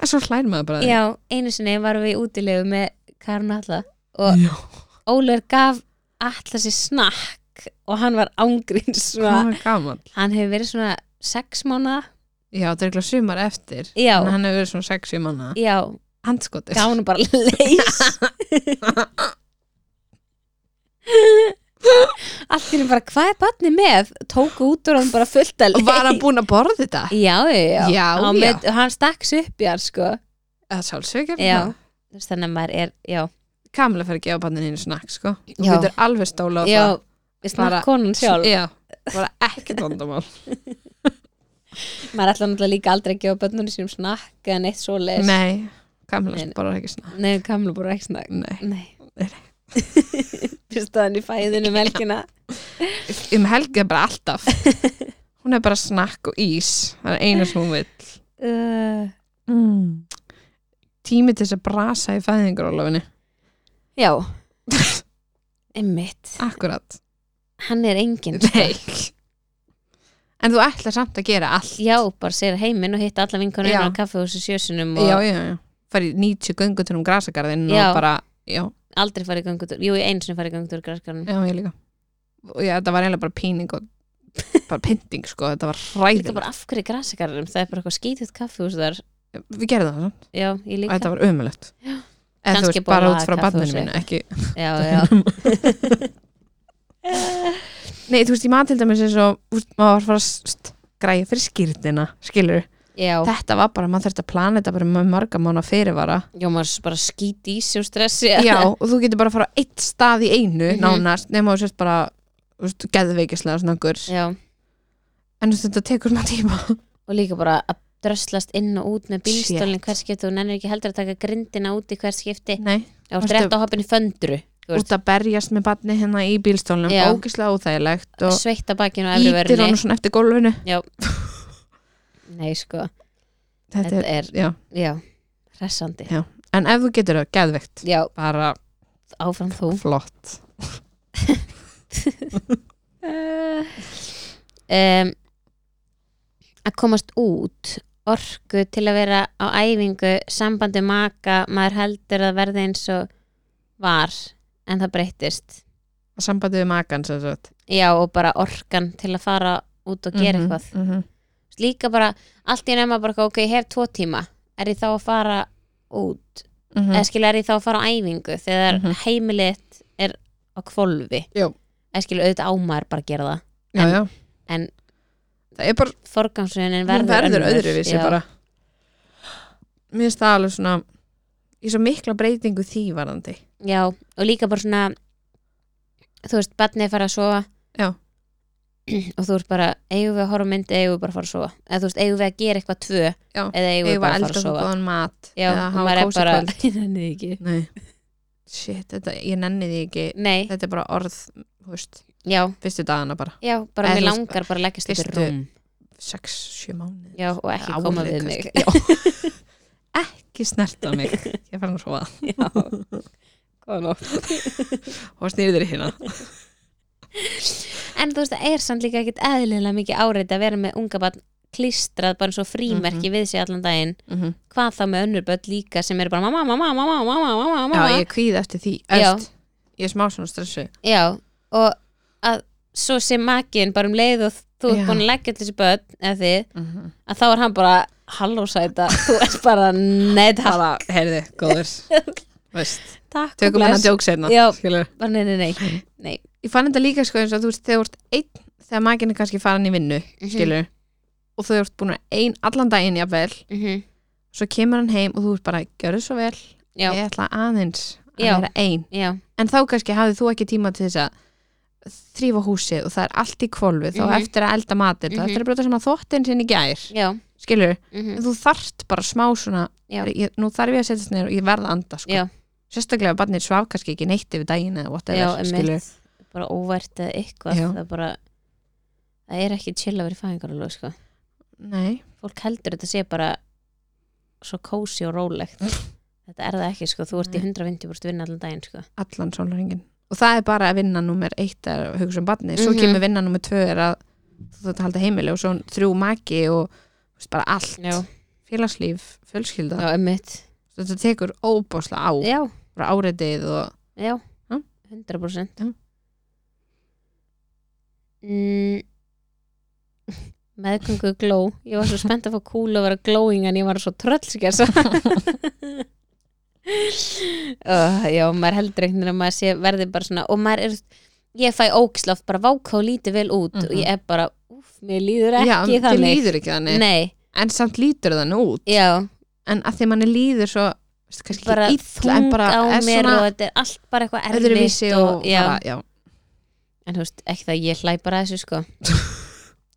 Speaker 2: En svo hlær maður bara að því.
Speaker 1: já, einu sinni varum við í útilegu með Karun Alla og
Speaker 2: já.
Speaker 1: Ólefur gaf Alla sér snakk og hann var ángrín svona,
Speaker 2: hvað er gaman
Speaker 1: hann hefur verið svona sex mánuða
Speaker 2: já, það er eitthvað sumar eftir
Speaker 1: já,
Speaker 2: en hann hefur verið svona 60 manna
Speaker 1: já,
Speaker 2: handskotir
Speaker 1: gaf hann bara leys allt er bara, hvað er barnið með? tóku út úr hann bara fullt að
Speaker 2: og var hann
Speaker 1: leys
Speaker 2: búinn að borða þetta
Speaker 1: já, já,
Speaker 2: Já,
Speaker 1: Hann
Speaker 2: já.
Speaker 1: met- hann stakk sig upp í hann sko
Speaker 2: að sjálfsögur
Speaker 1: Já. Þú veist, þannig að maður er, já
Speaker 2: Kamila fer að gefa banninu snakk sko þú
Speaker 1: Já.
Speaker 2: getur alveg stóla á
Speaker 1: já,
Speaker 2: það
Speaker 1: við
Speaker 2: Bara-
Speaker 1: snakk konan sjálf
Speaker 2: já, bara ekkert vandamál
Speaker 1: maður ætla náttúrulega líka aldrei að gefa bönnunum sínum snakk eða neitt svoleiðis
Speaker 2: nei, Kamila
Speaker 1: Nei.
Speaker 2: borðar ekki snakk
Speaker 1: nei kamlu búið ekki snakk
Speaker 2: nei.
Speaker 1: nei
Speaker 2: Nei.
Speaker 1: fyrstaðan í fæðinu melkina
Speaker 2: um helgi er bara alltaf hún er bara snakk og ís það er einu sem hún vill
Speaker 1: uh,
Speaker 2: mm. tími til þess að brasa í fæðingarólofinni
Speaker 1: já einmitt,
Speaker 2: akkurat
Speaker 1: hann er sko. engin
Speaker 2: Nei. en þú ætlar samt að gera allt
Speaker 1: já, bara sér heiminn og hitta alla vinkonur
Speaker 2: Já.
Speaker 1: á kaffehúsi sjösunum og
Speaker 2: já, já, já farið 90 göngutur um grasagarðin
Speaker 1: Já.
Speaker 2: og bara, já,
Speaker 1: aldrei farið gangutur, jú, einu sinni farið gangutur graskarnum
Speaker 2: já, ég líka og já, þetta var eiginlega bara píning og bara pynting, sko, þetta var
Speaker 1: líka
Speaker 2: ræðilegt
Speaker 1: bara af hverju grasakarnum, það er bara eitthvað skítið kaffehús þar,
Speaker 2: við gerðum það, samt,
Speaker 1: já, ég
Speaker 2: og
Speaker 1: líka
Speaker 2: þetta var ömulegt en þú
Speaker 1: Kannski
Speaker 2: veist,
Speaker 1: bara
Speaker 2: bara út frá
Speaker 1: kaffi og
Speaker 2: barninu
Speaker 1: sig.
Speaker 2: mínu, ekki
Speaker 1: já, já,
Speaker 2: nei, þú veist, ég maður til dæmis eins og þú veist, maður var að fara að st- græja fyrir skýrtina skilur,
Speaker 1: já.
Speaker 2: þetta var bara, maður þurfti að plana þetta bara með marga mánu fyrirvara
Speaker 1: Já, maður bara skýt í sig og stressi
Speaker 2: já, og þú getur bara að fara á eitt stað í einu
Speaker 1: Mhm.
Speaker 2: nánast, nema þú sért bara þú veist, geðveikislega snakkur
Speaker 1: Já,
Speaker 2: en þú veist, þetta tekur smá tíma
Speaker 1: og líka bara að dröslast inn og út með bílstólinn
Speaker 2: Shit.
Speaker 1: hvers skipti og nennir ekki heldur að taka grindina út í hvers skipti
Speaker 2: Nei,
Speaker 1: Já,
Speaker 2: Varstu-
Speaker 1: rétt á hoppinni föndru þú veist.
Speaker 2: út að berjast með barni hérna í bílstólnum,
Speaker 1: Já.
Speaker 2: ógislega óþægilegt og
Speaker 1: sveita bakinu á efri
Speaker 2: ítir hann
Speaker 1: vörunni
Speaker 2: svona eftir gólfinu
Speaker 1: Nei, sko,
Speaker 2: þetta
Speaker 1: þetta
Speaker 2: er,
Speaker 1: er,
Speaker 2: já,
Speaker 1: já, hressandi
Speaker 2: Já. en ef þú getur það, geðveikt
Speaker 1: Já,
Speaker 2: bara
Speaker 1: áfram þú
Speaker 2: flott
Speaker 1: um, Eh, Að komast út orku til að vera á æfingu sambandi maka maður heldur að verði eins og var en það breyttist
Speaker 2: og sambandið við makan sem sagt
Speaker 1: Já, og bara orkan til að fara út og gera eitthvað.
Speaker 2: mm -hmm.
Speaker 1: Líka bara, allt í nefna bara, eitthvað, ok, ég hef tvo tíma. Er ég þá að fara út?
Speaker 2: Mm
Speaker 1: Eða skilja, er ég þá að fara á æfingu þegar
Speaker 2: Mhm.
Speaker 1: heimilið er á kvolfi?
Speaker 2: Já.
Speaker 1: Eða skilja, auðvitað ámaður bara að gera það.
Speaker 2: já, já.
Speaker 1: en-
Speaker 2: það er bara,
Speaker 1: Forgangsröðunin
Speaker 2: verður,
Speaker 1: verður,
Speaker 2: verður
Speaker 1: önnur.
Speaker 2: öðru við sér
Speaker 1: Já.
Speaker 2: bara mér finnst það alveg svona í svo mikla breytingu því varandi
Speaker 1: Já, og líka bara svona, þú veist, barnið er farið að sofa.
Speaker 2: Já.
Speaker 1: Og þú ert bara, eigum við að horfa á mynd, eigum við bara að fara að sofa. Eða þú veist, eigum við að gera eitthvað tvö,
Speaker 2: Já.
Speaker 1: eða eigum við
Speaker 2: ég var
Speaker 1: bara að fara
Speaker 2: eldur
Speaker 1: að
Speaker 2: svo
Speaker 1: sofa.
Speaker 2: góðan mat
Speaker 1: Já,
Speaker 2: eða
Speaker 1: og
Speaker 2: hafa
Speaker 1: maður er
Speaker 2: kósí
Speaker 1: bara,
Speaker 2: kvöld.
Speaker 1: ég nenni því ekki.
Speaker 2: Nei. shit, þetta, ég nenni því ekki
Speaker 1: Nei,
Speaker 2: þetta er bara orð, þú veist
Speaker 1: já,
Speaker 2: fyrstu dagana bara,
Speaker 1: já, bara
Speaker 2: Eða
Speaker 1: mér
Speaker 2: þú veist,
Speaker 1: langar bara að leggjast upp í
Speaker 2: fyrstu-
Speaker 1: rúm
Speaker 2: 6-7 mánuð
Speaker 1: Já, og ekki koma við mig
Speaker 2: ekki snerta mig ég fann að sofa
Speaker 1: Góða nótt.
Speaker 2: og snýri þér í hérna
Speaker 1: En þú veist, það er samt líka ekkit eðlilega mikið áreiti að vera með unga barn klistrað bara svo frímerki
Speaker 2: Mhm.
Speaker 1: við sig allan daginn hvað þá með önnur börn líka sem eru bara mamma, mamma, mamma, mamma, mamma, mamma
Speaker 2: já, ég kvíði eftir því
Speaker 1: Já.
Speaker 2: Öst, ég er smá svona stressu
Speaker 1: Já, og að svo sem makin bara um leið og þú
Speaker 2: Já.
Speaker 1: ert búin að leggja allir þessi börn eða þið,
Speaker 2: mm -hmm.
Speaker 1: að þá er hann bara halló sæta, þú ert bara nei, takk,
Speaker 2: bara, heyrði, góður veist,
Speaker 1: takk og
Speaker 2: tökum hennar
Speaker 1: bless
Speaker 2: djók sérna
Speaker 1: Já.
Speaker 2: ég
Speaker 1: Bara, Nei, nei, nei, nei
Speaker 2: fann þetta líka sko eins og þú veist, þegar þú ert einn þegar maginn er kannski farin í vinnu,
Speaker 1: Mhm.
Speaker 2: skilur og þau ert búin að ein allan daginn jafnvel
Speaker 1: Mhm.
Speaker 2: svo kemur hann heim og þú ert bara, gjörðu svo vel
Speaker 1: Já.
Speaker 2: ég ætla aðeins að
Speaker 1: Já.
Speaker 2: vera ein
Speaker 1: Já,
Speaker 2: en þá kannski hafið þú ekki tíma til þess að þrýfa húsið og það er allt í kvolfið mm
Speaker 1: Mhm.
Speaker 2: eftir að elda matinn, þá
Speaker 1: Mhm.
Speaker 2: eftir að brota saman þóttin sinni í gær,
Speaker 1: já,
Speaker 2: skilur
Speaker 1: mhm,
Speaker 2: en þú þarft bara smá svona
Speaker 1: Já.
Speaker 2: ég, nú þarf ég að setja neyra og ég verð að anda sko.
Speaker 1: Já.
Speaker 2: sérstaklega að barnir svaf kannski ekki neitt yfir daginn eða
Speaker 1: já,
Speaker 2: whatever skilur.
Speaker 1: emitt bara óvært eða eitthvað
Speaker 2: Já.
Speaker 1: það er bara, það er ekki chill að vera í fæðingaralóð sko.
Speaker 2: nei,
Speaker 1: fólk heldur þetta sé bara svo kósi og rólegt þetta er það ekki, sko, þú ert í 150% vinna allan daginn, sko
Speaker 2: allan sólaringin og það er bara að vinna nummer eitt er að hugsa um barni, svo
Speaker 1: Mhm.
Speaker 2: kemur vinna nummer tvö er að þú þarf að halda heimili og svo þrjú maki og þú veist, bara allt
Speaker 1: já,
Speaker 2: félagslíf, fjölskylda
Speaker 1: já emmitt
Speaker 2: þetta tekur óbáslega á
Speaker 1: já,
Speaker 2: frá áriðið og
Speaker 1: já,
Speaker 2: Já.
Speaker 1: 100%
Speaker 2: Já.
Speaker 1: mm, meðgöngu gló ég var svo spennt að fá kúl og vera glóing en ég var svo tröllskessa uh, já, maður heldur einhvern veginn að maður sé, verði bara svona og maður er, ég fæ ógisloft bara váká lítið vel út og ég er bara úf, mér líður ekki
Speaker 2: Mhm. já, þið
Speaker 1: þannig
Speaker 2: líður ekki þannig
Speaker 1: nei,
Speaker 2: en samt lítur það nú út
Speaker 1: já,
Speaker 2: en að því manni líður svo veist, kannski
Speaker 1: bara
Speaker 2: ekki illa en
Speaker 1: þung
Speaker 2: bara
Speaker 1: á
Speaker 2: er
Speaker 1: mér
Speaker 2: svona
Speaker 1: og þetta er allt bara eitthvað
Speaker 2: öðruvísi
Speaker 1: erfitt
Speaker 2: og,
Speaker 1: já.
Speaker 2: bara, já,
Speaker 1: en þú veist, ekki það ég hlæ bara að þessu sko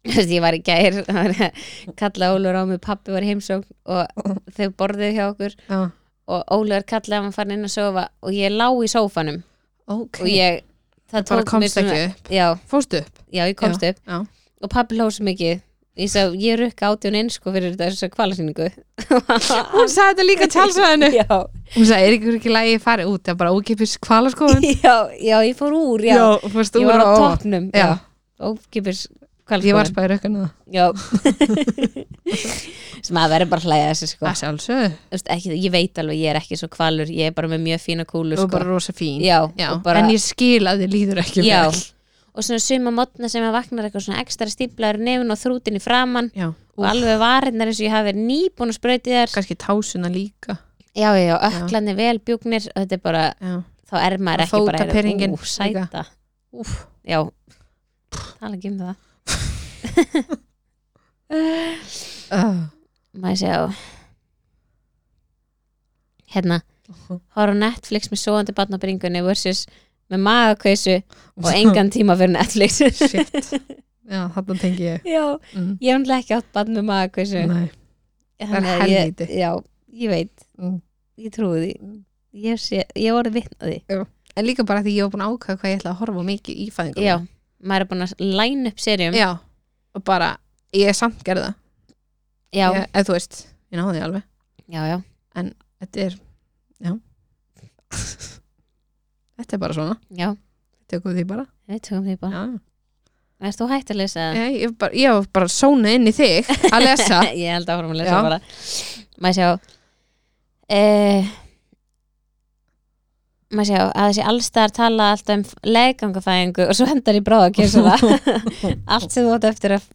Speaker 1: þú veist, ég var í gær það var að kalla Ólur á mig pappi var í heimsókn og þau borðið hjá okkur
Speaker 2: já,
Speaker 1: og Ólur kallaði að hann farin inn að sofa og ég lá í sófanum
Speaker 2: ok
Speaker 1: og ég, það
Speaker 2: bara
Speaker 1: tók mér
Speaker 2: komst
Speaker 1: svona
Speaker 2: ekki upp,
Speaker 1: já,
Speaker 2: fórstu upp
Speaker 1: já, ég komst upp
Speaker 2: já.
Speaker 1: og pappi hló svo mikið ég sagði, ég rukka átjón eins sko fyrir þessu kvalasýningu
Speaker 2: hún sagði þetta líka tjálsvæðinu
Speaker 1: já,
Speaker 2: hún sagði, er ykkur ekki lægi farið út það er bara ókipis kvalaskofun
Speaker 1: já, já, ég fór úr já,
Speaker 2: fórstu
Speaker 1: ég
Speaker 2: úr
Speaker 1: var á
Speaker 2: og ofan.
Speaker 1: toppnum
Speaker 2: já,
Speaker 1: ókipis
Speaker 2: ég
Speaker 1: kvalasýningu
Speaker 2: var spæður ykkur það
Speaker 1: Já sem að verður bara að hlæja að þessu sko
Speaker 2: að sjálfsög,
Speaker 1: Þú veist, ekki, ég veit alveg, ég er ekki svo kvalur ég er bara með mjög fína kúlu
Speaker 2: og
Speaker 1: sko.
Speaker 2: bara rosa fín
Speaker 1: já, og bara,
Speaker 2: en ég skil að þið líður ekki
Speaker 1: já
Speaker 2: vel
Speaker 1: og svona suma mótna sem að vaknar eitthvað svona ekstra stíplaður nefn og þrútin í framann
Speaker 2: já,
Speaker 1: og alveg varirnar eins og ég hafi verið nýbúin að spröyti þér
Speaker 2: kannski tásuna líka
Speaker 1: já, já, já, öklarnir vel bjúknir og þetta er bara,
Speaker 2: já,
Speaker 1: þá er maður
Speaker 2: Og
Speaker 1: ekki bara
Speaker 2: fótaperingin
Speaker 1: ú, sæta,
Speaker 2: úf
Speaker 1: já tala ekki um það
Speaker 2: uh.
Speaker 1: maður sjá hérna horfa á Netflix með svoandi barnabringunni versus með magakveysu og engan tíma fyrir Netflix
Speaker 2: shit, já, þarna tengi ég
Speaker 1: já,
Speaker 2: mm.
Speaker 1: ég hef náttúrulega ekki átt barn með magakveysu
Speaker 2: nei,
Speaker 1: Þannig
Speaker 2: það er
Speaker 1: að ég-
Speaker 2: Mm. helvíti.
Speaker 1: já, ég veit,
Speaker 2: mm.
Speaker 1: ég trúi því ég, sé, ég hef orðið vitnaði
Speaker 2: en líka bara því ég var búin að ákvæða hvað ég ætla að horfa á mikið í fæðingum
Speaker 1: já, maður er búin að læna upp serjum
Speaker 2: já, og bara ég er samt gerða,
Speaker 1: já,
Speaker 2: ég, eða þú veist ég náði því alveg,
Speaker 1: já, já,
Speaker 2: þetta er já þetta er bara svona,
Speaker 1: já
Speaker 2: tökum því bara
Speaker 1: við tökum því bara,
Speaker 2: já.
Speaker 1: erst þú hægt að lesa það?
Speaker 2: Ég, ég, var bara, ég var bara sónað inn í þig að lesa
Speaker 1: ég held að horfum að
Speaker 2: Já.
Speaker 1: lesa bara maður sjá uh, maður sjá að þessi allstar tala alltaf um leggangafæðingu og svo hendar í bráðakjörsuna allt sem þú átt eftir að,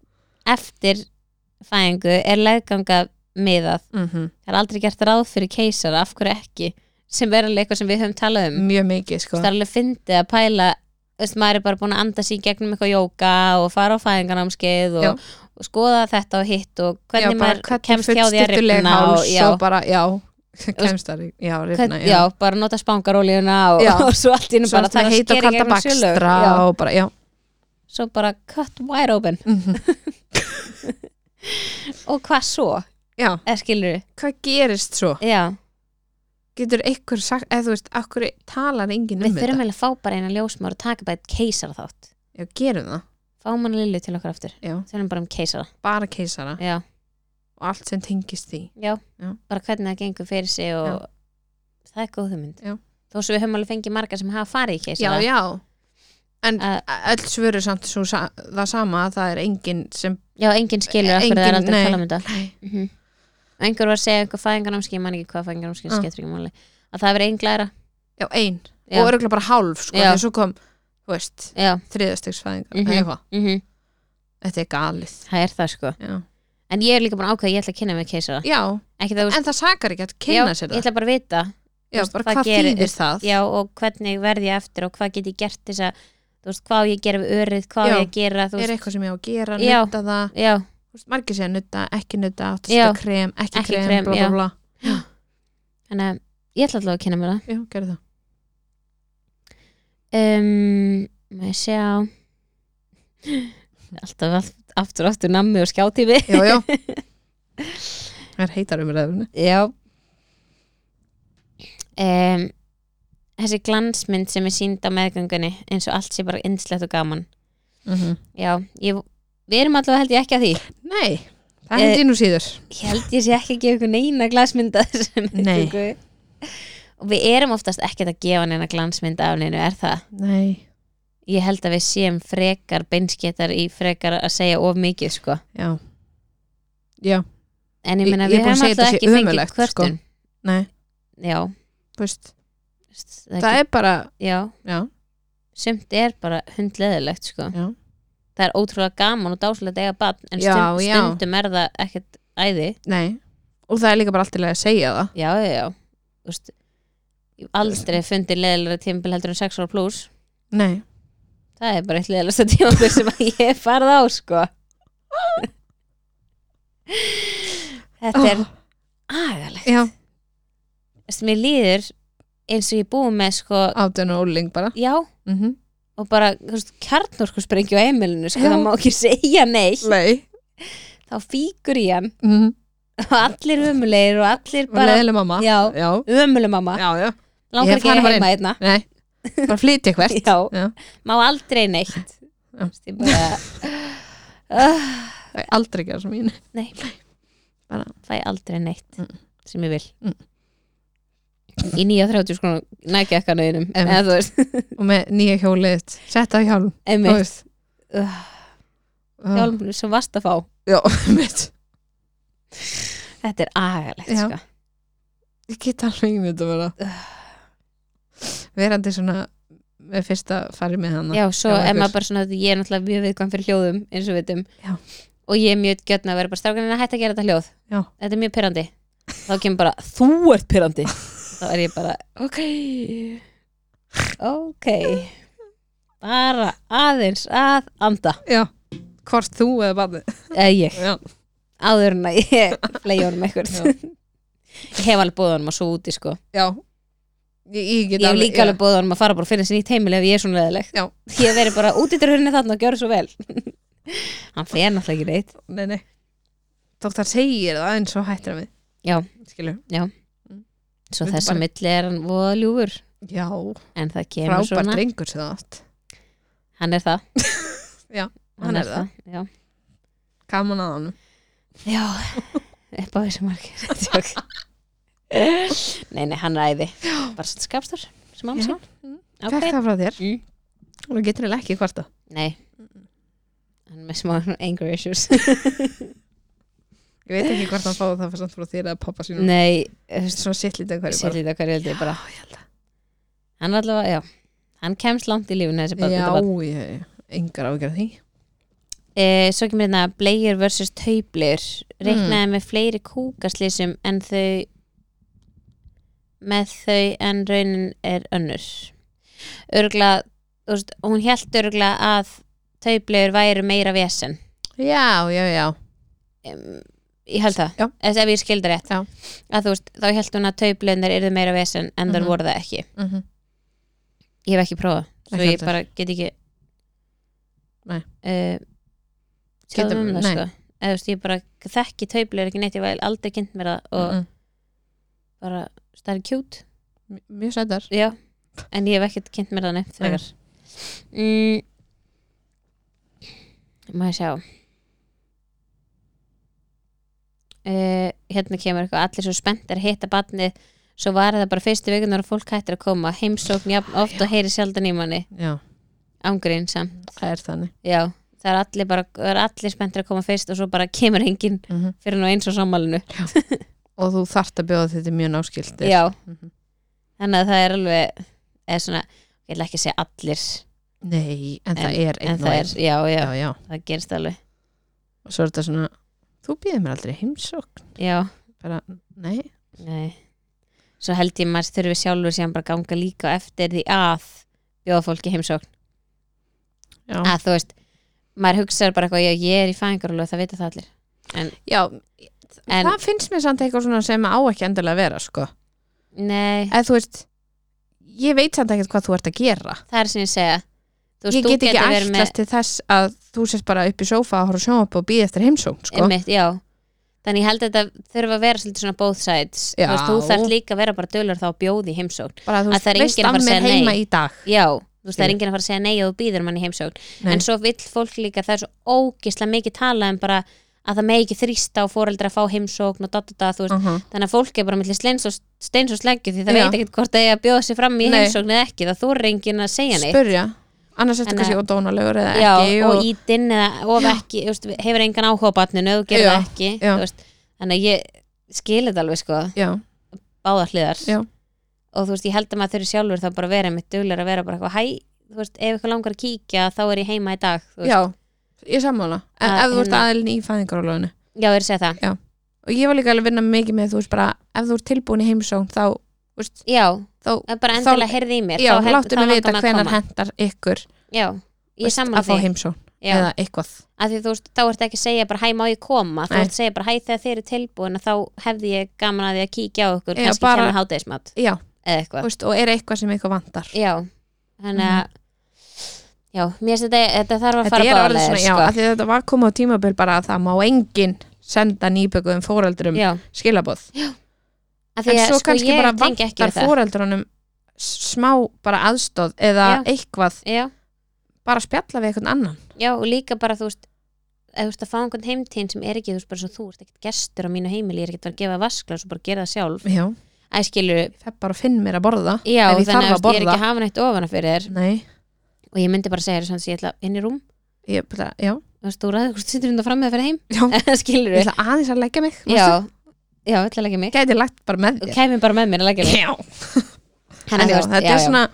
Speaker 1: eftir fæðingu er legganga miðað,
Speaker 2: mm -hmm.
Speaker 1: það er aldrei gert ráð fyrir keisara, af hverju ekki sem er alveg eitthvað sem við höfum talað um
Speaker 2: mjög mikið sko
Speaker 1: það er alveg fyndið að pæla þú veist, maður er bara búin að anda sér í gegnum eitthvað jóka og fara á fæðingarnámskeið og, og skoða þetta og hitt og hvernig
Speaker 2: já, bara
Speaker 1: maður
Speaker 2: hvernig
Speaker 1: kemst hjá því að
Speaker 2: fullstuttuleg
Speaker 1: rifna
Speaker 2: háls
Speaker 1: og, já,
Speaker 2: og bara, já, kemst að já, rifna,
Speaker 1: hvern, já, bara nota spangaróljuna og,
Speaker 2: Já.
Speaker 1: og svo allt innum
Speaker 2: Svo
Speaker 1: bara
Speaker 2: bara það heita og kalda bakstra
Speaker 1: já,
Speaker 2: og bara, já,
Speaker 1: svo bara cut wide open
Speaker 2: Mhm.
Speaker 1: og hvað svo,
Speaker 2: já
Speaker 1: eða skilur
Speaker 2: hvað gerist svo?
Speaker 1: já,
Speaker 2: Getur einhver sagt, eða þú veist, akkur talar enginn um
Speaker 1: við þurfum
Speaker 2: þetta?
Speaker 1: eiginlega að fá bara eina ljósmár og taka bara eitt keisara þátt
Speaker 2: Já, gerum það,
Speaker 1: fá mann lillu til okkar aftur,
Speaker 2: já,
Speaker 1: þurfum bara um keisara
Speaker 2: bara keisara
Speaker 1: já,
Speaker 2: og allt sem tengist því
Speaker 1: já,
Speaker 2: Já.
Speaker 1: bara hvernig það gengur fyrir sig og
Speaker 2: Já.
Speaker 1: það er góð hugmynd
Speaker 2: Já.
Speaker 1: þó svo við höfum alveg fengið marga sem hafa farið í
Speaker 2: Já,
Speaker 1: keisara
Speaker 2: já En
Speaker 1: Að-
Speaker 2: öll svöru samt svo sa það sama að það er enginn sem
Speaker 1: Já, enginn skilur af hverju það er
Speaker 2: Enginn,
Speaker 1: aldrei að
Speaker 2: nei.
Speaker 1: tala um þetta
Speaker 2: Nei,
Speaker 1: mm Einhver var að segja einhver fæðingarnámski ég man ekki hvað fæðingarnámski,
Speaker 2: Ah.
Speaker 1: skettur ekki máli að það verið einn glæra
Speaker 2: já, ein
Speaker 1: Já.
Speaker 2: og örgulega bara hálf, sko,
Speaker 1: Já.
Speaker 2: því svo kom þú veist,
Speaker 1: Já,
Speaker 2: þriðastegsfæðingar mm
Speaker 1: Mhm.
Speaker 2: eitthvað,
Speaker 1: mm
Speaker 2: þetta er galið
Speaker 1: það er það sko
Speaker 2: Já,
Speaker 1: En ég er líka búin að ákveða, að ég ætla að kynna mig keisara
Speaker 2: já
Speaker 1: Ekki það, þú veist-
Speaker 2: en það sakar ekki að
Speaker 1: já,
Speaker 2: kynna sér
Speaker 1: Ég
Speaker 2: það
Speaker 1: ætla bara að vita,
Speaker 2: Já,
Speaker 1: veist,
Speaker 2: bara
Speaker 1: það
Speaker 2: hvað
Speaker 1: gerir-
Speaker 2: þýðir það
Speaker 1: já, og hvernig verð ég eftir og hvað get ég gert þess að, þú veist, hvað á ég að gera við örið, hvað á
Speaker 2: Já.
Speaker 1: ég að gera, þú
Speaker 2: Er
Speaker 1: veist
Speaker 2: eitthvað sem ég á að gera,
Speaker 1: Já.
Speaker 2: nutta það
Speaker 1: Já,
Speaker 2: Þú þú veist, margir segja nutta, ekki nutta átt að
Speaker 1: Já.
Speaker 2: setja krem, ekki,
Speaker 1: Ekki
Speaker 2: krem,
Speaker 1: krem,
Speaker 2: bla
Speaker 1: já.
Speaker 2: bla bla
Speaker 1: þannig að ég ætla alltaf að kynna mér
Speaker 2: já, gerðu það
Speaker 1: það um, maður sjá alltaf aft- aftur og aftur nammi og skjátífi
Speaker 2: já, já það er heitar um ræðurinn
Speaker 1: já um, þessi glansmynd sem er sínd á meðgöngunni eins og allt sé bara innslegt og gaman Mhm. já, ég, við erum allavega held ég ekki að því
Speaker 2: nei, það hefði nú síður
Speaker 1: ég held ég sé ekki að gefa ykkur neina glansmynda þessum
Speaker 2: Nei.
Speaker 1: og við erum oftast ekkert að gefa neina glansmynda af neinu, er það?
Speaker 2: nei,
Speaker 1: Ég held að við séum frekar beinskettar í frekar að segja of mikið sko
Speaker 2: já já,
Speaker 1: en ég
Speaker 2: Ég-
Speaker 1: meina
Speaker 2: ég er
Speaker 1: við
Speaker 2: búin að
Speaker 1: hefum
Speaker 2: segja
Speaker 1: alltaf
Speaker 2: þetta
Speaker 1: ekki
Speaker 2: sé
Speaker 1: fengið
Speaker 2: ömurlegt, sko.
Speaker 1: kvörtun
Speaker 2: nei,
Speaker 1: já,
Speaker 2: þú veist
Speaker 1: það
Speaker 2: það
Speaker 1: er,
Speaker 2: er bara,
Speaker 1: ekki, já,
Speaker 2: já,
Speaker 1: sumt er bara hundleðilegt sko
Speaker 2: já
Speaker 1: það er ótrúlega gaman og dásulegt eiga bann en
Speaker 2: Já,
Speaker 1: stund,
Speaker 2: já.
Speaker 1: stundum er það ekkert æði
Speaker 2: nei, og það er líka bara allt í lagi að segja það
Speaker 1: já, já, já Þú veist, ég hef aldrei fundið leðilega tímabil heldur en 6 ára pluss
Speaker 2: nei,
Speaker 1: Það er bara eitt leðalasta tímabil sem að ég hef farið á sko Þetta er
Speaker 2: Ó,
Speaker 1: agalegt
Speaker 2: já,
Speaker 1: Þessi, Mér líður eins og ég búið með sko
Speaker 2: átun og úling bara
Speaker 1: Já
Speaker 2: mhm
Speaker 1: og bara kjarnorku sprengju á heimilinu sko,
Speaker 2: Já.
Speaker 1: það má ekki segja neitt
Speaker 2: Nei
Speaker 1: þá fíkur í hann
Speaker 2: mm.
Speaker 1: og allir ömulegir og allir
Speaker 2: Bara
Speaker 1: bara
Speaker 2: leðileg mamma
Speaker 1: Já.
Speaker 2: já,
Speaker 1: ömuleg mamma,
Speaker 2: já, já. Ég
Speaker 1: langar
Speaker 2: hef
Speaker 1: ekki að
Speaker 2: farið bara
Speaker 1: heima einna
Speaker 2: Nei, bara flytja hvert
Speaker 1: Já,
Speaker 2: Já.
Speaker 1: má aldrei neitt Þú
Speaker 2: Já.
Speaker 1: veist, ég bara uh,
Speaker 2: Það er aldrei að gera sem mín
Speaker 1: Nei,
Speaker 2: Bara-
Speaker 1: fæ aldrei neitt
Speaker 2: Mm.
Speaker 1: sem ég vil
Speaker 2: Mm.
Speaker 1: í 39 skrona nækja ekka nöðinum
Speaker 2: Einmitt.
Speaker 1: eða þú veist,
Speaker 2: Og með nýja hjólið þitt. Sett á hjálm Þú
Speaker 1: emmi
Speaker 2: veist.
Speaker 1: uh,
Speaker 2: Já.
Speaker 1: hjálmur sem vast að fá
Speaker 2: Já, mitt
Speaker 1: þetta er agalegt
Speaker 2: Já.
Speaker 1: sko.
Speaker 2: Ég get alveg ingen þetta bara Verandi svona Með fyrsta farið með hana
Speaker 1: já, svo
Speaker 2: hérna. Já,
Speaker 1: er
Speaker 2: einhver.
Speaker 1: maður bara svona ég er náttúrulega mjög viðkvæm fyrir hljóðum eins og við vitum
Speaker 2: Já.
Speaker 1: og ég er mjög gjörn að vera bara strákan en að hætta að gera þetta hljóð
Speaker 2: Já.
Speaker 1: þetta er mjög pyrrandi þá kemur bara, þú ert pyrrandi þá er ég bara, ok ok bara aðeins að anda
Speaker 2: já. Hvort þú eða barnið
Speaker 1: eða ég
Speaker 2: Já,
Speaker 1: áður en að ég flegi honum eitthvað
Speaker 2: Já.
Speaker 1: ég hef alveg búið honum að svo úti sko.
Speaker 2: já. Ég, ég
Speaker 1: ég
Speaker 2: get
Speaker 1: hef líka
Speaker 2: já.
Speaker 1: alveg búið honum að fara bara og finna sér nýtt heimil ef ég er svona leðileg
Speaker 2: Já.
Speaker 1: ég hef verið bara út í dröðinni þarna og gjörðu svo vel hann fer náttúrulega ekki neitt
Speaker 2: Nei, nei Dóttar segir það eins og hættir að við
Speaker 1: Já.
Speaker 2: Skilur
Speaker 1: svo
Speaker 2: Þetta
Speaker 1: þess að
Speaker 2: bara-
Speaker 1: milli er hann voða ljúfur
Speaker 2: Já,
Speaker 1: en það kemur
Speaker 2: frábært
Speaker 1: svona
Speaker 2: drengur sem það átt
Speaker 1: hann er það,
Speaker 2: Já, hann er það.
Speaker 1: Já.
Speaker 2: Gaman að honum
Speaker 1: já, upp á þessu margir Tjók. nei, nei, hann er æði bara svona skapstur sem hann
Speaker 2: Já.
Speaker 1: sé
Speaker 2: Fekk
Speaker 1: okay.
Speaker 2: það frá þér
Speaker 1: Mm.
Speaker 2: og þú getur eiginlega ekki hvarta
Speaker 1: nei, hann er með smá anger issues
Speaker 2: Ég veit ekki hvort hann fáið það samt frá þér eða pappa sínum
Speaker 1: nei, þú veist,
Speaker 2: Svona sitt lítið Mm. hverju
Speaker 1: sér
Speaker 2: bara
Speaker 1: líka hverju held ég bara
Speaker 2: ég held
Speaker 1: hann allavega, já, hann kemst langt í lífuna þessi
Speaker 2: að
Speaker 1: bara
Speaker 2: Já, ég, engar ágjörð því
Speaker 1: e, svo kemur hérna blegjur versus taublir
Speaker 2: Mm.
Speaker 1: reiknaði með fleiri kúkaslýsum en þau með þau en raunin er önnur örgla, þú veist, hún held örgla að taublir væri meira vesen
Speaker 2: Já, já, já
Speaker 1: um, ég held það,
Speaker 2: Já.
Speaker 1: Eða ef ég skildi rétt
Speaker 2: Já.
Speaker 1: að þú veist, þá held hún að taublunar yrðu meira vesen en þar
Speaker 2: Mhm.
Speaker 1: voru það ekki
Speaker 2: mm -hmm.
Speaker 1: ég hef ekki prófað svo
Speaker 2: Ekki
Speaker 1: ég
Speaker 2: heldur.
Speaker 1: bara get ekki
Speaker 2: Nei.
Speaker 1: uh,
Speaker 2: Getum-
Speaker 1: um það
Speaker 2: nei.
Speaker 1: sko eða þú veist ég bara þekki taublir ekki neitt ég var aldrei kynnt mér það og
Speaker 2: mhm.
Speaker 1: bara stærri kjút
Speaker 2: Mjög sættar
Speaker 1: já en ég hef ekkert kynnt mér það neitt
Speaker 2: Nei.
Speaker 1: þegar mm. maður sjá uh, hérna kemur eitthvað allir svo spennt er að hitta batnið svo var það bara fyrstu vikunar og fólk hættir að koma heimsókn jafn oft og heyri sjaldan í manni
Speaker 2: Já,
Speaker 1: ángurinn samt
Speaker 2: það er þannig
Speaker 1: Já, það er allir bara það er allir spenntir að koma fyrst og svo bara kemur enginn
Speaker 2: Mhm.
Speaker 1: fyrir nú eins og sammálinu
Speaker 2: Og þú þart að bjóða þetta mjög náskilt
Speaker 1: Já,
Speaker 2: Mhm.
Speaker 1: þannig að það er alveg eða svona, ég ætla ekki að segja allir
Speaker 2: Nei, en, það er
Speaker 1: en
Speaker 2: einn og
Speaker 1: það er,
Speaker 2: einn
Speaker 1: já, já,
Speaker 2: Já, já
Speaker 1: það gerist alveg
Speaker 2: Og svo er þetta svona Þú býðir mér aldrei heimsókn
Speaker 1: Já,
Speaker 2: Bara, nei
Speaker 1: nei Svo held ég maður þurfi sjálfur síðan bara að ganga líka á eftir því að bjóða fólki heimsókn
Speaker 2: Já,
Speaker 1: að þú veist, maður hugsaður bara eitthvað, já, ég er í fæðingarúlu og það vita það allir En-
Speaker 2: já,
Speaker 1: En-
Speaker 2: það finnst mér samt eitthvað svona sem á ekki endilega að vera sko.
Speaker 1: Nei,
Speaker 2: eða þú veist ég veit samt ekkert hvað þú ert að gera
Speaker 1: það er sem ég segja Þú
Speaker 2: ég get ekki
Speaker 1: verið
Speaker 2: ætlast
Speaker 1: með-
Speaker 2: til þess að þú sést bara upp í sófa og horfa sjónvap og býð eftir heimsókn sko.
Speaker 1: Einmitt, já Þannig ég held að þetta þurfa að vera svolítið svona both sides
Speaker 2: Já.
Speaker 1: Þú veist, þú þarf líka að vera bara dölur þá að bjóði heimsókn
Speaker 2: bara þú
Speaker 1: Að það er
Speaker 2: veist
Speaker 1: enginn að
Speaker 2: af
Speaker 1: fara að
Speaker 2: mér
Speaker 1: segja
Speaker 2: heima
Speaker 1: nei.
Speaker 2: í dag
Speaker 1: Já, þú veist, það er
Speaker 2: Skilur.
Speaker 1: enginn að fara að segja nei og þú býður manni heimsókn
Speaker 2: Nei.
Speaker 1: En svo vill fólk líka, það er svo ógislega mikið tala um bara að það megi ekki þrýsta á foreldra að fá heimsókn og dot, dot, dot, þú veist,
Speaker 2: -huh.
Speaker 1: þannig að fólk er bara millir steins og, steins og sleggju því það
Speaker 2: Mm. Já.
Speaker 1: veit ekkert hvort það er að bjóða sér fram í
Speaker 2: Nei.
Speaker 1: heimsókn eða ekki, það þú er enginn að segja neitt
Speaker 2: spurja annars ertu
Speaker 1: En,
Speaker 2: kannski
Speaker 1: eh,
Speaker 2: ódónalegur eða
Speaker 1: já,
Speaker 2: ekki
Speaker 1: og, ítinn eða of ekki þú veist, hefur engan áhuga á batninu, þú gerir
Speaker 2: Já,
Speaker 1: það ekki
Speaker 2: já.
Speaker 1: þú veist, þannig að ég skil þetta alveg sko,
Speaker 2: já,
Speaker 1: báðar hliðar
Speaker 2: Já.
Speaker 1: og þú veist, ég held að maður þurfi sjálfur þá bara að vera mitt duglar að vera bara eitthvað hæ, þú veist, ef eitthvað langar að kíkja þá er ég heima í dag, þú veist,
Speaker 2: já, ég sammála en
Speaker 1: Að
Speaker 2: ef þú ert
Speaker 1: hérna-
Speaker 2: aðilin í fæðingarólöfinu
Speaker 1: já, ég er að segja það
Speaker 2: og ég var líka alveg að vinna mikið með þú veist bara ef þú ert tilbúin í heimsókn þá, þú veist,
Speaker 1: já,
Speaker 2: þá
Speaker 1: að bara
Speaker 2: Þá-
Speaker 1: endilega heyrði í mér
Speaker 2: já,
Speaker 1: þá held-
Speaker 2: láttu
Speaker 1: þá
Speaker 2: mig
Speaker 1: langar
Speaker 2: vita
Speaker 1: mig að
Speaker 2: hvenar
Speaker 1: koma.
Speaker 2: hendar ykkur
Speaker 1: já,
Speaker 2: þú
Speaker 1: ég
Speaker 2: veist,
Speaker 1: sammála
Speaker 2: að fá
Speaker 1: því
Speaker 2: heimsókn
Speaker 1: já,
Speaker 2: eða eitthvað
Speaker 1: að því þú veist, þá ert ekki að segja bara hæ, má ég koma, þú
Speaker 2: Nei.
Speaker 1: ert að segja bara hæ þegar þeir eru tilbúin þá hefði ég gaman að því að kíkja á okkur
Speaker 2: Já,
Speaker 1: kannski
Speaker 2: bara-
Speaker 1: kenna hádegismat
Speaker 2: já,
Speaker 1: eða eitthvað
Speaker 2: þú veist, og er eitthvað sem eitthvað vantar
Speaker 1: Já, þannig að Já, mér finnst þetta, þetta þarf að
Speaker 2: Mhm. þetta
Speaker 1: fara
Speaker 2: er
Speaker 1: báðar
Speaker 2: orðið
Speaker 1: leiðir, sko.
Speaker 2: svona, já, af því að þetta var komið á tímabil bara að það má enginn senda nýbökuðum fóreldrum
Speaker 1: já,
Speaker 2: skilabóð
Speaker 1: af því
Speaker 2: en
Speaker 1: að
Speaker 2: svo
Speaker 1: sko
Speaker 2: kannski
Speaker 1: ég
Speaker 2: bara
Speaker 1: tengi ekki
Speaker 2: vantar
Speaker 1: við það
Speaker 2: fóreldrunum smá bara aðstóð eða eitthvað,
Speaker 1: Já,
Speaker 2: bara spjalla við eitthvað annan
Speaker 1: já, og líka bara þú veist eða þú veist að fá einhvern heimtíðin sem er ekki þú veist bara svo þú ert ekkert gestur á mínu heimili ég er ekkert að gefa vaskla og svo bara gera það sjálf
Speaker 2: já,
Speaker 1: Æskilur,
Speaker 2: ég fæ bara að finn mér að borða
Speaker 1: já,
Speaker 2: Ef ég
Speaker 1: þannig að
Speaker 2: þarf
Speaker 1: þú veist, ég er
Speaker 2: að borða.
Speaker 1: ekki að hafa neitt ofana fyrir þér
Speaker 2: nei,
Speaker 1: og ég myndi bara segja þér sanns ég ætla inn í rúm
Speaker 2: ég bara, já,
Speaker 1: þú veist, þú ræður hvort þú sittur undan fram með að fyrir heim
Speaker 2: já
Speaker 1: Skilur
Speaker 2: ég ætla aðeins að leggja mig
Speaker 1: já, já, ég ætla að leggja mig
Speaker 2: gæti lagt bara með
Speaker 1: og
Speaker 2: þér
Speaker 1: kæmi bara með mér að leggja mig
Speaker 2: já,
Speaker 1: Þannig að
Speaker 2: en já,
Speaker 1: þú veist,
Speaker 2: þetta
Speaker 1: já,
Speaker 2: er
Speaker 1: já.
Speaker 2: svona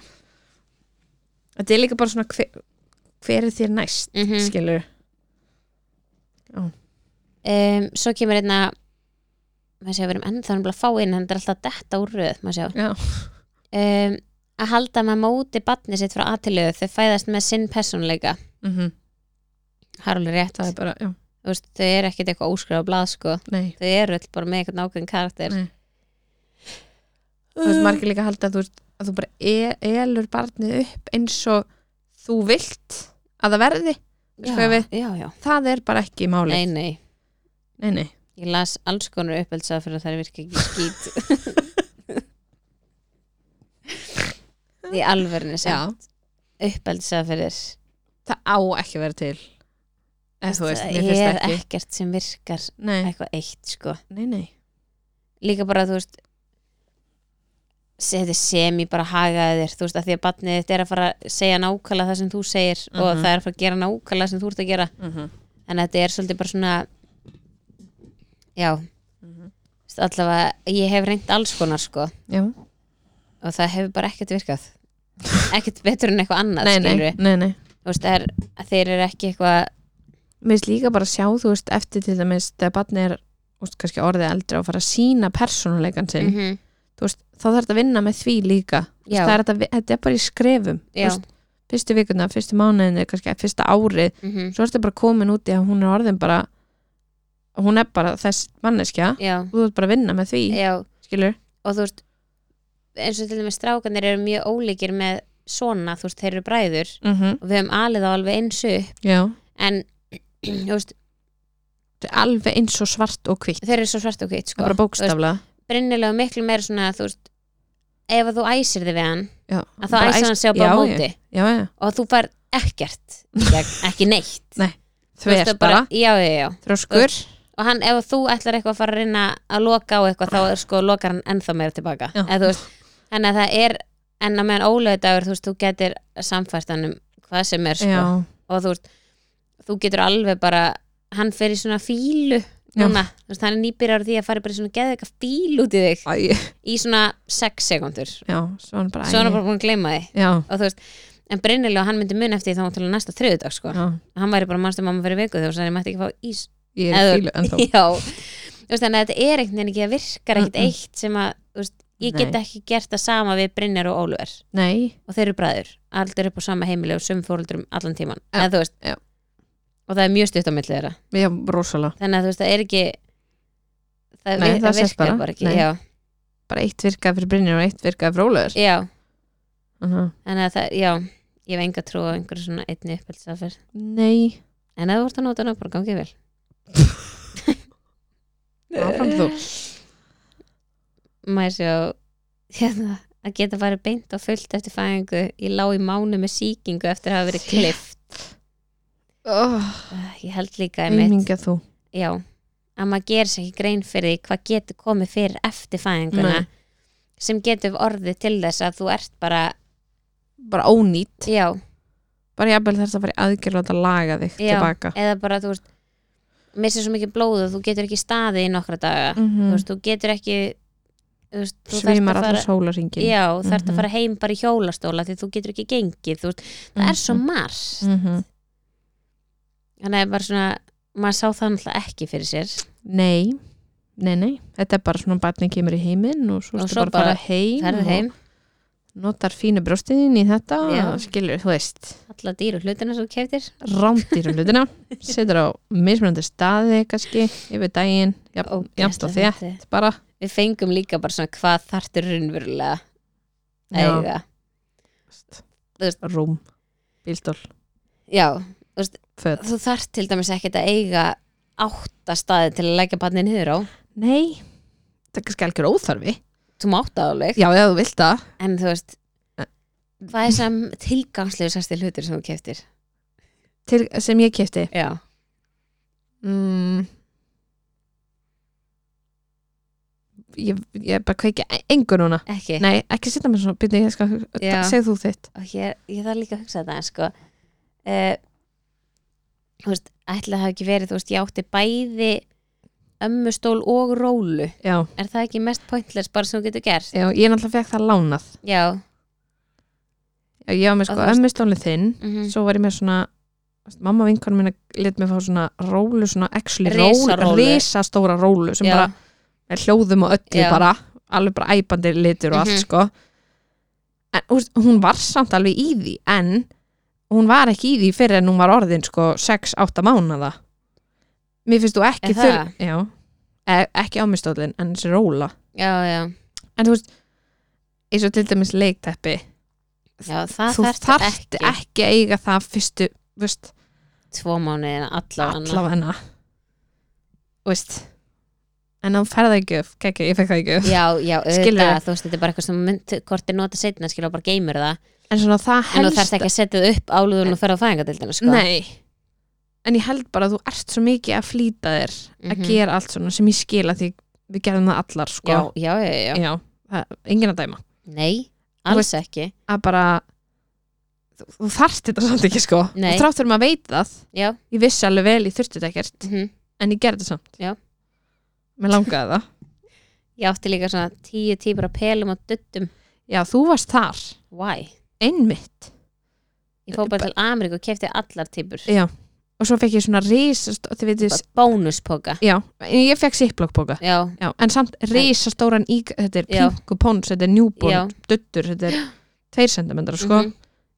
Speaker 2: þetta er líka bara svona hver, hver er þér næst
Speaker 1: Mhm.
Speaker 2: skilur,
Speaker 1: um, svo kemur einna maður sé að við erum ennþá nefnilega að fá inn en þetta er alltaf detta úr röð maður sé
Speaker 2: já,
Speaker 1: um, að halda með móti batni sitt frá aðtilöðu þau fæðast með sinn persónuleika
Speaker 2: mm
Speaker 1: það er alveg rétt
Speaker 2: það er bara, já,
Speaker 1: Þú veist, þau eru ekkert eitthvað óskráð á blað sko.
Speaker 2: nei
Speaker 1: þau eru öll bara með eitthvað nákvæm karakter Mm,
Speaker 2: Nei. þú veist, margir líka halda að þú, veist, að þú bara e elur barnið upp eins og þú vilt að það verði
Speaker 1: já,
Speaker 2: sko, við-
Speaker 1: já, já,
Speaker 2: það er bara ekki máli
Speaker 1: nei, nei
Speaker 2: nei, nei.
Speaker 1: ég las alls konar uppeldsa fyrir að það er virka ekki skýt í alverðinu sem uppeldsa fyrir
Speaker 2: það á ekki að vera til eða þú veist, mér
Speaker 1: það
Speaker 2: finnst
Speaker 1: er
Speaker 2: það ekki
Speaker 1: ekkert sem virkar
Speaker 2: nei,
Speaker 1: eitthvað eitt sko
Speaker 2: nei, nei,
Speaker 1: líka bara þú veist seti semi bara hagaði þér þú veist að því að barnið þitt er að fara að segja nákvæmlega það sem þú segir og
Speaker 2: Mhm.
Speaker 1: það er að fara að gera nákvæmlega sem þú ert að gera en þetta er svolítið bara svona já
Speaker 2: Mhm.
Speaker 1: þú veist, allavega ég hef reynt alls konar sko
Speaker 2: já,
Speaker 1: og það hefur bara ekkert virkað ekkert betur en eitthvað annað
Speaker 2: nei, nei,
Speaker 1: skilurðu.
Speaker 2: nei, nei
Speaker 1: þú veist það er að þeir eru ekki eitthvað
Speaker 2: mér finnst líka bara að sjá, þú veist, eftir til dæmis þegar barnið er, þú veist, kannski orðið eldra og fara að sína persónuleikan sinn
Speaker 1: mm -hmm,
Speaker 2: þú veist, þá þarf þetta að vinna með því líka Þú veist,
Speaker 1: Já.
Speaker 2: það er þetta, þetta er bara í skrefum Þú
Speaker 1: Já.
Speaker 2: veist, fyrstu vikuna, fyrstu mánuðinu kannski fyrsta árið,
Speaker 1: mm
Speaker 2: svo er þetta bara komin út í að hún er orðin bara hún er bara þess manneskja
Speaker 1: já,
Speaker 2: og þú ert bara að vinna með því,
Speaker 1: já
Speaker 2: skilur
Speaker 1: og þú veist eins og til dæmis strákanir eru mjög ólíkir með svona, þú veist, þeir eru bræður
Speaker 2: mm -hmm.
Speaker 1: og við höfum alið á alveg einsu
Speaker 2: já,
Speaker 1: en þú veist,
Speaker 2: þetta er alveg eins og svart og hvitt
Speaker 1: þeir eru svo svart og hvitt
Speaker 2: það
Speaker 1: sko.
Speaker 2: er bara bókstaflega
Speaker 1: brinnilega miklu meira svona þú veist, ef að þú æsir þig við hann
Speaker 2: já,
Speaker 1: að þá æsir hann sig á
Speaker 2: já,
Speaker 1: bara á
Speaker 2: já,
Speaker 1: móti
Speaker 2: já, já,
Speaker 1: og þú fær ekkert gegn, ekki neitt
Speaker 2: Nei,
Speaker 1: Þú veist,
Speaker 2: þvert
Speaker 1: það bara,
Speaker 2: bara,
Speaker 1: já, já, já.
Speaker 2: þrjóskur
Speaker 1: og hann, ef þú ætlar eitthvað að fara að reyna að loka á eitthvað, þá er sko lokar hann ennþá meira tilbaka
Speaker 2: Já.
Speaker 1: Eð, veist, þannig að það er, en að meðan ólöðdagur þú veist, þú getur samfært hann um hvað sem er sko
Speaker 2: já,
Speaker 1: og þú veist, þú getur alveg bara hann fer í svona fílu núna, þú veist, hann er nýbyrjar á því að fara bara í svona geða eitthvað fíl út í þig
Speaker 2: Æ,
Speaker 1: í svona 6 sekundur
Speaker 2: já, svo hann bara,
Speaker 1: svo hann
Speaker 2: æ,
Speaker 1: er bara búin að gleyma því
Speaker 2: já,
Speaker 1: og þú veist, en Brynnilega hann myndi mun eftir því þá hann til næsta þriðudag sko,
Speaker 2: já,
Speaker 1: hann væri bara mannstu mamma fyrir viku þegar hann mætti ekki fá ís
Speaker 2: ég er
Speaker 1: Eða-
Speaker 2: fílu ennþá
Speaker 1: já, þú veist, þannig að þetta er einhvern veginn ekki það virkar ekkert
Speaker 2: Mm, mm.
Speaker 1: eitt sem að, þú veist, ég get
Speaker 2: Nei.
Speaker 1: ekki gert það sama við Brynjar og Óluver
Speaker 2: nei,
Speaker 1: og þeir eru bræður, allir upp á sama heimili og sum fóruldrum allan tíman
Speaker 2: Já,
Speaker 1: eða þú veist
Speaker 2: já.
Speaker 1: og það er mjög stutt á milli þeirra
Speaker 2: já, rosalega
Speaker 1: þannig að þú veist það er ekki það,
Speaker 2: Nei,
Speaker 1: vir-
Speaker 2: það
Speaker 1: það
Speaker 2: sést
Speaker 1: virkar
Speaker 2: bara.
Speaker 1: bara, ekki
Speaker 2: Nei.
Speaker 1: já,
Speaker 2: bara eitt virkaði fyrir Brynjar og eitt virkaði fyrir Ólöður
Speaker 1: já,
Speaker 2: uh
Speaker 1: þannig að það, já ég hef enga trú á einhverju svona einni uppeldsafir
Speaker 2: nei,
Speaker 1: en ef þú vart að nota hana, bara gangið vel
Speaker 2: áfram þú
Speaker 1: maður sjá hérna, að geta farið beint og fullt eftir fæðingu ég lá í mánu með sýkingu eftir að hafa verið klift Ah,
Speaker 2: oh,
Speaker 1: ég held líka einmitt
Speaker 2: einmingja þú
Speaker 1: já, að maður gerir sér ekki grein fyrir því hvað getur komið fyrir eftir fæðinguna
Speaker 2: Nei.
Speaker 1: sem getur orðið til þess að þú ert bara
Speaker 2: bara ónýtt,
Speaker 1: já,
Speaker 2: bara jafnvel þess að fara í aðgerð og þetta laga þig
Speaker 1: Já.
Speaker 2: tilbaka
Speaker 1: eða bara þú veist missir svo mikið blóð og þú getur ekki staðið í nokkra daga þú,
Speaker 2: mm
Speaker 1: veist, þú getur ekki þú veist, Mhm. þú þarft að
Speaker 2: svimar
Speaker 1: fara-
Speaker 2: allar sólaringin
Speaker 1: já, þú þarft
Speaker 2: Mhm.
Speaker 1: að fara heim bara í hjólastóla því þú getur ekki gengið þú veist, það er
Speaker 2: Mhm.
Speaker 1: svo margt þannig að bara svona maður sá það náttúrulega ekki fyrir sér
Speaker 2: nei, nei, nei þetta er bara svona barnið kemur í heiminn og svo
Speaker 1: Og
Speaker 2: ertu
Speaker 1: svo
Speaker 2: bara að fara
Speaker 1: bara
Speaker 2: heim,
Speaker 1: ferðu heim,
Speaker 2: og notar fínu brjóstiðin í þetta
Speaker 1: Já.
Speaker 2: og skilur, þú veist
Speaker 1: alla dýru hlutina sem þú keftir
Speaker 2: rándýrum hlutina setur á mismunandi staði kannski yfir daginn, jafn, jafnt og þétt bara
Speaker 1: við fengum líka bara svona hvað þartir raunverulega
Speaker 2: Já.
Speaker 1: eiga
Speaker 2: rúm, bílstól,
Speaker 1: já,
Speaker 2: föt
Speaker 1: þú þart til dæmis ekkert að eiga átta staði til að leggja barnin niður á
Speaker 2: nei, þetta er kannski algjör óþarfi
Speaker 1: þú mátt áleg,
Speaker 2: já, ef þú vilt það
Speaker 1: en þú veist
Speaker 2: Eh.
Speaker 1: hvað er sem tilgangslegu sæsti hlutur sem þú keftir
Speaker 2: til, sem ég kefti
Speaker 1: já,
Speaker 2: mm. ég, ég bara kveiki e, engu núna
Speaker 1: ekki
Speaker 2: nei, ekki setja mér svona byrni, ég skal,
Speaker 1: Já.
Speaker 2: segð þú þitt
Speaker 1: og ég, ég þarf líka að hugsa þetta en sko uh, þú veist, ætla það hafi ekki verið þú veist, ég átti bæði ömmustól og rólu
Speaker 2: já,
Speaker 1: er það ekki mest pointless bara sem þú getur gert
Speaker 2: já ég náttúrulega fekk það lánað
Speaker 1: já,
Speaker 2: já, ég var með
Speaker 1: Og
Speaker 2: sko
Speaker 1: þú veist-
Speaker 2: ömmustólni þinn
Speaker 1: mhm.
Speaker 2: svo var ég með svona veist, mamma vinkonum minna let mér fá svona rólu svona actually
Speaker 1: Risarólu.
Speaker 2: rólu, risastóra rólu sem
Speaker 1: já,
Speaker 2: bara er hljóðum og öllu
Speaker 1: Já.
Speaker 2: bara alveg bara æpandi litur og allt
Speaker 1: Mhm.
Speaker 2: sko en þú veist, hún var samt alveg í því en hún var ekki í því fyrir en hún var orðin sko 6-8 mánada mér finnst þú ekki
Speaker 1: Er það?
Speaker 2: þurr já, e ekki ámistólin en þessi róla
Speaker 1: já, já,
Speaker 2: en þú veist, eins og til dæmis leikteppi
Speaker 1: já það
Speaker 2: þú
Speaker 1: þarft
Speaker 2: þarft
Speaker 1: ekki,
Speaker 2: ekki. að eiga það fyrstu, þú veist
Speaker 1: tvo mánuðina allavega
Speaker 2: allavega Þú veist en hann ferða ekki upp, ekki, ég fekk það ekki upp
Speaker 1: já, já,
Speaker 2: Skilurðu?
Speaker 1: auðvitað, þú veist, þetta er bara eitthvað sem mynd, hvort er nota setna, skilur bara geymur það
Speaker 2: en svona það
Speaker 1: en þú
Speaker 2: helst
Speaker 1: þarft ekki að setja það upp áluðun og ferða á fæðingatildina, sko
Speaker 2: Nei, en ég held bara að þú ert svo mikið að flýta þér
Speaker 1: Mhm.
Speaker 2: að gera allt svona sem ég skila því við gerðum það allar sko.
Speaker 1: já, já, já, já,
Speaker 2: Já, það, engin að dæma
Speaker 1: nei, alls ekki
Speaker 2: að bara þú, þú þarft þetta samt ekki sko
Speaker 1: Nei.
Speaker 2: og þrátt fyrir maður veit það,
Speaker 1: já,
Speaker 2: ég vissi alveg vel ég þurfti þetta ekkert,
Speaker 1: mhm
Speaker 2: en ég gerði þetta samt
Speaker 1: Já.
Speaker 2: Mér langaði það
Speaker 1: Ég átti líka svona tíu típar af pelum og duttum.
Speaker 2: Já, þú varst þar,
Speaker 1: Why?
Speaker 2: einmitt
Speaker 1: Ég fór bara til Ameríku og kefti allar típur.
Speaker 2: Já, og svo fekk ég svona risast og þið veitir,
Speaker 1: Bara Bónuspoka.
Speaker 2: já, en ég fekk sipplokkbóka
Speaker 1: Já,
Speaker 2: Já, en samt risastóran ík, þetta er
Speaker 1: Já.
Speaker 2: pingu póns, þetta er
Speaker 1: Já.
Speaker 2: njúborn, duttur, þetta er tveir sentimentar, sko.
Speaker 1: Mhm.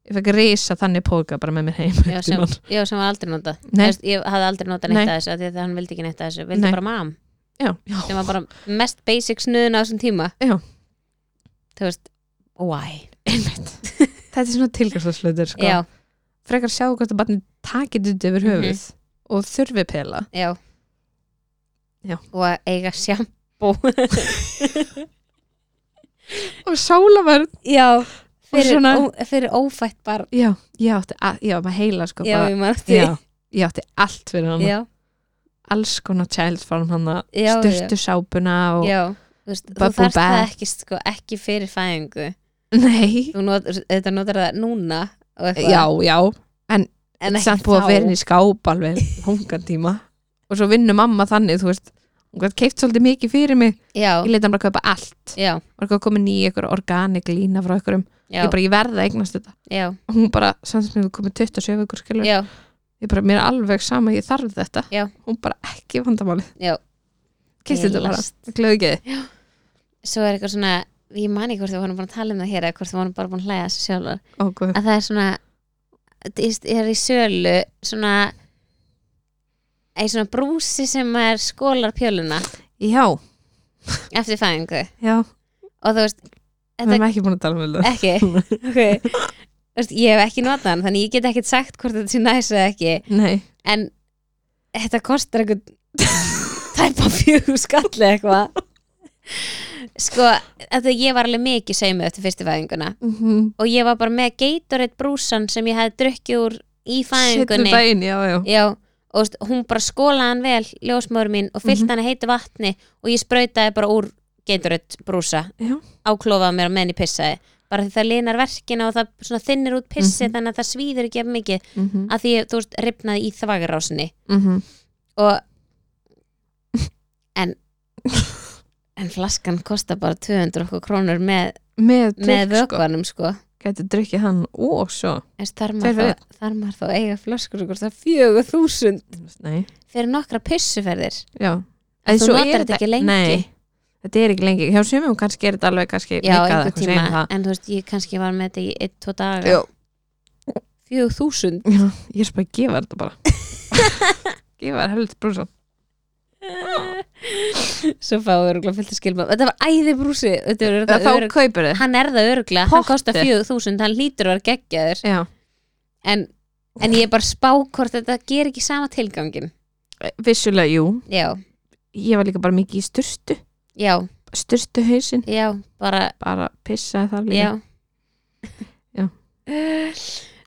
Speaker 2: Ég fekk risa þannig póka bara með mér heim.
Speaker 1: já, sem,
Speaker 2: einhvern tímann.
Speaker 1: já, sem var aldrei notað.
Speaker 2: Nei,
Speaker 1: Þess, ég hafði aldrei notað neitt
Speaker 2: Nei.
Speaker 1: að þessu af því að hann vildi ekki neitt að þessu. Vildi
Speaker 2: Nei.
Speaker 1: bara mam.
Speaker 2: já, já,
Speaker 1: Sem var bara mest basic snuðun á þessum tíma.
Speaker 2: Já.
Speaker 1: Þú veist, why?
Speaker 2: einmitt. þetta er svona tilgjörsluður, sko.
Speaker 1: Já,
Speaker 2: Frekar sjáu hvort að barni takit út yfir höfuð
Speaker 1: Mhm.
Speaker 2: og þurfi pela.
Speaker 1: já.
Speaker 2: Já.
Speaker 1: Og að eiga sjambó.
Speaker 2: Og sálaverð.
Speaker 1: já. Fyrir,
Speaker 2: svona-
Speaker 1: ó, fyrir ófætt barn.
Speaker 2: Já, ég átti, að, já, maður heila, sko.
Speaker 1: Já,
Speaker 2: bara,
Speaker 1: ég margt því.
Speaker 2: já, ég átti allt fyrir hann.
Speaker 1: já,
Speaker 2: Alls konar child farm hann,
Speaker 1: Já, já.
Speaker 2: styrtu sápuna og,
Speaker 1: já. Þú veist, þú
Speaker 2: Bubble
Speaker 1: þarft það
Speaker 2: bath.
Speaker 1: ekki, sko, ekki fyrir fæðingu.
Speaker 2: nei,
Speaker 1: þú not, þetta notar það núna og eitthvað,
Speaker 2: já, já.
Speaker 1: en ekki
Speaker 2: samt búið
Speaker 1: þá.
Speaker 2: að vera inn í skáp alveg langan tíma og svo vinnur mamma þannig þú veist, hún gætt keift svolítið mikið fyrir mig ég
Speaker 1: já,
Speaker 2: leti hann bara kaupa allt
Speaker 1: já,
Speaker 2: var ekki að koma ný ykkur organik lína frá ykkurum
Speaker 1: já,
Speaker 2: ég bara, ég verða að eignast þetta
Speaker 1: já,
Speaker 2: og hún bara, samt sem við komið 27 ykkur skilur
Speaker 1: já,
Speaker 2: ég bara, mér er alveg sama, ég þarf þetta
Speaker 1: Já.
Speaker 2: hún bara, ekki vandamálið
Speaker 1: Já.
Speaker 2: keift þetta bara,
Speaker 1: Heilast.
Speaker 2: glöðu ekki þið.
Speaker 1: svo er eitthvað svona ég man ekki hvort við vorum búin að tala um það hér eða hvort við vorum bara búin að hlæja þessu sjálfur
Speaker 2: Ó, guð.
Speaker 1: að það er svona ég er í sölu svona eða svona brúsi sem er skólar pjöluna
Speaker 2: Já,
Speaker 1: eftir fæðingu
Speaker 2: já,
Speaker 1: og þú veist,
Speaker 2: við
Speaker 1: þetta
Speaker 2: erum ekki búin að tala um þetta
Speaker 1: ekki okay. Þú veist, ég hef ekki notað hann þannig ég get ekkert sagt hvort þetta sé næs eða ekki
Speaker 2: Nei,
Speaker 1: en þetta kostar einhvern tæpa fjögur skalli eitthvað sko, þetta ég var alveg mikið saumu eftir fyrstu fæðinguna og ég var bara með Gatorade brúsan sem ég hefði drukkið úr í
Speaker 2: Settum
Speaker 1: fæðingunni
Speaker 2: daginn, já, já
Speaker 1: já, og veist, hún bara skólaði hann vel ljósmóður mín og fyllt mm
Speaker 2: Mhm.
Speaker 1: hann að heitu vatni og ég sprautaði bara úr Gatorade brúsa
Speaker 2: Já.
Speaker 1: áklofaði mér á meðan ég pissaði bara því það linar verkina og það svona þinnir út pissi
Speaker 2: Mhm.
Speaker 1: þannig að það svíður ekki af mikið
Speaker 2: Mhm,
Speaker 1: að því ég, þú veist, ripnaði í þvagrásinni
Speaker 2: mhm.
Speaker 1: og en en flaskan kostar bara 200 okkur krónur með,
Speaker 2: Með
Speaker 1: með
Speaker 2: drikk, sko
Speaker 1: vökvanum sko
Speaker 2: Gæti drukkið hann og svo
Speaker 1: en þar
Speaker 2: Tveir fyrir
Speaker 1: maður, þá, þar maður þá að eiga flaskur okkur það fjögur þúsund
Speaker 2: Nei,
Speaker 1: fyrir nokkra pissuferðir
Speaker 2: já En
Speaker 1: þú
Speaker 2: svo er
Speaker 1: notar þetta ekki lengi
Speaker 2: Nei, þetta er ekki lengi Hjá sumum kannski er þetta alveg kannski
Speaker 1: já,
Speaker 2: vikað,
Speaker 1: einhver
Speaker 2: eitthvað sem
Speaker 1: tíma,
Speaker 2: það.
Speaker 1: en þú veist, ég kannski var með þetta í einn, tvo daga
Speaker 2: Já.
Speaker 1: fjögur þúsund
Speaker 2: Já, ég er svo bara að gefa þetta bara Gefa þetta helviti brúsan
Speaker 1: svo fáið öruglega fyllt að skilma þetta var æði brúsi þetta var
Speaker 2: Þá
Speaker 1: þetta örugg-
Speaker 2: kaupir þið
Speaker 1: hann er það öruglega, hann
Speaker 2: Pottur.
Speaker 1: kostar fjögur þúsund hann lítur að vera geggjaður
Speaker 2: Já,
Speaker 1: en, en ég er bara að spá hvort þetta ger ekki sama tilgangin
Speaker 2: vissulega, jú
Speaker 1: já,
Speaker 2: Ég var líka bara mikið í styrstu
Speaker 1: já,
Speaker 2: Styrstu hausinn
Speaker 1: já, bara
Speaker 2: Bara pissaði þar líka
Speaker 1: já,
Speaker 2: Já.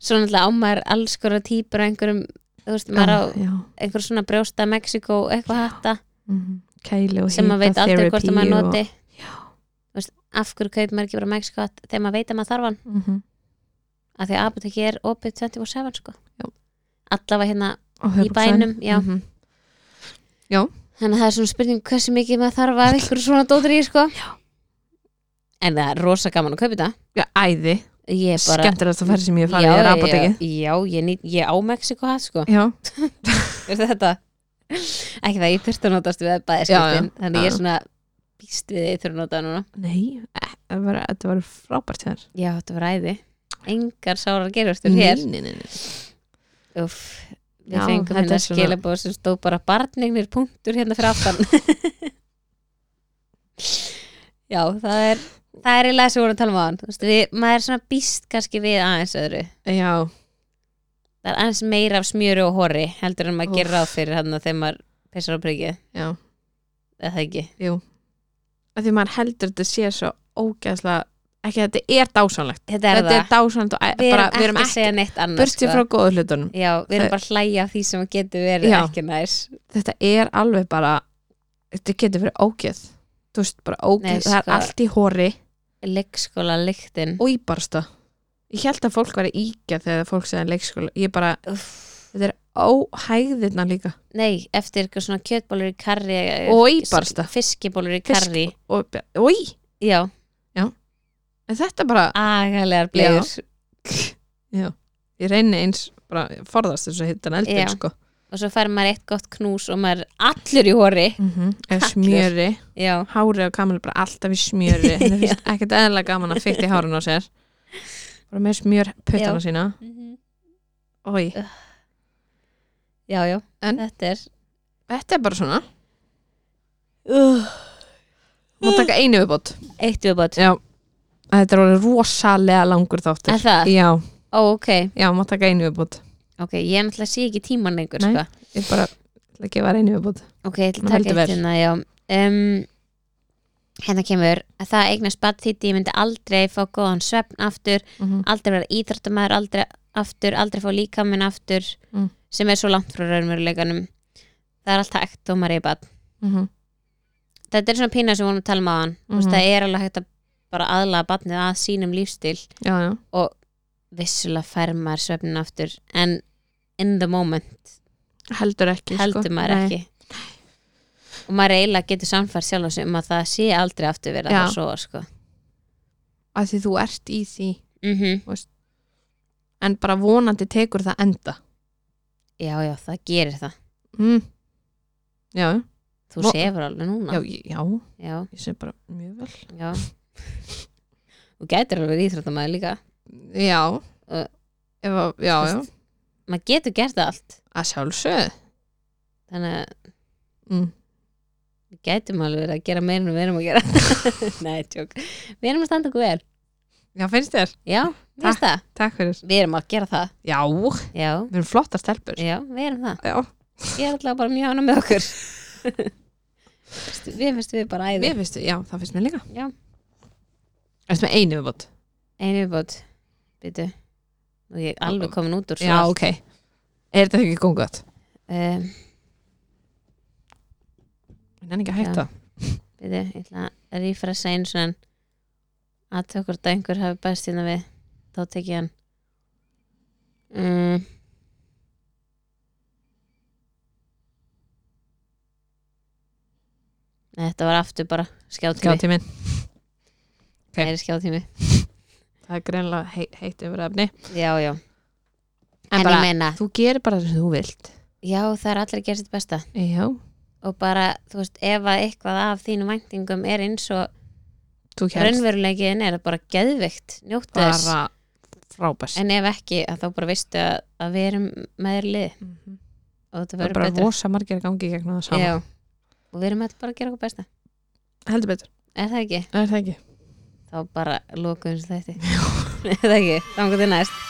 Speaker 1: svo náttúrulega á maður alls skora típur á einhverjum þú veist, maður á
Speaker 2: já.
Speaker 1: einhver svona brjósta Mexiko eitthvað hætta
Speaker 2: Mhm. Kæli og
Speaker 1: sem maður veit aldrei hvort að maður
Speaker 2: hitatherapy
Speaker 1: noti Þú veist, af hverju kaup maður ekki bara Mexiko hatt þegar maður veit að maður þarf hann
Speaker 2: og, Mhm.
Speaker 1: af því að apoteki er opið 24-7 sko.
Speaker 2: Já.
Speaker 1: allavega hérna
Speaker 2: og
Speaker 1: í bænum já.
Speaker 2: -hmm.
Speaker 1: þannig að það er svona spurning hversu mikið maður þarf að einhverju svona dóttir í sko. en það er rosa gaman að kaupa þetta
Speaker 2: Já, æði,
Speaker 1: ég er bara
Speaker 2: skemmtilegast að ferð sem ég hef farið í er apotekið
Speaker 1: já, já, ég, nýt- ég á Mexiko hatt sko.
Speaker 2: Já,
Speaker 1: er þetta ekki það, ég þurfti að notast við bæðiskiptin
Speaker 2: Já, já.
Speaker 1: þannig ég
Speaker 2: Já.
Speaker 1: er svona býst við þið þurfti að nota það núna
Speaker 2: nei, eh, það var- þetta var frábært hér
Speaker 1: já, þetta var æði, engar sárar gerustur hér
Speaker 2: nei, nei, nei.
Speaker 1: Uff, við
Speaker 2: Já,
Speaker 1: fengum
Speaker 2: þetta
Speaker 1: hérna
Speaker 2: er svona-
Speaker 1: skilabóð sem stóð bara barnignir punktur hérna fyrir aftan já, það er það er í lagi sem við vorum að tala um á hann við, maður er svona býst kannski við aðeins öðru
Speaker 2: Já,
Speaker 1: það er aðeins meira af smjöru og horri heldur en maður
Speaker 2: Úff.
Speaker 1: gerir ráð fyrir hann þegar maður pissar á prikið,
Speaker 2: já
Speaker 1: eða það ekki
Speaker 2: að Því maður heldur þetta sé svo ógæðslega ekki, þetta er dásanlegt
Speaker 1: þetta er
Speaker 2: Þetta er
Speaker 1: það,
Speaker 2: dásanlegt og
Speaker 1: við
Speaker 2: við
Speaker 1: erum,
Speaker 2: bara, við erum
Speaker 1: ekki að
Speaker 2: ekki
Speaker 1: segja sko. neitt annars
Speaker 2: burtið frá góðu hlutunum
Speaker 1: já, við erum
Speaker 2: Það-
Speaker 1: bara að hlæja af því sem getur verið
Speaker 2: Já.
Speaker 1: ekki næs
Speaker 2: Þetta er alveg bara Þetta getur verið ógæð Þú veist, bara
Speaker 1: Nei,
Speaker 2: ógæð, það
Speaker 1: sko.
Speaker 2: er allt í hóri
Speaker 1: leikskóla lyktin
Speaker 2: og íbarsta Ég held að fólk væri íkja þegar fólk segði leikskóla Ég bara, þetta er óhæðirna líka
Speaker 1: nei, eftir eitthvað svona kjötbólur í karri
Speaker 2: og íbarsta
Speaker 1: fiskibólur í
Speaker 2: Fisk-
Speaker 1: karri
Speaker 2: og, og,
Speaker 1: já,
Speaker 2: en þetta bara,
Speaker 1: agalegar blegur
Speaker 2: ég reyni eins bara forðast þess að hitta hann
Speaker 1: Já.
Speaker 2: eldin sko.
Speaker 1: og svo fær maður eitt gott knús og maður er allur í horri
Speaker 2: mm -hmm.
Speaker 1: Kallur.
Speaker 2: smjöri,
Speaker 1: já,
Speaker 2: hárið og kamilu bara alltaf í smjöri, henni finnst ekkert eðla gaman að fykta í hárun á sér bara með smjör puttana sína Oi.
Speaker 1: já, já,
Speaker 2: En-
Speaker 1: þetta er
Speaker 2: þetta er bara svona,
Speaker 1: uh,
Speaker 2: má taka einu viðbót
Speaker 1: eitt viðbót
Speaker 2: já, þetta er orðið rosalega langur þáttur
Speaker 1: er það,
Speaker 2: já,
Speaker 1: ó, ok
Speaker 2: já, má taka einu viðbót
Speaker 1: ok, ég náttúrulega sé ekki tíman lengur
Speaker 2: Nei.
Speaker 1: sko.
Speaker 2: ég bara, ætla að gefa þér einu viðbót
Speaker 1: ok, ég ætla
Speaker 2: Nú
Speaker 1: að taka
Speaker 2: heldur
Speaker 1: eitt
Speaker 2: vel.
Speaker 1: hérna já. um, hérna kemur að það eignast bad þitt ég myndi aldrei fá góðan svefn aftur
Speaker 2: Mhm.
Speaker 1: aldrei vera íþróttamæður aldrei aftur, aldrei fá líkaminn aftur
Speaker 2: Mm.
Speaker 1: sem er svo langt frá raunveruleikanum það er allt hægt og maður er í bad
Speaker 2: Mhm.
Speaker 1: þetta er svona pína sem við vorum að tala um á hann mm
Speaker 2: Mhm.
Speaker 1: það er alveg hægt að bara aðlaga badnið að sínum lífstil
Speaker 2: já, já,
Speaker 1: vissulega fær maður svefnin aftur en in the moment
Speaker 2: heldur ekki
Speaker 1: heldur
Speaker 2: sko.
Speaker 1: maður
Speaker 2: Nei.
Speaker 1: ekki og maður eiginlega getur samfært sjálf og sig um að það sé aldrei aftur verið að
Speaker 2: Já.
Speaker 1: það sofa sko.
Speaker 2: að því þú ert í því
Speaker 1: mm
Speaker 2: en bara vonandi tekur það enda
Speaker 1: já, já, það gerir það
Speaker 2: mm. já,
Speaker 1: þú
Speaker 2: Mo-
Speaker 1: sefur alveg núna
Speaker 2: já,
Speaker 1: já,
Speaker 2: ég- já,
Speaker 1: já,
Speaker 2: ég sé bara mjög vel
Speaker 1: þú getur alveg íþróttamæður líka
Speaker 2: já, eh,
Speaker 1: Uh,
Speaker 2: Ef að, já, já
Speaker 1: maður getur gert það allt
Speaker 2: að sjálfsög
Speaker 1: þannig að
Speaker 2: mm.
Speaker 1: við gætum alveg verið að gera meira en við erum að gera nei, tjók við erum að standa okkur vel
Speaker 2: Já, finnst þér?
Speaker 1: já, við erum það
Speaker 2: Takk fyrir
Speaker 1: við erum að gera það
Speaker 2: Já, við
Speaker 1: já,
Speaker 2: erum flottar stelpur
Speaker 1: já, við erum það
Speaker 2: Já,
Speaker 1: ég er alltaf bara mjög hana með okkur Veistu, við finnst við bara æði
Speaker 2: mér finnst þér, já, það finnst mér líka
Speaker 1: Já.
Speaker 2: Ertu með einu viðbót?
Speaker 1: einu bót býtu og ég er alveg komin út úr
Speaker 2: Já, ok Er þetta ekki góð gott?
Speaker 1: um,
Speaker 2: Ég nenni ekki að hætta
Speaker 1: býtu, ég ætla að rífrasa einu svona að tökur dængur hafi bæst hérna við þá tek ég hann um, Nei, þetta var aftur bara skjáttími,
Speaker 2: Gjátti minn, ok.
Speaker 1: meiri skjáttími
Speaker 2: það er greinlega heit, heitt yfir efni
Speaker 1: já, já, en,
Speaker 2: bara,
Speaker 1: ég meina
Speaker 2: Þú gerir bara það sem þú vilt
Speaker 1: já, það er allir að gera sitt besta
Speaker 2: Já,
Speaker 1: og bara, þú veist, ef að eitthvað af þínum væntingum er eins og
Speaker 2: þú kjærst
Speaker 1: raunverulegiðin er bara geðvikt, njóttu þess
Speaker 2: bara frábæst
Speaker 1: en ef ekki, að þá bara veistu að, að við erum með þér í lið og þetta
Speaker 2: Það er
Speaker 1: verður
Speaker 2: bara
Speaker 1: betra
Speaker 2: rosa margir gangi gegnum það saman
Speaker 1: Já. og við erum að bara að gera okkur besta
Speaker 2: Heldur betur,
Speaker 1: er það ekki?
Speaker 2: er það ekki?
Speaker 1: þá bara lokuðum þessu þetta er það ekki, þá til næst